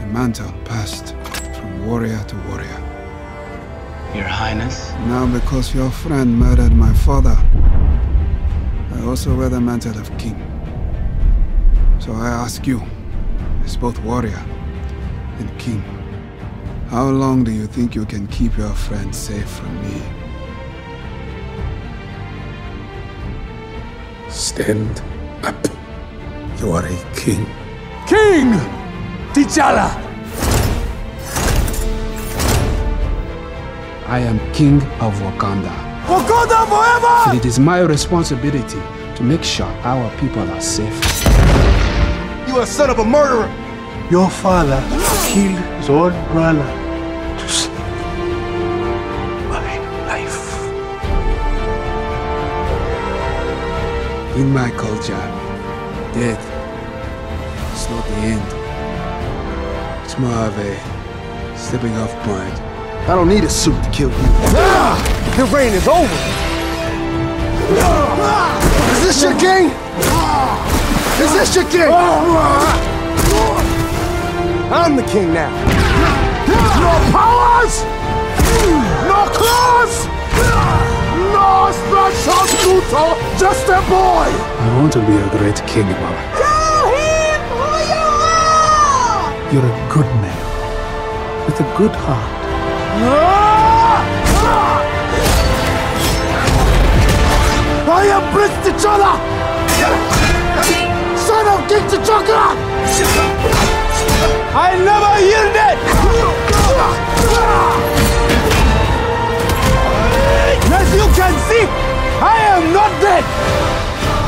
Speaker 5: The mantle passed from warrior to warrior.
Speaker 6: Your Highness.
Speaker 5: Now, because your friend murdered my father, I also wear the mantle of king. So I ask you, as both warrior and king, how long do you think you can keep your friend safe from me?
Speaker 7: Stand up. You are a king.
Speaker 5: I am king of Wakanda. Wakanda forever! And it is my responsibility to make sure our people are safe.
Speaker 7: You are son of a murderer. Your father killed his own brother to save my life.
Speaker 5: In my culture, death is not the end. It's more of a stepping off point. I don't need a suit to kill you.
Speaker 7: Your Ah! reign is over.
Speaker 5: Ah!
Speaker 7: Is this your king? Is this your king? Ah! I'm the king now. No powers! No claws! No special tutor! Just a boy!
Speaker 5: I want to be a great king, Baba. Tell him who you are! You're a good man with a good heart.
Speaker 7: I am Prince T'Challa! Son of King T'Challa! I never yielded! As you can see, I am not dead!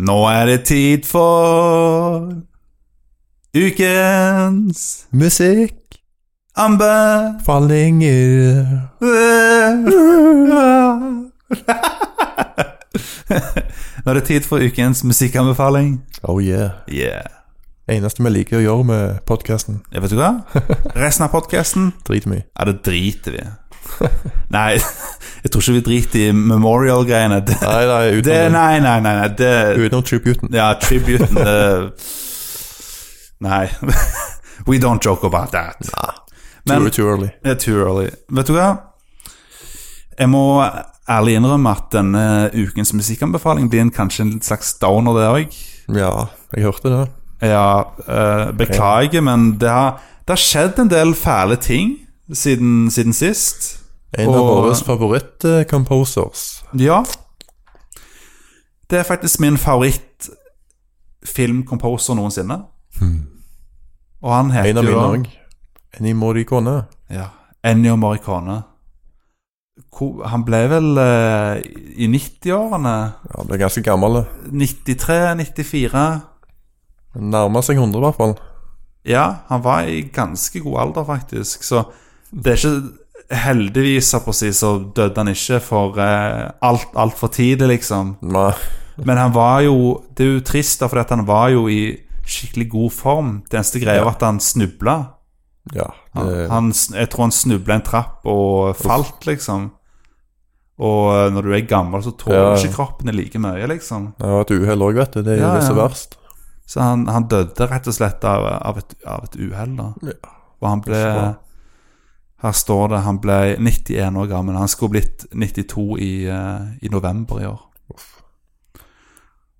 Speaker 1: Nå er det tid for ukens
Speaker 2: Musikk,
Speaker 1: anbe...
Speaker 2: fallinger
Speaker 1: Nå er det tid for ukens musikkanbefaling.
Speaker 2: Oh yeah.
Speaker 1: Yeah.
Speaker 2: Eneste vi liker å gjøre med podkasten.
Speaker 1: Ja, vet du hva? Resten av podkasten
Speaker 2: Dritmye.
Speaker 1: Ja, det driter vi i. Nei, jeg tror ikke vi driter i memorial-greiene. Det,
Speaker 2: Nei, nei,
Speaker 1: det,
Speaker 2: utenom,
Speaker 1: nei, nei, nei, nei. Det,
Speaker 2: utenom tributen.
Speaker 1: ja, tributen det, Nei. [laughs] We don't joke about that.
Speaker 2: Too,
Speaker 1: Men
Speaker 2: too early.
Speaker 1: det er too early. Vet du hva? Jeg må ærlig innrømme at denne ukens musikkanbefaling blir en, kanskje en slags downer, det òg.
Speaker 2: Ja, jeg hørte det.
Speaker 1: Ja, eh, beklager, men det har, det har skjedd en del fæle ting siden, siden sist.
Speaker 2: En av
Speaker 1: Og-
Speaker 2: våre eh, favoritt-composers.
Speaker 1: Ja. Det er faktisk min favoritt-filmkomposer noensinne. Og han heter
Speaker 2: Hmm. En av
Speaker 1: jo
Speaker 2: mine
Speaker 1: da-
Speaker 2: òg. En i Morricone.
Speaker 1: Ja, Ennio Morricone. Ko- Han ble vel eh, i 90-årene.
Speaker 2: Ja, ble ganske gammel. det.
Speaker 1: 93-94.
Speaker 2: Nærmer seg 100, i hvert fall.
Speaker 1: Ja, han var i ganske god alder, faktisk. Så det er ikke Heldigvis så på å si, så døde han ikke for eh, alt altfor tidlig, liksom.
Speaker 2: Nei.
Speaker 1: Men han var jo Det er jo trist, da, fordi at han var jo i skikkelig god form. Det eneste greia var at han snubla.
Speaker 2: Ja,
Speaker 1: Han,
Speaker 2: det,
Speaker 1: han sn- jeg tror han snubla en trapp og falt, liksom. Og eh, når du er gammel, så tåler
Speaker 2: Ja, ja.
Speaker 1: ikke kroppen det like mye, liksom.
Speaker 2: det var et uhell òg, vet du. Det er jo
Speaker 1: Ja,
Speaker 2: det som
Speaker 1: ja.
Speaker 2: er verst.
Speaker 1: Så han, han døde rett og slett av, av et, av et uhell, da.
Speaker 2: Ja.
Speaker 1: Og han ble
Speaker 2: Ikke bra.
Speaker 1: Her står det han ble 91 år gammel. Han skulle blitt 92 i, eh, i november i år.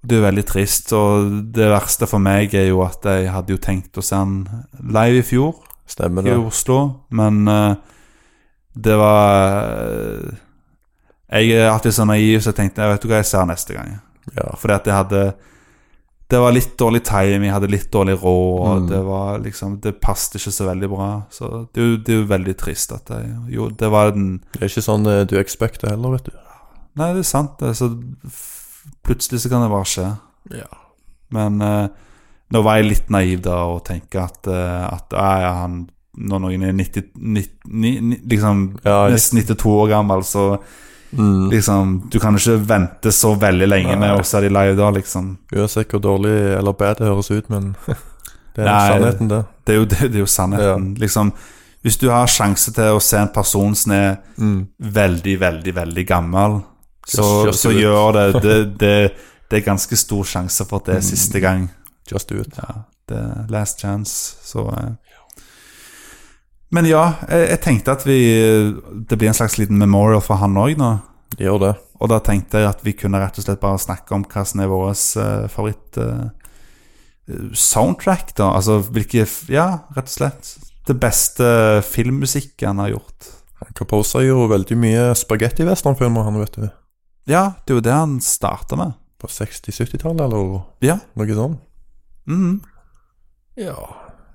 Speaker 1: Det er jo veldig trist, og det verste for meg er jo at jeg hadde jo tenkt å se han live i fjor
Speaker 2: Stemmer
Speaker 1: i
Speaker 2: det.
Speaker 1: Oslo, men eh, det var eh, Jeg er alltid så naiv, så jeg tenkte jeg vet du hva jeg ser neste gang.
Speaker 2: Ja.
Speaker 1: Fordi at jeg hadde Det var litt dårlig timing, jeg hadde litt dårlig råd, og det var liksom Det passet ikke så veldig bra. Så det er jo, det er jo veldig trist at jeg Jo, det var den
Speaker 2: Det er ikke sånn eh, du expecter heller, vet du.
Speaker 1: Nei, det er sant, det. Så f- plutselig så kan det bare skje.
Speaker 2: Ja.
Speaker 1: Men eh, nå var jeg litt naiv da og tenkte at, eh, at ah, ja, han når noen er 90, 90, ni- liksom,
Speaker 2: Ja, litt.
Speaker 1: nesten 92 år gammel, så liksom Du kan jo ikke vente så veldig lenge med
Speaker 2: Nei.
Speaker 1: å se de live da, liksom.
Speaker 2: Uansett hvor dårlig eller bad det høres ut, men [laughs] det er
Speaker 1: Nei.
Speaker 2: sannheten, det.
Speaker 1: Det er jo, [laughs] det, det er jo sannheten. Liksom, hvis du har sjanse til å se en person som er Mm. veldig, veldig, veldig gammel, så,
Speaker 2: Just- just
Speaker 1: så
Speaker 2: do it.
Speaker 1: gjør det det, det det er ganske stor sjanse for at
Speaker 2: Mm.
Speaker 1: det er siste gang.
Speaker 2: Just do it.
Speaker 1: Ja, det er eh, last chance, så eh. Men ja, jeg, jeg tenkte at vi Det blir en slags liten memorial for han òg nå.
Speaker 2: Gjør det.
Speaker 1: Og da tenkte jeg at vi kunne rett og slett bare snakke om hva som er vår favoritt eh, soundtrack, da. Altså hvilke f- Ja, rett og slett. Det beste filmmusikken han har gjort.
Speaker 2: Han composer jo veldig mye spagetti-westernfilmer, han, vet du.
Speaker 1: Ja, det er jo det han starta med.
Speaker 2: På 60-70-tallet, eller
Speaker 1: Ja.
Speaker 2: noe sånt.
Speaker 1: Mhm.
Speaker 2: Ja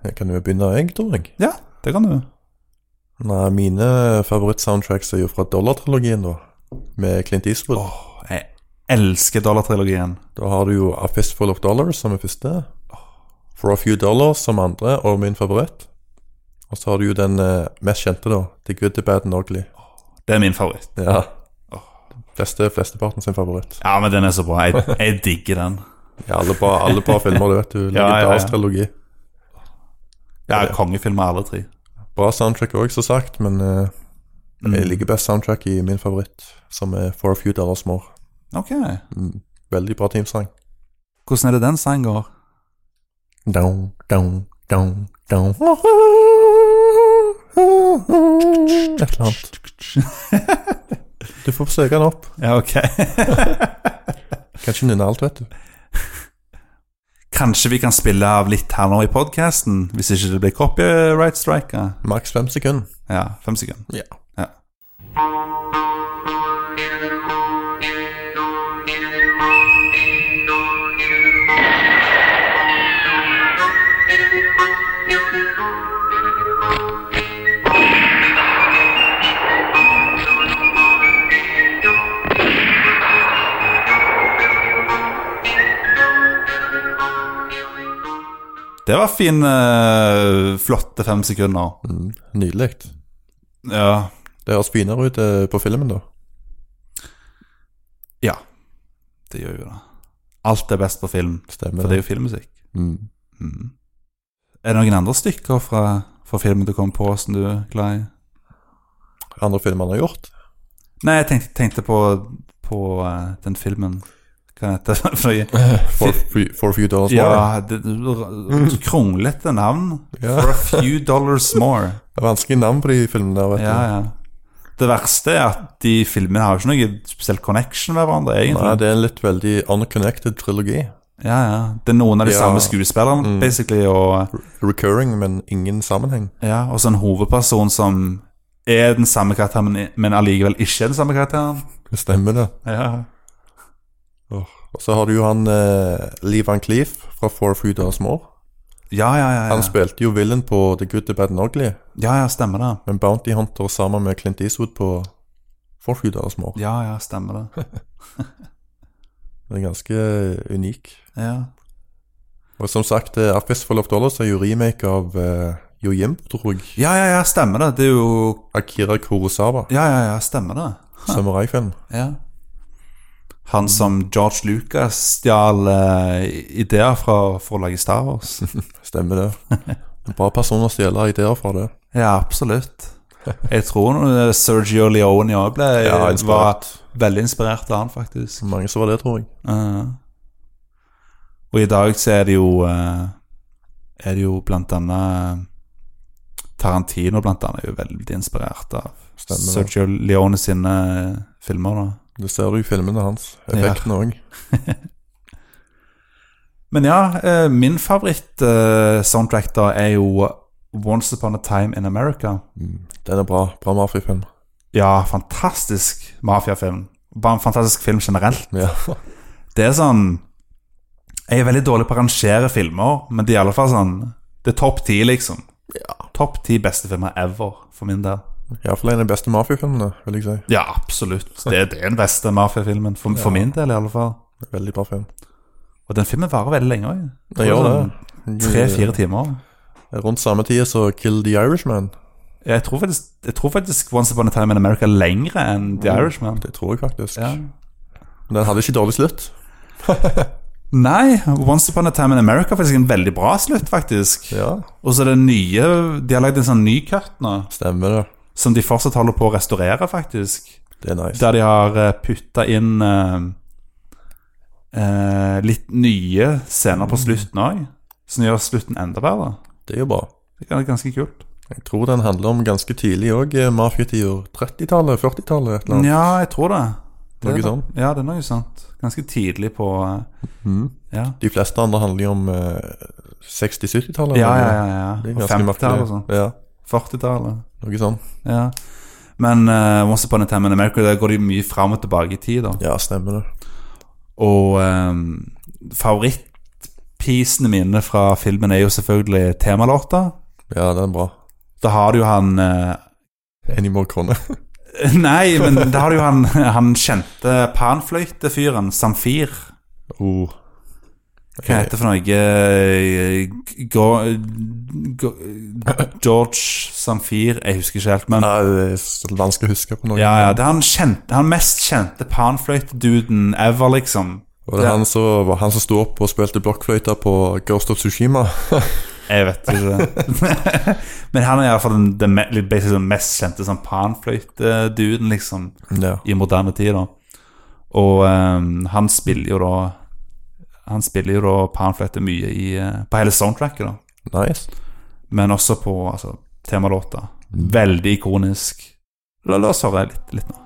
Speaker 2: Jeg kan jo begynne, jeg, tror jeg.
Speaker 1: ja, det kan du.
Speaker 2: Nei, mine favorittsoundtracks er jo fra Dollar-trilogien, da. Med Clint Eastwood.
Speaker 1: Jeg elsker dollartrilogien.
Speaker 2: Da har du jo A Fistful of Dollars som er første. For a Few Dollars som andre, og min favoritt. Og så har du jo den eh, mest kjente, da. The Good, The Bad and Ugly.
Speaker 1: Det er min favoritt.
Speaker 2: Ja. Fleste, flesteparten sin favoritt.
Speaker 1: Ja, men den er så bra. Jeg, jeg digger den.
Speaker 2: Ja, alle bra, alle bra filmer, du vet. [laughs] du
Speaker 1: ja, ja.
Speaker 2: Legendarisk trilogi.
Speaker 1: Ja, kongefilmer alle tre.
Speaker 2: Bra soundtrack òg, som sagt, men eh, jeg liker best soundtrack i min favoritt, som er For a Few Dollars More.
Speaker 1: Ok.
Speaker 2: Veldig bra teamsang.
Speaker 1: Hvordan er det den sangen går?
Speaker 2: Down, down, down, down. Et eller annet. Du får søke den opp.
Speaker 1: Ja, ok. [laughs]
Speaker 2: Kan ikke nynne alt, vet du.
Speaker 1: Kanskje vi kan spille av litt her nå i podkasten, hvis ikke det blir copyright striker.
Speaker 2: Maks fem sekunder.
Speaker 1: Ja, fem sekunder.
Speaker 2: Ja.
Speaker 1: Ja. Det var fine, flotte fem sekunder.
Speaker 2: Mm, Nydelig.
Speaker 1: Ja.
Speaker 2: Det høres finere ut eh, på filmen, da.
Speaker 1: ja. Det gjør jo det. Alt er best på film,
Speaker 2: Stemmer
Speaker 1: for det er jo filmmusikk.
Speaker 2: Mm.
Speaker 1: Mm. Er det noen andre stykker fra, fra filmen du kom på som du er glad i?
Speaker 2: Andre filmer han har gjort?
Speaker 1: Nei, jeg tenkte, tenkte på, på eh, den filmen Hva heter [laughs] den? For
Speaker 2: [laughs]
Speaker 1: noe?
Speaker 2: For, Fe- for a few dollars more.
Speaker 1: Ja, det- det- kronglete navn.
Speaker 2: Mm. Ja.
Speaker 1: For a few dollars more.
Speaker 2: [laughs] Det er vanskelig navn på de filmene. der, vet
Speaker 1: Ja, ja. Det verste er at de filmene har jo ikke noe spesiell connection med hverandre,
Speaker 2: du. Nei,
Speaker 1: egentlig.
Speaker 2: det er en litt veldig unconnected trilogi.
Speaker 1: Ja, ja. Det er noen av de
Speaker 2: Ja.
Speaker 1: samme skuespillerne,
Speaker 2: Mm.
Speaker 1: basically, og,
Speaker 2: Recurring, men ingen sammenheng.
Speaker 1: ja, og så en hovedperson som er den samme karakteren, men- men allikevel ikke er den samme karakteren.
Speaker 2: Stemmer det.
Speaker 1: Ja.
Speaker 2: Og så har du jo han eh, Lee Van Cleef fra For a few dollars more.
Speaker 1: Ja, ja, ja,
Speaker 2: Han
Speaker 1: ja.
Speaker 2: spilte jo villain på The Good, The Bad and Ugly,
Speaker 1: ja, ja, stemmer det.
Speaker 2: men Bounty Hunter sammen med Clint Eastwood på For a few dollars more.
Speaker 1: Ja, ja, stemmer det.
Speaker 2: Den er ganske unik.
Speaker 1: Ja.
Speaker 2: Og som sagt, eh, A Fistful of Dollars er jo remake av eh, Jo Jim, tror jeg.
Speaker 1: Ja, ja, ja, stemmer det. Det er jo
Speaker 2: Akira Kurosawa,
Speaker 1: Ja, ja, ja, stemmer det. [laughs]
Speaker 2: samurai-film.
Speaker 1: Ja. Han som George Lucas stjal eh, ideer fra for å lage Star Wars.
Speaker 2: Stemmer det. En bra person å stjele ideer fra det.
Speaker 1: Ja, absolutt. Jeg tror nå Sergio Leone òg ble
Speaker 2: Ja,
Speaker 1: var
Speaker 2: inspirert.
Speaker 1: veldig inspirert av han, faktisk.
Speaker 2: Mange som var det, tror jeg.
Speaker 1: Eh, og i dag så er det jo eh, Er det jo blant annet eh, Tarantino blant annet er jo veldig inspirert av
Speaker 2: Stemmer det.
Speaker 1: Sergio Leone sine eh, filmer. da
Speaker 2: Det ser du i filmene hans. Effekten òg.
Speaker 1: Men ja, eh, min favoritt-soundtrack da er jo Once Upon a Time in America.
Speaker 2: Den er bra. Bra mafiafilm.
Speaker 1: Ja, fantastisk mafiafilm. Bare en fantastisk film generelt.
Speaker 2: Ja.
Speaker 1: Det er sånn Jeg er veldig dårlig på å rangere filmer, men det er i alle fall sånn Det er topp ti, liksom. Topp ti beste filmer ever, for min del.
Speaker 2: Iallfall en av de beste mafiafilmene, vil jeg si.
Speaker 1: Ja, absolutt. Det, det er den beste mafiafilmen, for, for min del i alle fall.
Speaker 2: Veldig bra film.
Speaker 1: Og den filmen varer veldig lenge òg.
Speaker 2: Den gjør det.
Speaker 1: Tre-fire sånn timer.
Speaker 2: Rundt samme tid så Kill the Irishman.
Speaker 1: Jeg tror, faktisk, jeg tror faktisk Once Upon a Time in America er lengre enn The
Speaker 2: Mm.
Speaker 1: Irishman.
Speaker 2: Det tror jeg faktisk.
Speaker 1: Ja.
Speaker 2: Men den hadde ikke dårlig slutt.
Speaker 1: Nei, Once Upon a Time in America er faktisk en veldig bra slutt, faktisk.
Speaker 2: Ja,
Speaker 1: Og så er det nye De har lagd en sånn ny cut nå,
Speaker 2: stemmer det.
Speaker 1: som de fortsatt holder på å restaurere, faktisk.
Speaker 2: Det er nice.
Speaker 1: Der de har putta inn eh, eh, litt nye scener
Speaker 2: Mm.
Speaker 1: på slutten òg, som gjør slutten enda bedre.
Speaker 2: Det er jo bra.
Speaker 1: Det er ganske kult.
Speaker 2: Jeg tror den handler om ganske tidlig eh, òg, mafiatider. 30-tallet, 40-tallet, et eller annet.
Speaker 1: Ja, jeg tror det. det er
Speaker 2: Noe
Speaker 1: no-
Speaker 2: sånn.
Speaker 1: Ja, det er noe sånt. Ganske tidlig på eh, Ja.
Speaker 2: De fleste andre handler jo om eh, 60-70-tallet.
Speaker 1: Ja,
Speaker 2: eller?
Speaker 1: ja, ja. ja.
Speaker 2: Det er
Speaker 1: Og
Speaker 2: ganske
Speaker 1: 50-tallet og
Speaker 2: merkelig.
Speaker 1: sånn.
Speaker 2: Ja,
Speaker 1: 40-tallet.
Speaker 2: noe sånn.
Speaker 1: Ja. Men eh, Once Upon a Time in America, der går de mye fram og tilbake i tid. da
Speaker 2: Ja, stemmer det.
Speaker 1: Og eh, favorittpisene mine fra filmen er jo selvfølgelig temalåta.
Speaker 2: Ja, den er bra.
Speaker 1: Da har du jo han eh,
Speaker 2: Animal Corner. [laughs]
Speaker 1: [laughs] Nei, men da har du jo han, han kjente panfløytefyren, Samfir.
Speaker 2: Oh.
Speaker 1: Hva heter det for noe Eh, Go- Go- George Samfir Jeg husker ikke helt, men
Speaker 2: Nei, det er så vanskelig å huske på noe.
Speaker 1: Ja, ja, det er han, kjente, han mest kjente panfløyteduden ever, liksom.
Speaker 2: Var det
Speaker 1: Ja.
Speaker 2: han som, var han som sto opp og spilte blokkfløyte på Ghost of Tsushima? [laughs]
Speaker 1: Jeg vet ikke. [laughs] Men han er iallfall den, den me- litt basically den mest kjente sånn panfløyteduden, liksom,
Speaker 2: ja.
Speaker 1: i moderne tid, da. Og ehm, han spiller jo da Han spiller jo da panfløyte mye i, eh, på hele soundtracket, da.
Speaker 2: Nice.
Speaker 1: Men også på altså, temalåta. Veldig ikonisk. La, la oss høre litt, litt nå.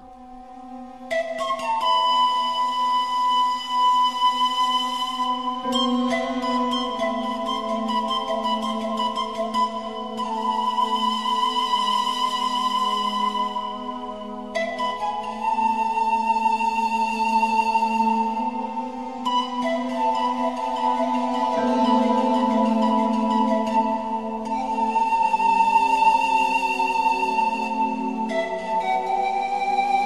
Speaker 8: Thank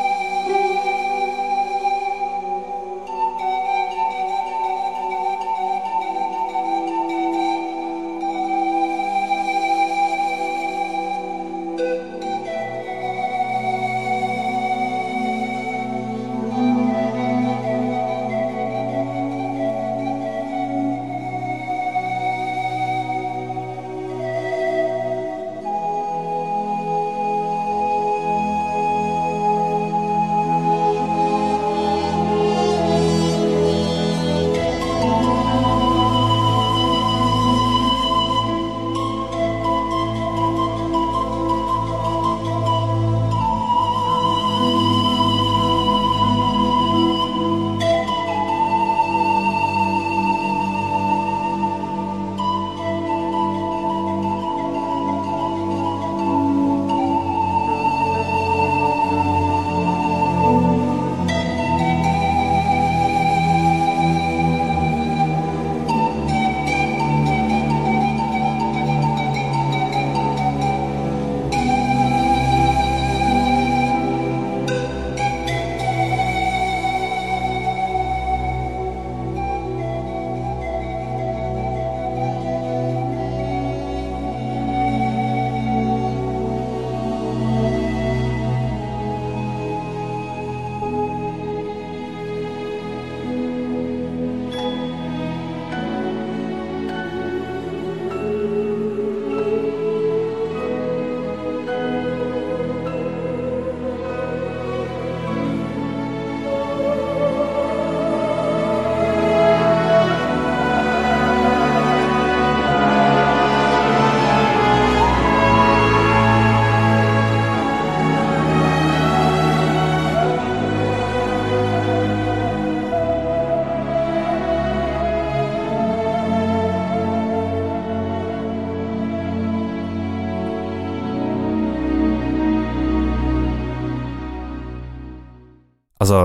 Speaker 1: Altså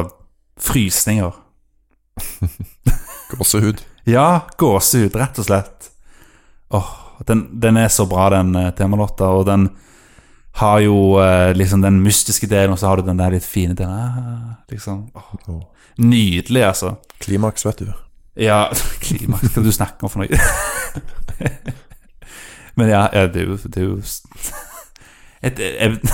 Speaker 1: frysninger.
Speaker 2: Gåsehud.
Speaker 1: Ja, gåsehud, rett og slett. Åh, den, den er så bra, den eh, temalåta, og den har jo eh, liksom den mystiske delen, og så har du den der litt fine delen. Ah, liksom. Åh. Nydelig, altså.
Speaker 2: Klimaks, vet du.
Speaker 1: Ja, klimaks, hva du snakker om for noe? [laughs] Men ja, ja, det er jo, det er jo s- et, et, [laughs]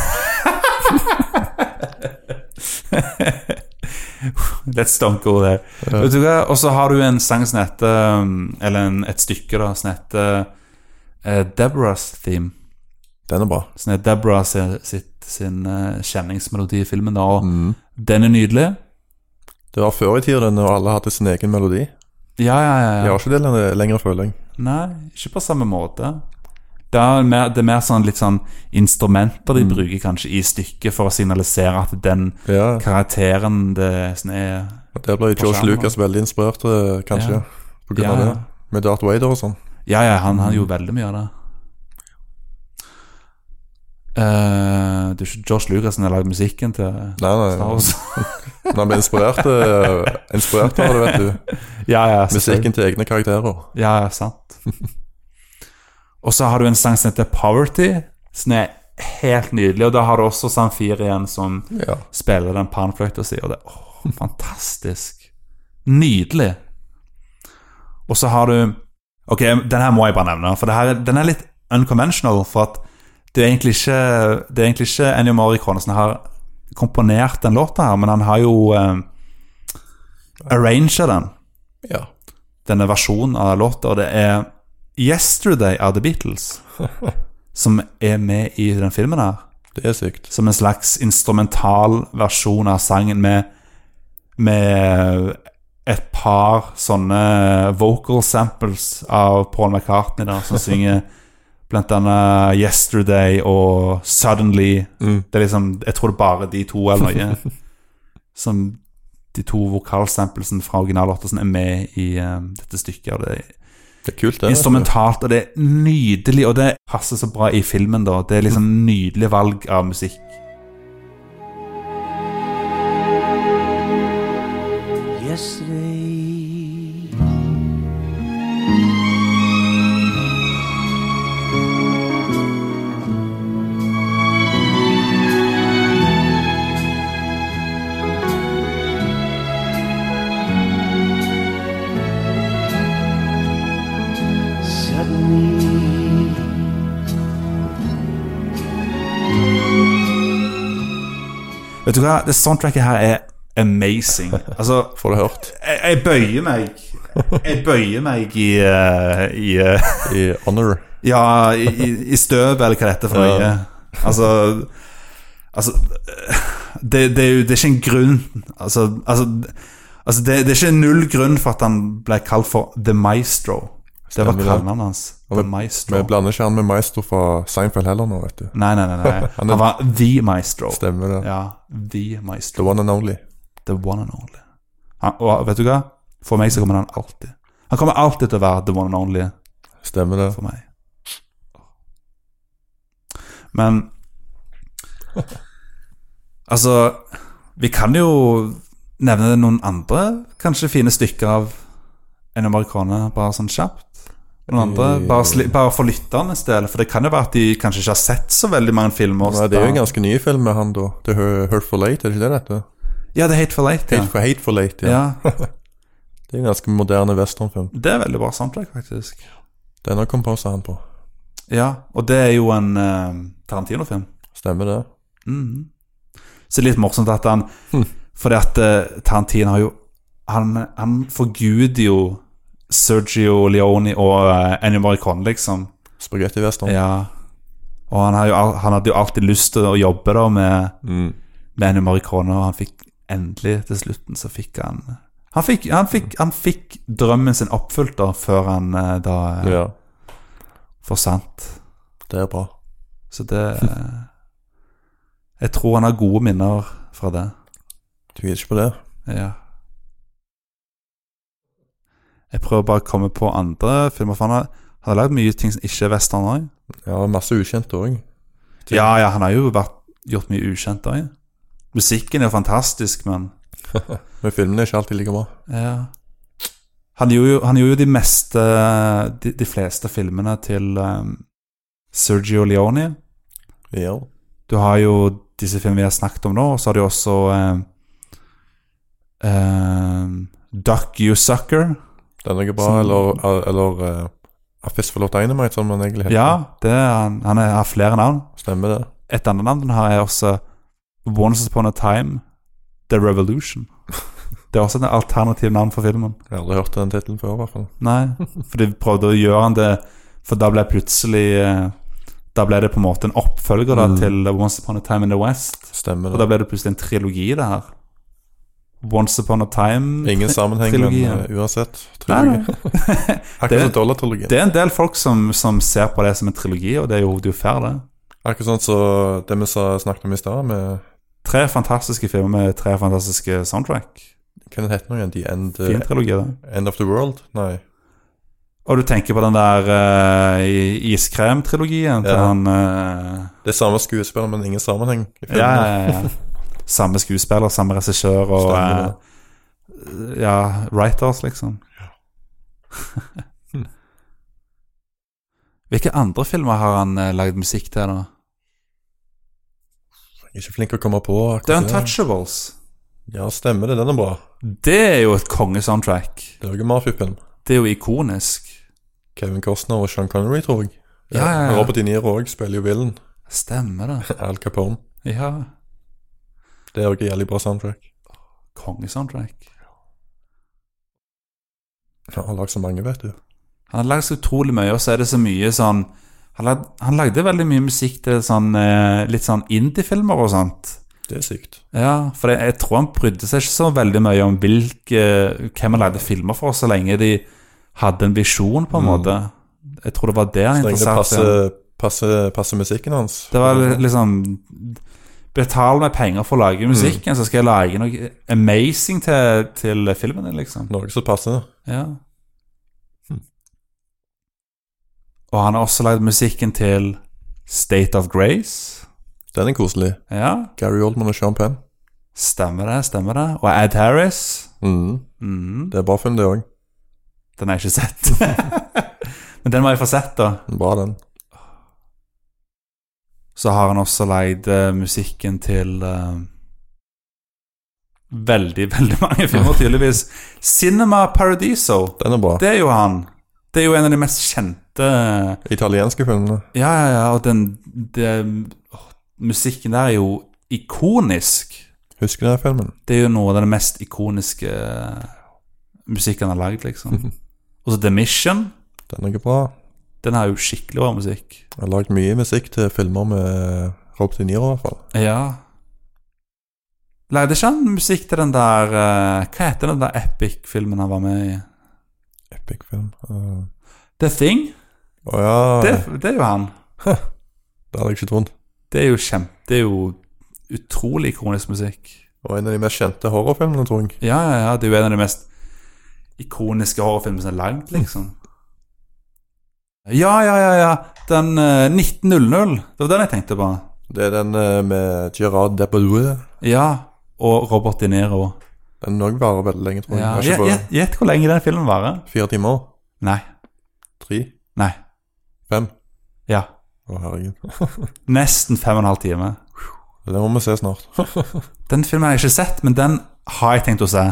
Speaker 1: Let's don't go there. Vet du hva? Og så har du en sang som heter um, Eller en, et stykke da som heter eh, Deborah's Theme.
Speaker 2: Den er bra.
Speaker 1: Som er Deborah sin, sitt, sin eh, kjenningsmelodi i filmen. da Og den er nydelig.
Speaker 2: Det var før i tida når alle hadde sin egen melodi.
Speaker 1: Ja, ja, ja.
Speaker 2: Jeg
Speaker 1: ja.
Speaker 2: har ikke det lenge- lenger, føler jeg.
Speaker 1: Nei, ikke på samme måte. Det er mer, det er mer sånn litt sånn instrumenter
Speaker 2: Mm.
Speaker 1: de bruker kanskje i stykket for å signalisere at den
Speaker 2: Ja.
Speaker 1: karakteren det som er
Speaker 2: Der ble jo George
Speaker 1: skjermen.
Speaker 2: Lucas veldig inspirert, eh, kanskje.
Speaker 1: Ja.
Speaker 2: På grunn av
Speaker 1: Ja.
Speaker 2: det. Med Darth Vader og sånn.
Speaker 1: Ja, ja, han, han gjorde veldig mye av det. Eh, det er ikke Josh Lucas som har lagd musikken til
Speaker 2: Nei,
Speaker 1: Star
Speaker 2: nei.
Speaker 1: Wars. [laughs]
Speaker 2: Men han ble inspirert, eh, inspirert av det, vet du.
Speaker 1: ja, ja, selvfølgelig.
Speaker 2: Musikken til egne karakterer.
Speaker 1: Ja, ja, sant. [laughs] og så har du en sang som heter Poverty, som er helt nydelig. Og da har du også Samfir igjen, som
Speaker 2: Ja.
Speaker 1: spiller den panfløyta si, og det er åh, fantastisk. Nydelig. Og så har du Ok, den her må jeg bare nevne, for det her, den er litt unconventional. For at det er egentlig ikke, det er egentlig ikke Ennio Morricone som har komponert den låta her, men han har jo eh, arranged den,
Speaker 2: ja.
Speaker 1: denne versjonen av låta, og det er Yesterday av The Beatles som er med i den filmen her
Speaker 2: Det er sykt.
Speaker 1: som en slags instrumental versjon av sangen med, med et par sånne vocal samples av Paul McCartney der, som synger blant annet 'Yesterday' og 'Suddenly'. Det er liksom, Jeg tror det er bare de to eller noe som de to vokalsamplesene fra originallåta som sånn er med i eh, dette stykket. og det er
Speaker 2: Det er kult, det. vet du.
Speaker 1: Instrumentalt, og det er nydelig, og det passer så bra i filmen, da. Det er liksom nydelig valg av musikk.
Speaker 8: yesterday. Suddenly,
Speaker 1: Vet du hva, det soundtracket her er amazing. Altså,
Speaker 2: Får du hørt
Speaker 1: jeg, jeg bøyer meg Jeg bøyer meg i, eh, i eh,
Speaker 2: i Honor.
Speaker 1: Ja, i, i- i støv, eller hva dette er for noe.
Speaker 2: Ja.
Speaker 1: Altså Altså det, det er jo det er ikke en grunn Altså, altså, altså det, det er ikke null grunn for at han ble kalt for The Maestro. Det var
Speaker 2: Stemmer det.
Speaker 1: kallenavnet hans.
Speaker 2: Og
Speaker 1: The
Speaker 2: vi-
Speaker 1: Maestro.
Speaker 2: Vi blander ikke han med Maestro fra Seinfeld heller nå, vet du.
Speaker 1: Nei, nei, nei. nei.
Speaker 2: Han er-
Speaker 1: Han var The Maestro.
Speaker 2: Stemmer det.
Speaker 1: Ja, The Maestro.
Speaker 2: The one and only.
Speaker 1: The one and only. Han, og vet du hva? For meg så kommer han alltid. Han kommer alltid til å være the one and only
Speaker 2: Stemmer det.
Speaker 1: for meg.
Speaker 2: [laughs]
Speaker 1: Men Altså, vi kan jo nevne noen andre kanskje fine stykker av en amerikaner, bare sånn kjapt. Noen andre,
Speaker 2: Eh.
Speaker 1: bare, sli, bare for lytternes del, for det kan jo være at de kanskje ikke har sett så veldig mange filmer.
Speaker 2: Nei, det er jo en ganske ny film med han, da. Det er Hurt- Hurtful Late, er det ikke det dette?
Speaker 1: Ja, det er Hateful Eight. Ja.
Speaker 2: Hateful, Hateful Late, ja.
Speaker 1: ja,
Speaker 2: Det er en ganske moderne westernfilm.
Speaker 1: det er veldig bra soundtrack, faktisk.
Speaker 2: Denne komposer han på.
Speaker 1: Ja, og det er jo en eh, Tarantino-film.
Speaker 2: Stemmer det.
Speaker 1: Mhm. Så det er litt morsomt at han
Speaker 2: Hm.
Speaker 1: Fordi at eh, Tarantino har jo Han, han forguder jo Sergio Leone og uh, Ennio Morricone, liksom.
Speaker 2: Spagetti western.
Speaker 1: Ja. Og han, har jo, al- han hadde jo alltid lyst til å jobbe da med,
Speaker 2: Mm.
Speaker 1: med Ennio Morricone, og han fikk endelig til slutten så fikk han han fikk, han, fikk, han fikk drømmen sin oppfylt da, før han eh, da eh,
Speaker 2: ja.
Speaker 1: forsvant.
Speaker 2: Det er bra.
Speaker 1: Så det eh, Jeg tror han har gode minner fra det.
Speaker 2: Tviler ikke på det.
Speaker 1: Ja. Jeg prøver bare å komme på andre filmer. For han har, han har lagd mye ting som ikke er western òg.
Speaker 2: Ja, masse ukjente òg.
Speaker 1: Ja, ja, han har jo vært, gjort mye ukjent òg. Musikken er jo fantastisk, men
Speaker 2: Men filmene er ikke alltid like bra.
Speaker 1: Ja. Han gjorde jo, han gjorde jo de meste de, de fleste filmene til um, Sergio Leone.
Speaker 2: Ja.
Speaker 1: Du har jo disse filmene vi har snakket om nå, og så har du også um, um, Duck You Sucker.
Speaker 2: Den er bra,
Speaker 1: Som-
Speaker 2: eller, eller eh, A Fistful of Dynamite, som den egentlig heter.
Speaker 1: Ja, det, er han, han er- har flere navn.
Speaker 2: Stemmer det.
Speaker 1: Et annet navn har jeg også Once Upon a Time The [laughs] Revolution. Det er også et alternativt navn for filmen.
Speaker 2: Jeg har aldri hørt den tittelen før, i hvert fall.
Speaker 1: Nei, for de prøvde å gjøre han det For da ble plutselig eh, Da ble det på en måte en oppfølger da,
Speaker 2: Mm.
Speaker 1: til Once Upon a Time in the West.
Speaker 2: Stemmer
Speaker 1: Og da
Speaker 2: det.
Speaker 1: ble det plutselig en trilogi, det her. Once Upon a Time
Speaker 2: Ingen sammenheng,
Speaker 1: [laughs]
Speaker 2: men
Speaker 1: Trilogi, ja.
Speaker 2: eh, uansett.
Speaker 1: Nei,
Speaker 2: Trilogi.
Speaker 1: nei. Det-
Speaker 2: [laughs] Akkurat som dollartrilogien.
Speaker 1: Det er en del folk som, som ser på det som en trilogi, og det er jo, det er jo fair, det.
Speaker 2: Akkurat sånn som det vi sa, snakket om i stad, med
Speaker 1: Tre fantastiske filmer med tre fantastiske soundtrack.
Speaker 2: Hva den heter den igjen? The End, eh,
Speaker 1: Fin trilogi, det.
Speaker 2: End of the World? Nei.
Speaker 1: Og du tenker på den der eh, i- iskremtrilogien til
Speaker 2: Ja.
Speaker 1: han eh,
Speaker 2: Det er samme skuespiller, men ingen sammenheng. i filmen.
Speaker 1: ja, ja, ja, ja. Samme skuespiller, samme regissør og
Speaker 2: Stemmer det.
Speaker 1: eh, Ja, writers, liksom. Hm. Hvilke andre filmer har han eh, lagd musikk til, da?
Speaker 2: Jeg er ikke flink til å komme på. akkurat
Speaker 1: The
Speaker 2: det.
Speaker 1: Untouchables.
Speaker 2: Ja, stemmer det. Den er bra.
Speaker 1: Det er jo et kongesoundtrack.
Speaker 2: Det er jo en mafiafilm.
Speaker 1: Det er jo ikonisk.
Speaker 2: Kevin Costner og Sean Connery, tror jeg.
Speaker 1: Ja, ja, ja.
Speaker 2: Robert De Niro òg spiller jo villen.
Speaker 1: Stemmer det.
Speaker 2: Al Capone.
Speaker 1: Ja.
Speaker 2: Det er òg en jævlig bra soundtrack.
Speaker 1: Kongesoundtrack.
Speaker 2: Ja, Han har lagd så mange, vet du.
Speaker 1: Han har lagd så utrolig mye, og så er det så mye sånn Han, lag, han lagde veldig mye musikk til sånn, eh, litt sånn indie-filmer og sånt.
Speaker 2: Det er sykt.
Speaker 1: Ja, for jeg, jeg tror han brydde seg ikke så veldig mye om hvilke, hvem han lagde filmer for, så lenge de hadde en visjon, på en
Speaker 2: Mm.
Speaker 1: måte. Jeg tror det var det han
Speaker 2: Så lenge det
Speaker 1: interesserte
Speaker 2: passer,
Speaker 1: seg i.
Speaker 2: passer, passer musikken hans.
Speaker 1: Det var li- liksom Betal meg penger for å lage
Speaker 2: Mm.
Speaker 1: musikken, så skal jeg lage noe amazing til, til filmen din, liksom.
Speaker 2: Noe som passer.
Speaker 1: Ja.
Speaker 2: Hmm.
Speaker 1: Og han har også lagd musikken til State of Grace.
Speaker 2: Den er koselig.
Speaker 1: Ja,
Speaker 2: Gary Oldman og Sean Penn.
Speaker 1: stemmer det, stemmer det. Og Ad Harris.
Speaker 2: Mm.
Speaker 1: Mhm,
Speaker 2: Det er bra film, det òg.
Speaker 1: Den har jeg ikke sett. [laughs] Men den må jeg få sett, da.
Speaker 2: Bra, den.
Speaker 1: Så har han også lagd eh, musikken til eh, Veldig, [laughs] veldig mange filmer, tydeligvis. Cinema Paradiso.
Speaker 2: Den er bra.
Speaker 1: Det er jo han. Det er jo en av de mest kjente eh,
Speaker 2: Italienske filmene.
Speaker 1: Ja, ja, ja, og den det, åh, Musikken der er jo ikonisk.
Speaker 2: Husker dere filmen?
Speaker 1: Det er jo noe av den mest ikoniske eh, musikken han har lagd,
Speaker 2: [laughs]
Speaker 1: liksom. Og så The Mission.
Speaker 2: Den er bra.
Speaker 1: Den har jo skikkelig bra musikk.
Speaker 2: Jeg har lagd mye musikk til filmer med Robert De Niro, i hvert fall.
Speaker 1: Ja. Lagde ikke han musikk til den der eh, Hva heter den der epic-filmen han var med i?
Speaker 2: Epic film. Eh,
Speaker 1: The Thing?
Speaker 2: Å ja.
Speaker 1: Det,
Speaker 2: Det,
Speaker 1: det er jo han.
Speaker 2: hadde jeg ikke trodd.
Speaker 1: Det er jo kjempe... Det er jo utrolig ikonisk musikk.
Speaker 2: Og en av de mest kjente horrorfilmene, tror jeg.
Speaker 1: Ja, ja, ja. Det er jo en av de mest ikoniske horrorfilmene som er lagd, liksom. Ja, ja, ja, ja. Den eh, 1900. Det var den jeg tenkte på.
Speaker 2: Det er den eh, med Gerard Depardieu.
Speaker 1: Ja. Og Robert De Niro.
Speaker 2: Den òg varer veldig lenge, tror jeg.
Speaker 1: Ja.
Speaker 2: jeg.
Speaker 1: Gjett
Speaker 2: har Ikke
Speaker 1: gjett- gjett hvor lenge den filmen varer.
Speaker 2: på fire timer?
Speaker 1: Nei.
Speaker 2: Tre?
Speaker 1: Nei.
Speaker 2: Fem?
Speaker 1: Ja.
Speaker 2: Å, herregud.
Speaker 1: Nesten fem og en halv time.
Speaker 2: Det må vi se snart.
Speaker 1: Den filmen har jeg ikke sett, men den har jeg tenkt å se.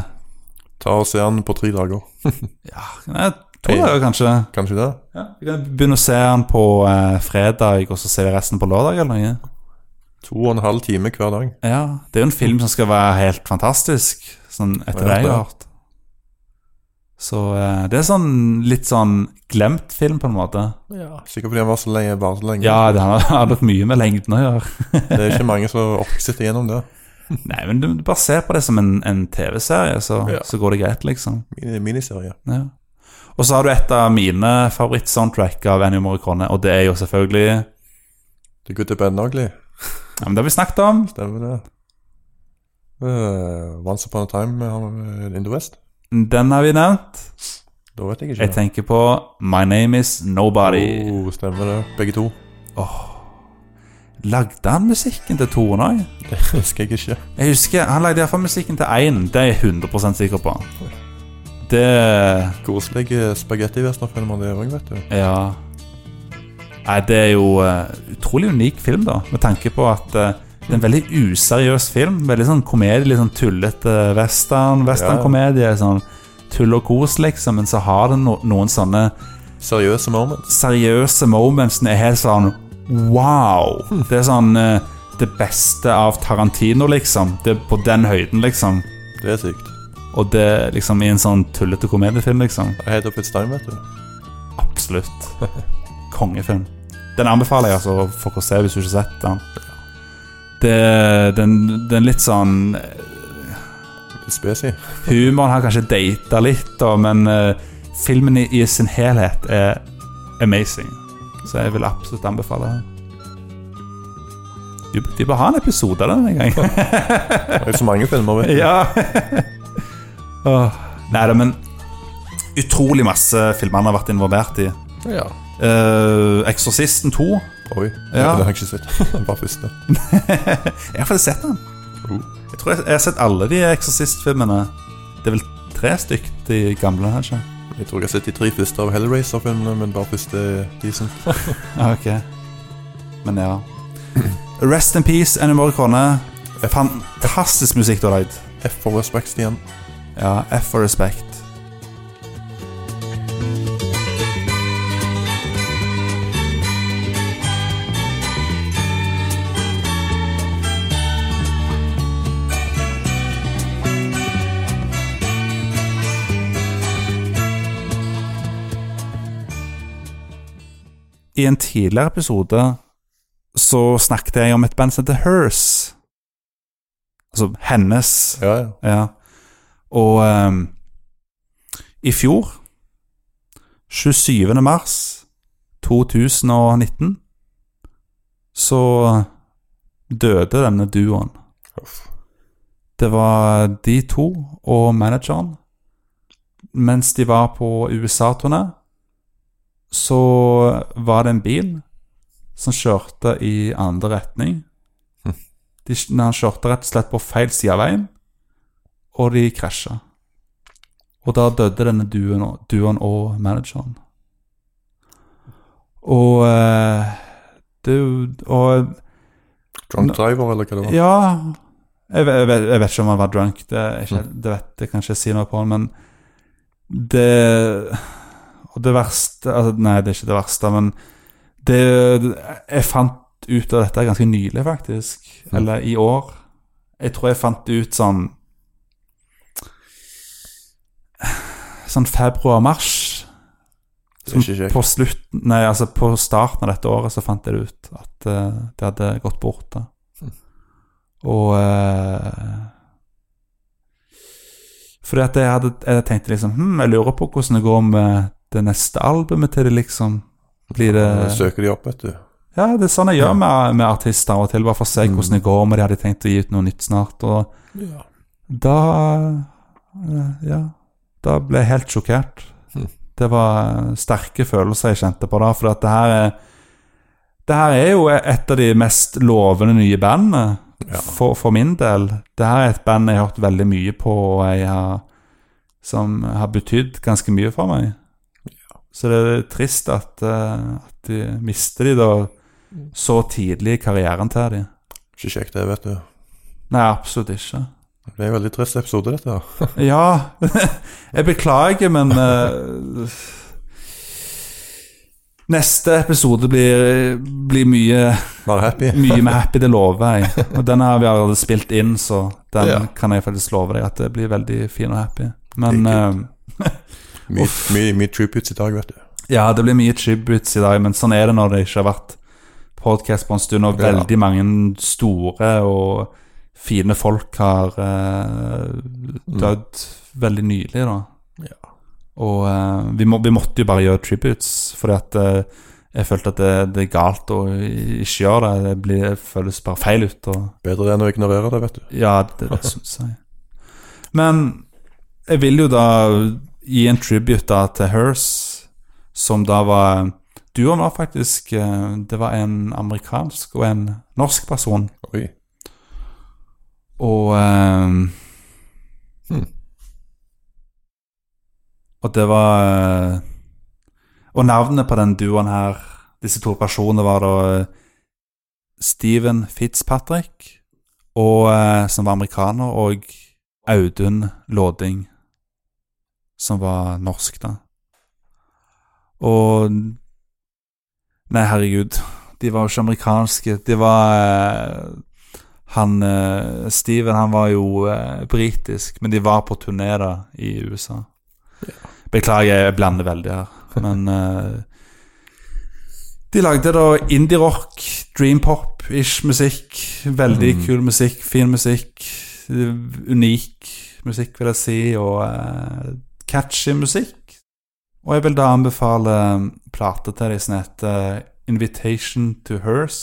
Speaker 2: Ta og se den på tre dager.
Speaker 1: Ja, nei, to dager, kanskje.
Speaker 2: Kanskje det?
Speaker 1: Ja, Vi kan begynne å se den på eh, fredag, og så ser vi resten på lørdag eller noe.
Speaker 2: To og en halv time hver dag.
Speaker 1: Ja, det er jo en film som skal være helt fantastisk, sånn etter
Speaker 2: Ja,
Speaker 1: det jeg
Speaker 2: det.
Speaker 1: har hørt. Så eh, det er sånn litt sånn glemt film, på en måte.
Speaker 2: Sikkert fordi han var så lenge, var så lenge.
Speaker 1: Ja, det har [laughs] har nok mye med lengden å gjøre. [laughs]
Speaker 2: Det er ikke mange som orker å sitte gjennom det.
Speaker 1: Nei, men du bare ser på det som en, en TV-serie, så,
Speaker 2: Ja.
Speaker 1: så går det greit, liksom.
Speaker 2: Mini- Miniserie.
Speaker 1: Ja. Og så har du et av mine favorittsoundtrack av Ennio Morricone, og det er jo selvfølgelig ja,
Speaker 2: The Good, The Bad and Ugly.
Speaker 1: men Det har vi snakket om.
Speaker 2: Stemmer det. Eh, Once Upon a Time eh, in the West.
Speaker 1: Den har vi nevnt.
Speaker 2: Da vet jeg ikke.
Speaker 1: Jeg tenker på My Name Is Nobody.
Speaker 2: Oh, stemmer det. Begge to.
Speaker 1: Lagde han musikken til toen òg?
Speaker 2: [laughs] Det husker jeg ikke.
Speaker 1: Jeg husker, Han lagde iallfall musikken til én. Det er jeg 100 sikker på. Det
Speaker 2: Koselig eh, spagettivesterfilmer, det òg, vet du.
Speaker 1: Ja. Nei, det er jo eh, utrolig unik film, da, med tanke på at eh, det er en veldig useriøs film. Veldig sånn komedie, litt sånn tullete western, westernkomedie. Sånn tull og kos, liksom, men så har den no noen sånne
Speaker 2: Seriøse moments.
Speaker 1: seriøse momentsene er helt sånn Wow! Det er sånn eh, det beste av Tarantino, liksom. Det er på den høyden, liksom.
Speaker 2: Det er sykt.
Speaker 1: Og det er liksom i en sånn tullete komediefilm, liksom.
Speaker 2: Helt opp et stein, vet du.
Speaker 1: Absolutt. Kongefilm. Den anbefaler jeg altså folk å se hvis du ikke har sett den. Det, den, den litt sånn
Speaker 2: Litt spesi.
Speaker 1: Humoren har kanskje data litt, da, men eh, filmen i, i sin helhet er amazing. Så jeg vil absolutt anbefale den. De, de bør ha en episode av den en gang. [laughs]
Speaker 2: Det er jo så mange filmer, vet du.
Speaker 1: ja. Åh. Nei da, men utrolig masse filmer han har vært involvert i.
Speaker 2: ja.
Speaker 1: Eh, 'Eksorsisten 2'.
Speaker 2: Oi.
Speaker 1: Ja.
Speaker 2: Det har jeg ikke sett. [laughs] Bare første.
Speaker 1: [laughs] Jeg har faktisk sett den. Jeg tror jeg, jeg har sett alle de Exorcist-filmene. Det er vel tre stykk, de gamle, kanskje?
Speaker 2: Jeg tror jeg har sett de tre første av Hellraiser-filmene, men bare første er decent.
Speaker 1: Ja, Ok. Men ja. Rest in peace, Annie Morricone. Fantastisk musikk du har lagd.
Speaker 2: F for respect igjen.
Speaker 1: Ja, F for respect. I en tidligere episode så snakket jeg om et band som heter Hers. Altså hennes
Speaker 2: Ja, ja.
Speaker 1: ja. Og ehm, i fjor, 27. mars 2019, så døde denne duoen. Det var de to og manageren. Mens de var på USA-turné, så var det en bil som kjørte i andre retning. De, han kjørte rett og slett på feil side av veien og de krasja. Og da døde denne duen, og- duen og manageren. Og eh, det er jo- Og
Speaker 2: Drunk Driver, eller hva det var.
Speaker 1: ja jeg, ve- jeg, vet, jeg vet ikke om han var drunk, det, er ikke, det vet jeg kanskje jeg sier noe på han, men det Og det verste altså, Nei, det er ikke det verste, men det Jeg fant ut av dette ganske nylig, faktisk. Eller i år. Jeg tror jeg fant ut sånn Sånn februar-mars.
Speaker 2: Det er ikke kjekt.
Speaker 1: På slutten, nei, altså på starten av dette året så fant jeg det ut at eh, det hadde gått bort. da. Og eh, Fordi at jeg, hadde, jeg tenkte liksom hm, Jeg lurer på hvordan det går med det neste albumet til det, liksom. Blir det
Speaker 2: Da Søker de opp, vet du.
Speaker 1: Ja, Hm. det er sånn jeg gjør med, med artister av og til, bare for å se hvordan det går med de hadde tenkt å gi ut noe nytt snart. Og
Speaker 2: Ja.
Speaker 1: da eh, Ja. Da ble jeg helt sjokkert. Det var eh, sterke følelser jeg kjente på da, for at det her er Det her er jo e-, et av de mest lovende nye bandene for, for min del. Det her er et band jeg har hørt veldig mye på, og jeg har, som har betydd ganske mye for meg. Så det er trist at, eh, at de mister de da så tidlig i karrieren til de.
Speaker 2: Ikke kjekt, det, vet du.
Speaker 1: Nei, absolutt ikke.
Speaker 2: Det ble en veldig trist episode, dette her.
Speaker 1: Ja, [laughs] jeg beklager, men eh, Neste episode blir, blir mye,
Speaker 2: Vær happy.
Speaker 1: mye med happy, det lover jeg. Og den har vi allerede spilt inn, så den
Speaker 2: Ja.
Speaker 1: kan jeg faktisk love deg at det blir veldig fin og happy. Men
Speaker 2: Det er
Speaker 1: eh,
Speaker 2: Mye mye- mye tributes i dag, vet du.
Speaker 1: ja, det blir mye tributes i dag, men sånn er det når det ikke har vært podkast på en stund, og
Speaker 2: Ja.
Speaker 1: veldig mange store og fine folk har eh, dødd veldig nylig, da.
Speaker 2: Mm. Ja.
Speaker 1: Og eh, vi, må, vi måtte jo bare gjøre tributes, fordi at eh, jeg følte at det, det er galt å ikke gjøre det. Det blir, det føles bare feil ut. Og
Speaker 2: Bedre enn å ignorere det, vet du.
Speaker 1: ja, det, det syns jeg. Men jeg vil jo da gi en tribute da til Hers, som da var Duoen var faktisk eh, Det var en amerikansk og en norsk person.
Speaker 2: Oi.
Speaker 1: Og eh,
Speaker 2: Hmm.
Speaker 1: Og det var eh, Og navnet på den duoen her, disse to personene, var da eh, Steven Fitzpatrick, og, eh, som var amerikaner, og Audun Låding, som var norsk, da. Og Nei, herregud. De var jo ikke amerikanske. De var eh, han eh, Steven han var jo eh, britisk, men de var på turné da i USA. Beklager, jeg blander veldig her, men eh, De lagde da indie-rock, dream-pop-ish musikk. Veldig kul musikk, fin musikk. Unik musikk, vil jeg si, og eh, catchy musikk. Og jeg vil da anbefale plate til deg som heter eh, Invitation to Hers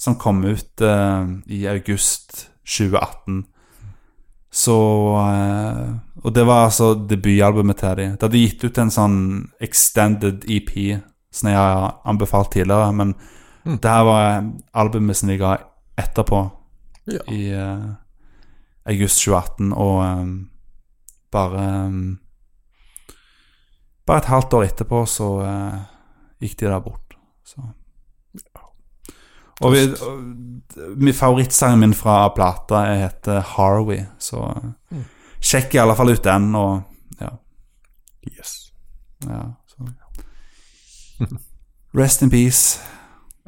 Speaker 1: som kom ut eh, i august 2018. Så eh, Og det var altså debutalbumet til dem. De hadde gitt ut en sånn extended EP som jeg har anbefalt tidligere, men
Speaker 2: Mm.
Speaker 1: det her var albumet som de ga etterpå,
Speaker 2: Ja.
Speaker 1: i eh, august 2018, og eh, bare eh, Bare et halvt år etterpå så eh, gikk de der bort. Så. Og, vi, og min favorittsangen min fra plata heter Harvey, så sjekk i alle fall ut den, og ja.
Speaker 2: Yes.
Speaker 1: ja så. Rest in peace.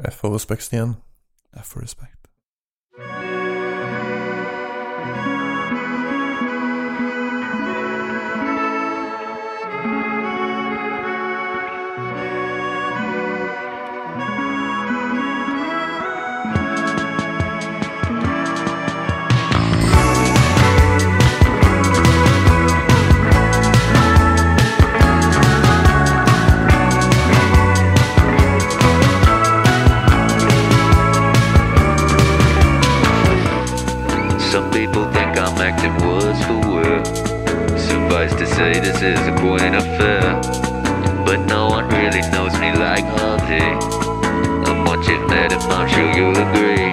Speaker 2: F for respekt igjen.
Speaker 1: F for respect.
Speaker 9: Some people think I'm acting words for word. Suffice to say, this is a quaint affair. But no one really knows me like Auntie. I'm watching that, and I'm sure you'll agree.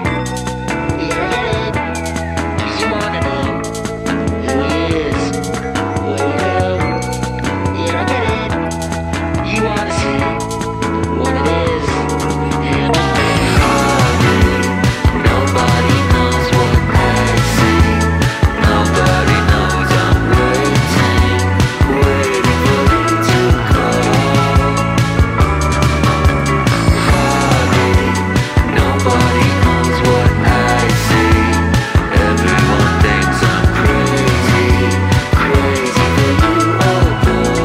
Speaker 9: Nobody knows what I see. Nobody knows I'm waiting, waiting for you to call. Hardy. Nobody knows what I see. Everyone thinks I'm crazy, crazy for you, oh boy.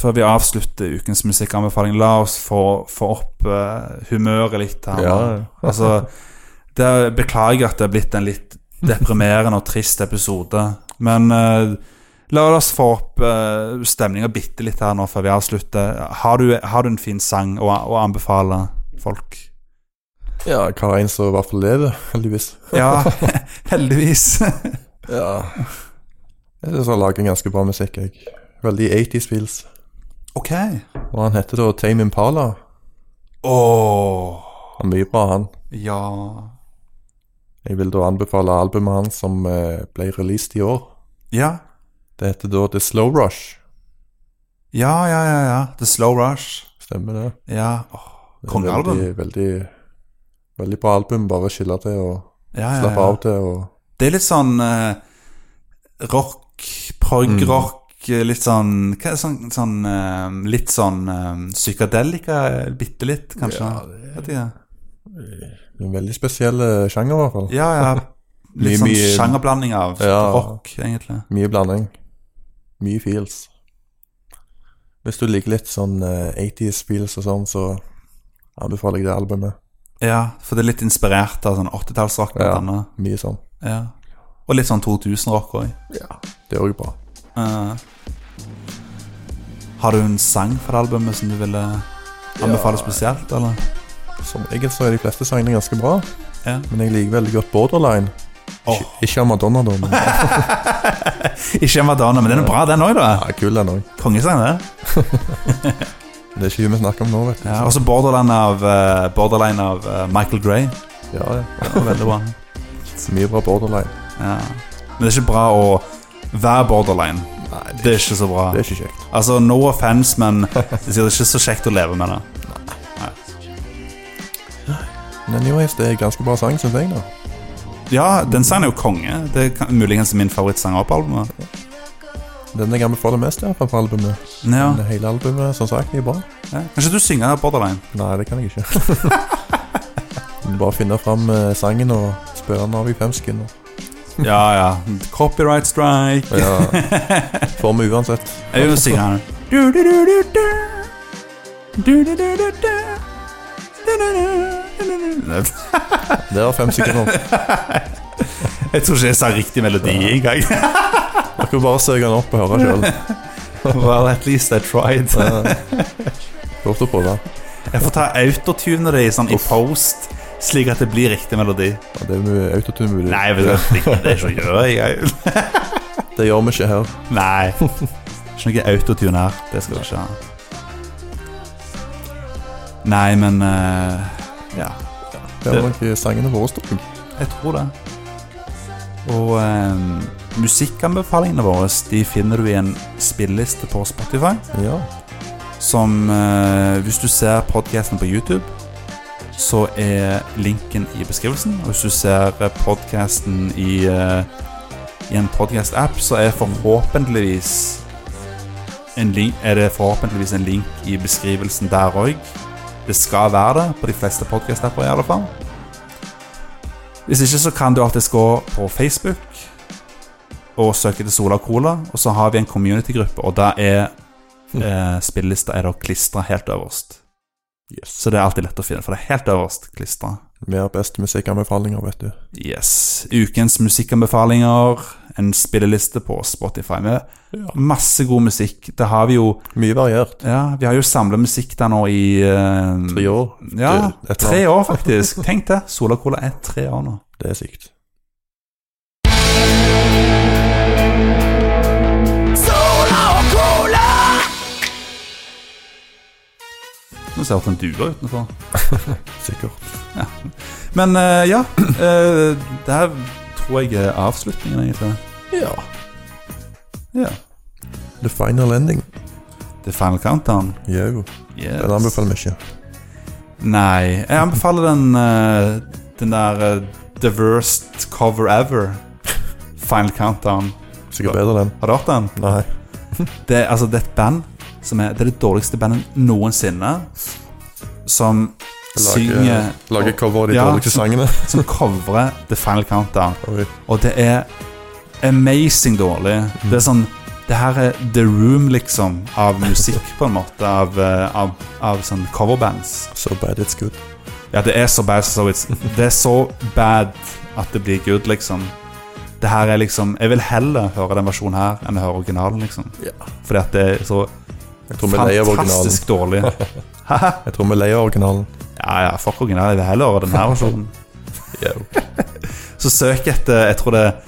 Speaker 1: Før vi avslutter ukens musikkanbefaling, la oss få, få opp eh, humøret litt her. nå.
Speaker 2: Ja.
Speaker 1: altså, det, beklager at det har blitt en litt deprimerende og trist episode, men eh, la oss få opp uh, stemninga bitte litt her nå før vi avslutter. Har du, har du en fin sang å, å anbefale folk?
Speaker 2: Ja, jeg har en som i hvert fall lever, heldigvis.
Speaker 1: Ja, [laughs] heldigvis. [laughs]
Speaker 2: Ja. Jeg syns han lager ganske bra musikk, jeg. Veldig 80s feels.
Speaker 1: ok.
Speaker 2: Og han heter da Tame Impala.
Speaker 1: Åh,
Speaker 2: Han er mye bra, han.
Speaker 1: ja.
Speaker 2: Jeg vil da anbefale albumet hans som eh, ble released i år.
Speaker 1: Ja,
Speaker 2: Det heter da The Slow Rush.
Speaker 1: ja, ja, ja. ja. The Slow Rush.
Speaker 2: Stemmer det?
Speaker 1: Ja. Åh,
Speaker 2: Det er
Speaker 1: Kongealbum.
Speaker 2: Veldig, veldig, veldig bra album. Bare skille til og
Speaker 1: Ja, ja,
Speaker 2: slappe
Speaker 1: ja.
Speaker 2: av til. og...
Speaker 1: Det er litt sånn eh, rock,
Speaker 2: Mm.
Speaker 1: prog-rock, eh, litt sånn, hva er det, sånn, sånn eh, Litt sånn um, psykadelika, eh, bitte litt, kanskje?
Speaker 2: Ja,
Speaker 1: Vet ikke.
Speaker 2: En veldig spesiell eh, sjanger, i hvert fall.
Speaker 1: ja,
Speaker 2: [laughs]
Speaker 1: ja. Litt
Speaker 2: Mye-
Speaker 1: sånn
Speaker 2: mye-
Speaker 1: sjangerblanding av
Speaker 2: Ja.
Speaker 1: rock, egentlig.
Speaker 2: Mye blanding. Mye feels. Hvis du liker litt sånn eh, 80s feels og sånn, så anbefaler jeg det albumet.
Speaker 1: Ja, for det er litt inspirert av sånn 80-tallsrock, blant
Speaker 2: Ja.
Speaker 1: annet.
Speaker 2: Mye sånn.
Speaker 1: Ja. Og litt sånn 2000-rock òg.
Speaker 2: Det er òg bra.
Speaker 1: Eh, har du en sang fra albumet som du ville anbefale spesielt, eller?
Speaker 2: Som regel så er de fleste sangene ganske bra,
Speaker 1: Ja.
Speaker 2: men jeg liker veldig godt Borderline. Ikke, ikke av Madonna,
Speaker 1: [laughs]
Speaker 2: da. Men, ja,
Speaker 1: Ikke Madonna, men den er bra, den òg, da.
Speaker 2: kul den òg.
Speaker 1: Kongesang, det.
Speaker 2: Det er ikke hun vi snakker om nå, vet du.
Speaker 1: Ja, også Borderline av, eh, borderline av eh, Michael Gray.
Speaker 2: Ja, ja.
Speaker 1: [laughs] Det var Veldig bra.
Speaker 2: Mye bra borderline.
Speaker 1: Ja. Men det er ikke bra å være borderline.
Speaker 2: Nei,
Speaker 1: Det er ikke så bra.
Speaker 2: det er ikke kjekt.
Speaker 1: Altså, No offense, men det er ikke så kjekt å leve med det.
Speaker 2: Men anyways, det er en ganske bra sang, syns jeg. da
Speaker 1: Ja, den sangen er jo konge. Det er kan- muligens min favorittsang opp albumet.
Speaker 2: Den jeg anbefaler mest, i hvert fall på albumet.
Speaker 1: Ja.
Speaker 2: Men Hele albumet, som sagt, er bra.
Speaker 1: ja. Kanskje du synger [laughs] Borderline?
Speaker 2: Nei, det kan jeg ikke. [laughs] Bare finne fram eh, sangen og spille den av i femsken. og-
Speaker 1: Ja, ja. Copyright strike. [laughs]
Speaker 2: Ja, Får vi uansett.
Speaker 1: Jeg vil synge [laughs] her.
Speaker 2: Det var fem sekunder.
Speaker 1: Jeg tror ikke jeg sa riktig melodi engang.
Speaker 2: Dere kan bare søke den opp og høre sjøl.
Speaker 1: Well, at least I [laughs] tried.
Speaker 2: Godt å prøve.
Speaker 1: Jeg får ta autotune det i, sånn, i post, slik at det blir riktig melodi.
Speaker 2: Ja, Det er mye autotune mulig.
Speaker 1: Nei, vet du, det det er ikke å gjøre. Jeg.
Speaker 2: Det gjør vi ikke her.
Speaker 1: Nei. Ikke noe autotune her. Det skal vi ikke ha. Nei, men eh, Ja,
Speaker 2: Det er nok sangene våre står.
Speaker 1: jeg tror det. Og eh, musikkanbefalingene våre de finner du i en spilleliste på Spotify.
Speaker 2: Ja.
Speaker 1: Som eh, Hvis du ser podcasten på YouTube, så er linken i beskrivelsen. Og hvis du ser eh, podcasten i, eh, i en podcast-app, så er forhåpentligvis en link, er det forhåpentligvis en link i beskrivelsen der òg. Det skal være det på de fleste podcast-apper i alle fall. Hvis ikke, så kan du alltids gå på Facebook og søke til Sola Cola. Og så har vi en community-gruppe, og der er eh, spillelista er da klistra helt øverst. Så det er alltid lett å finne, for det er helt øverst klistra.
Speaker 2: Vi har best musikkanbefalinger, vet du.
Speaker 1: Yes. Ukens musikkanbefalinger, en spilleliste på Spotify med masse god musikk. Det har vi jo
Speaker 2: Mye variert.
Speaker 1: Ja, vi har jo samla musikk der nå i eh,
Speaker 2: Tre år.
Speaker 1: Ja,
Speaker 2: Det- et eller
Speaker 1: tre
Speaker 2: annet.
Speaker 1: år, faktisk. [laughs] Tenk det. Sola Cola er tre år nå.
Speaker 2: Det er sykt.
Speaker 1: Nå ser jeg at en due utenfor.
Speaker 2: Sikkert.
Speaker 1: Men eh, ja, [clears throat] eh, det her tror jeg er avslutningen, egentlig.
Speaker 2: Ja.
Speaker 1: Ja.
Speaker 2: The final ending.
Speaker 1: The Final Countdown.
Speaker 2: Jo.
Speaker 1: Yes.
Speaker 2: Den anbefaler vi ikke.
Speaker 1: Nei, jeg anbefaler den eh, Den der eh, The Worst Cover Ever Final Countdown
Speaker 2: Sikkert bedre, den.
Speaker 1: Har du hørt den?
Speaker 2: Nei.
Speaker 1: Det, er- altså, det er et band som er, Det er det dårligste bandet noensinne Som synger
Speaker 2: Lage cover av de
Speaker 1: Ja.
Speaker 2: dårligste sangene.
Speaker 1: Som coverer The Final Countdown
Speaker 2: Oi.
Speaker 1: Og det er amazing dårlig Det er sånn Det her er The Room liksom Av musikk på en måte Av, eh, av, av sånn coverbands
Speaker 2: So bad it's good.
Speaker 1: Ja, det er så bad so it's, Det er så bad at det blir good, liksom. Det her er liksom Jeg vil heller høre den versjonen her enn å høre originalen, liksom.
Speaker 2: Ja.
Speaker 1: Fordi at det er så
Speaker 2: Jeg tror vi er lei av originalen.
Speaker 1: fantastisk dårlig.
Speaker 2: Jeg tror vi er lei av originalen.
Speaker 1: Ja, ja, fuck originalen. Jeg vil heller høre den her versjonen.
Speaker 2: Jo.
Speaker 1: Så søk etter Jeg tror det er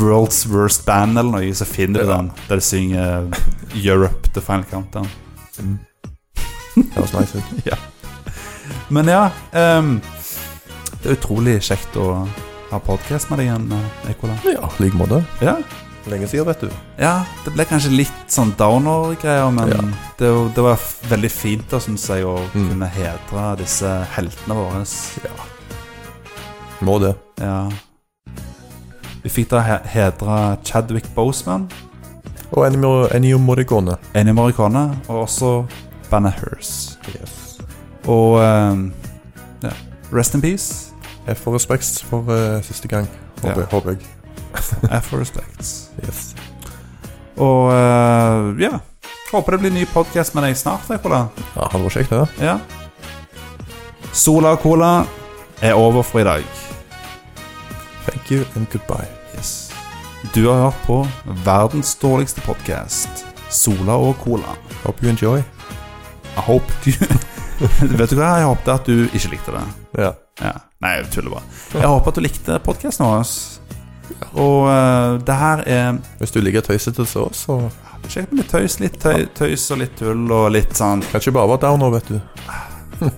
Speaker 1: World's Worst Band eller noe, så finner du
Speaker 2: Ja.
Speaker 1: den der de synger eh, Europe The Final Countdown.
Speaker 2: Det høres nice ut.
Speaker 1: Men ja ehm, Det er utrolig kjekt å ha podkast med deg igjen, Ekola.
Speaker 2: Ja, i like måte.
Speaker 1: Ja.
Speaker 2: Lenge siden, vet du.
Speaker 1: Ja, det ble kanskje litt sånn downer-greier, men
Speaker 2: Ja.
Speaker 1: det, er jo- det var f- veldig fint da, synes jeg, å
Speaker 2: Mm.
Speaker 1: kunne hedre disse heltene våre.
Speaker 2: Må det.
Speaker 1: Ja. Vi fikk da he hedre Chadwick Boseman,
Speaker 2: Og Ennio- Ennio Morricone.
Speaker 1: Ennio Morricone, og også bandet Hers.
Speaker 2: Yes.
Speaker 1: Og ehm, ja. Rest in peace,
Speaker 2: Jeg får respekt for eh, siste gang, håper,
Speaker 1: Ja.
Speaker 2: håper jeg.
Speaker 1: Afro Respects. [laughs]
Speaker 2: Yes.
Speaker 1: Og eh, ja, håper det blir ny podcast med deg snart, Ekola.
Speaker 2: Ja, hadde vært kjekt, det.
Speaker 1: Ja. Sola og cola er over for i dag.
Speaker 2: Thank you and goodbye.
Speaker 1: Yes. Du har hørt på verdens dårligste podkast, Sola og Cola.
Speaker 2: Hope you enjoy.
Speaker 1: Jeg håper du [laughs] Vet du hva, jeg håpet at du ikke likte det.
Speaker 2: Ja.
Speaker 1: Ja. Nei, jeg tuller bare. Jeg håper at du likte podkasten vår. Og eh, det her er
Speaker 2: Hvis du liker tøysete så, så
Speaker 1: Sjekk med litt tøys, litt tøy, tøys og litt tull og litt sånn
Speaker 2: kan ikke bare være down nå, vet du.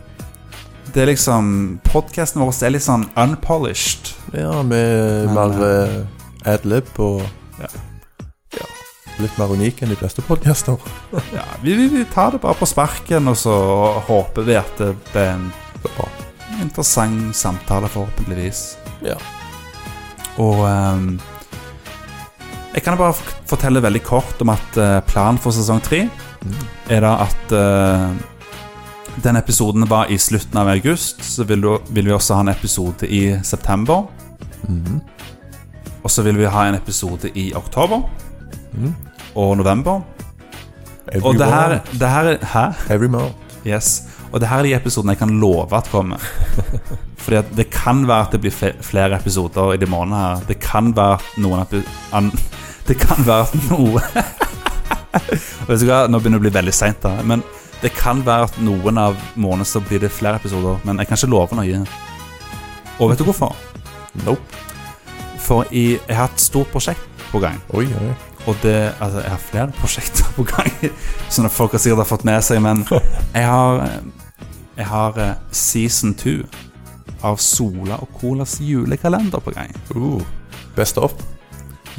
Speaker 1: Det er liksom Podkasten vår er litt sånn unpolished.
Speaker 2: Ja, med
Speaker 1: Men,
Speaker 2: mer eh, adlib og
Speaker 1: Ja.
Speaker 2: ja, litt mer unik enn de fleste podcaster.
Speaker 1: Ja, vi, vi, vi tar det bare på sparken, og så håper vi at det blir en
Speaker 2: Det er bra.
Speaker 1: interessant samtale, forhåpentligvis.
Speaker 2: Ja.
Speaker 1: Og ehm, jeg kan bare fort- fortelle veldig kort om at eh, planen for sesong tre er da at eh, den episoden var i slutten av august, så vil, du, vil vi også ha en episode i september. Og så vil vi ha en episode i oktober og november.
Speaker 2: Every
Speaker 1: Og det her,
Speaker 2: month.
Speaker 1: det her er- Hæ?
Speaker 2: Every month.
Speaker 1: Yes. Og det her er de episodene jeg kan love at kommer. Fordi at det kan være at det blir fe- flere episoder i de månedene her. Det kan være at noen epi an [laughs] Det kan være at noe [laughs] Vet du hva, Nå begynner det å bli veldig seint, men det kan være at noen av månedene så blir det flere episoder. Men jeg kan ikke love noe. Og vet du hvorfor?
Speaker 2: Nope.
Speaker 1: For i, jeg har et stort prosjekt på gang.
Speaker 2: Oi, oi.
Speaker 1: Og det, altså, jeg har flere prosjekter på gang, [laughs] som folk har sikkert har fått med seg, men jeg har, eh, jeg har eh, season 2 av Sola og Colas julekalender på gang.
Speaker 2: Uh. Best opp.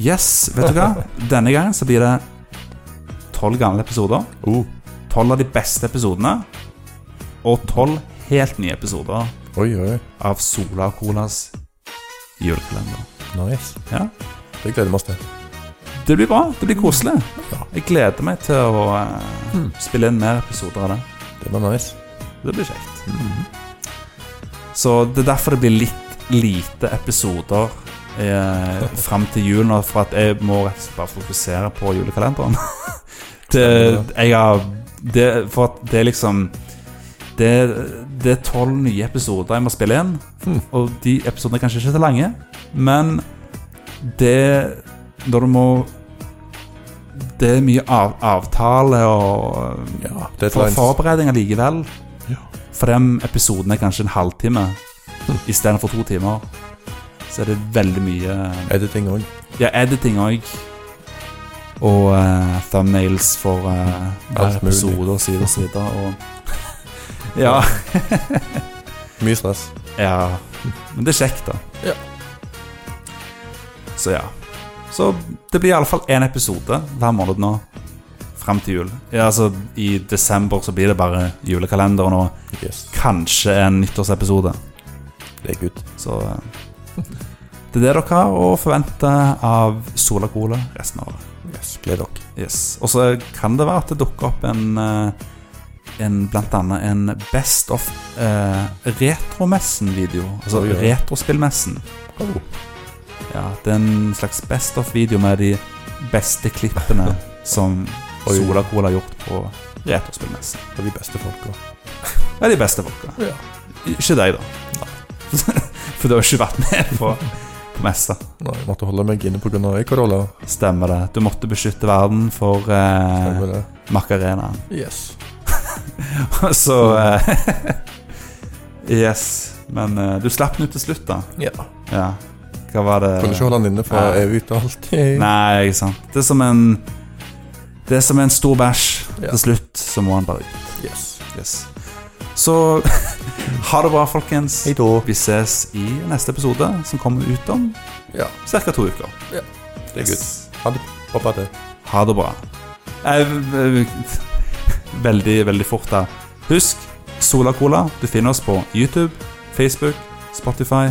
Speaker 1: Yes, vet du hva? Denne gangen så blir det 12 gamle episoder,
Speaker 2: Uh.
Speaker 1: 12 av de beste episodene, og 12 helt nye episoder
Speaker 2: Oi, oi.
Speaker 1: av Sola og Colas julekalender.
Speaker 2: Nice.
Speaker 1: Ja,
Speaker 2: Det gleder vi oss til.
Speaker 1: det blir bra, det blir koselig. Jeg gleder meg til å eh, spille inn mer episoder av det.
Speaker 2: Det blir nice.
Speaker 1: Det blir kjekt. Mhm. Så det er derfor det blir litt lite episoder eh, fram til jul nå, for at jeg må rett og slett bare fokusere på julekalenderen. [laughs] det, jeg har det, For at det er liksom Det, det er tolv nye episoder jeg må spille inn, og de episodene er kanskje ikke så lange, men det Når du må Det er mye av, avtale og
Speaker 2: Ja, det er
Speaker 1: for
Speaker 2: et lines.
Speaker 1: forberedninger likevel. For den episoden er kanskje en
Speaker 2: [laughs]
Speaker 1: halvtime istedenfor to timer. Så er det veldig mye
Speaker 2: Editing òg.
Speaker 1: Ja, editing òg. Og eh, thumbnails for eh, hver
Speaker 2: Alt mulig.
Speaker 1: episode og side og side. Og
Speaker 2: [laughs]
Speaker 1: ja,
Speaker 2: Mye stress.
Speaker 1: ja. Men det er kjekt, da.
Speaker 2: Ja.
Speaker 1: Så ja. Så det blir iallfall én episode hver måned nå fram til jul. Ja, altså, I desember så blir det bare julekalenderen og
Speaker 2: Yes.
Speaker 1: kanskje en nyttårsepisode.
Speaker 2: Det er good.
Speaker 1: Så eh, det er det dere har å forvente av Sola Cola resten av året.
Speaker 2: Yes. Gled dere.
Speaker 1: Yes. Og så kan det være at det dukker opp en, eh, en blant annet en Best of eh, Retromessen-video. Altså
Speaker 2: Oi, oi.
Speaker 1: Retrospillmessen.
Speaker 2: Oh.
Speaker 1: Ja, det er en slags Best of-video med de beste klippene
Speaker 2: [laughs]
Speaker 1: som
Speaker 2: Oi.
Speaker 1: Sola Cola har gjort på Retrospillmessen.
Speaker 2: Det er de beste folka.
Speaker 1: Det er de beste folka.
Speaker 2: Ja.
Speaker 1: Ikke deg, da. [laughs] For du har ikke vært med på, på messa.
Speaker 2: Nei, jeg måtte holde meg inne pga. øyekorolla.
Speaker 1: Stemmer det. Du måtte beskytte verden for eh,
Speaker 2: Uh,
Speaker 1: Macarena. [laughs]
Speaker 2: yes.
Speaker 1: Så eh, [laughs] Yes. Men eh, du slapp den ut til slutt, da.
Speaker 2: Ja.
Speaker 1: Ja. Hva var det
Speaker 2: Kunne ikke holde han inne for
Speaker 1: Nei.
Speaker 2: evig og alltid.
Speaker 1: Nei, ikke sant. Det er som en Det er som en stor bæsj.
Speaker 2: Ja.
Speaker 1: Til slutt så må han bare ut.
Speaker 2: Yes.
Speaker 1: Yes. Så [laughs] ha det bra, folkens.
Speaker 2: Hei da.
Speaker 1: Vi ses i neste episode, som kommer ut om
Speaker 2: Ja,
Speaker 1: ca. to uker.
Speaker 2: det er good.
Speaker 1: Yes.
Speaker 2: Ha det. Håper det.
Speaker 1: Ha det bra. Eh, v- [laughs] v- Veldig, veldig fort her. Husk Sola Cola. Du finner oss på YouTube, Facebook, Spotify.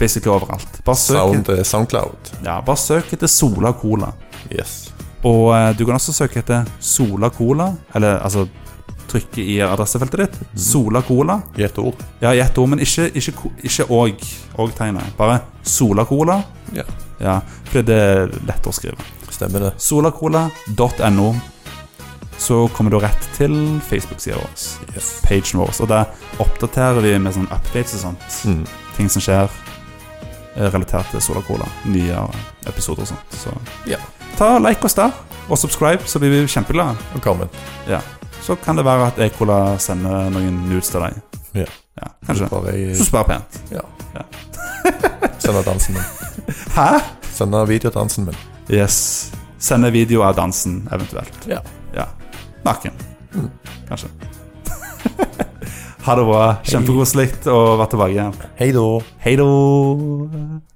Speaker 1: Basically overalt. Bare søk,
Speaker 2: Sound, eh, Soundcloud.
Speaker 1: ja, bare søk etter Sola Cola.
Speaker 2: Yes.
Speaker 1: Og eh, du kan også søke etter Sola Cola, eller altså trykke i adressefeltet ditt. Sola Cola.
Speaker 2: I ett ord.
Speaker 1: Ja, gjett ord, men ikke, ikke, ko- ikke og, og-tegnet. Bare Sola Cola.
Speaker 2: Ja.
Speaker 1: Ja, fordi det er lettere å skrive.
Speaker 2: Stemmer det.
Speaker 1: solacola.no så kommer du rett til Facebook-sida vår.
Speaker 2: Yes.
Speaker 1: Pagen vår. Og der oppdaterer vi med sånn updates og sånt.
Speaker 2: Mm.
Speaker 1: Ting som skjer eh, relatert til Sola Cola. Nye episoder og sånt. Så
Speaker 2: Ja.
Speaker 1: ta like oss der, og subscribe, så blir vi kjempeglade.
Speaker 2: Og comment.
Speaker 1: Ja. Så kan det være at Ecola sender noen nudes til deg.
Speaker 2: Ja.
Speaker 1: Ja, kanskje.
Speaker 2: [laughs] Bare jeg
Speaker 1: Så spør pent.
Speaker 2: Ja.
Speaker 1: Ja.
Speaker 2: Sender dansen min.
Speaker 1: Hæ?
Speaker 2: Sende videodansen min.
Speaker 1: Yes. Sende video av dansen, eventuelt.
Speaker 2: Ja.
Speaker 1: Ja. Naken. Kanskje. [laughs] ha det bra. Kjempekoselig å være tilbake igjen.
Speaker 2: Hei da.
Speaker 1: Hei da.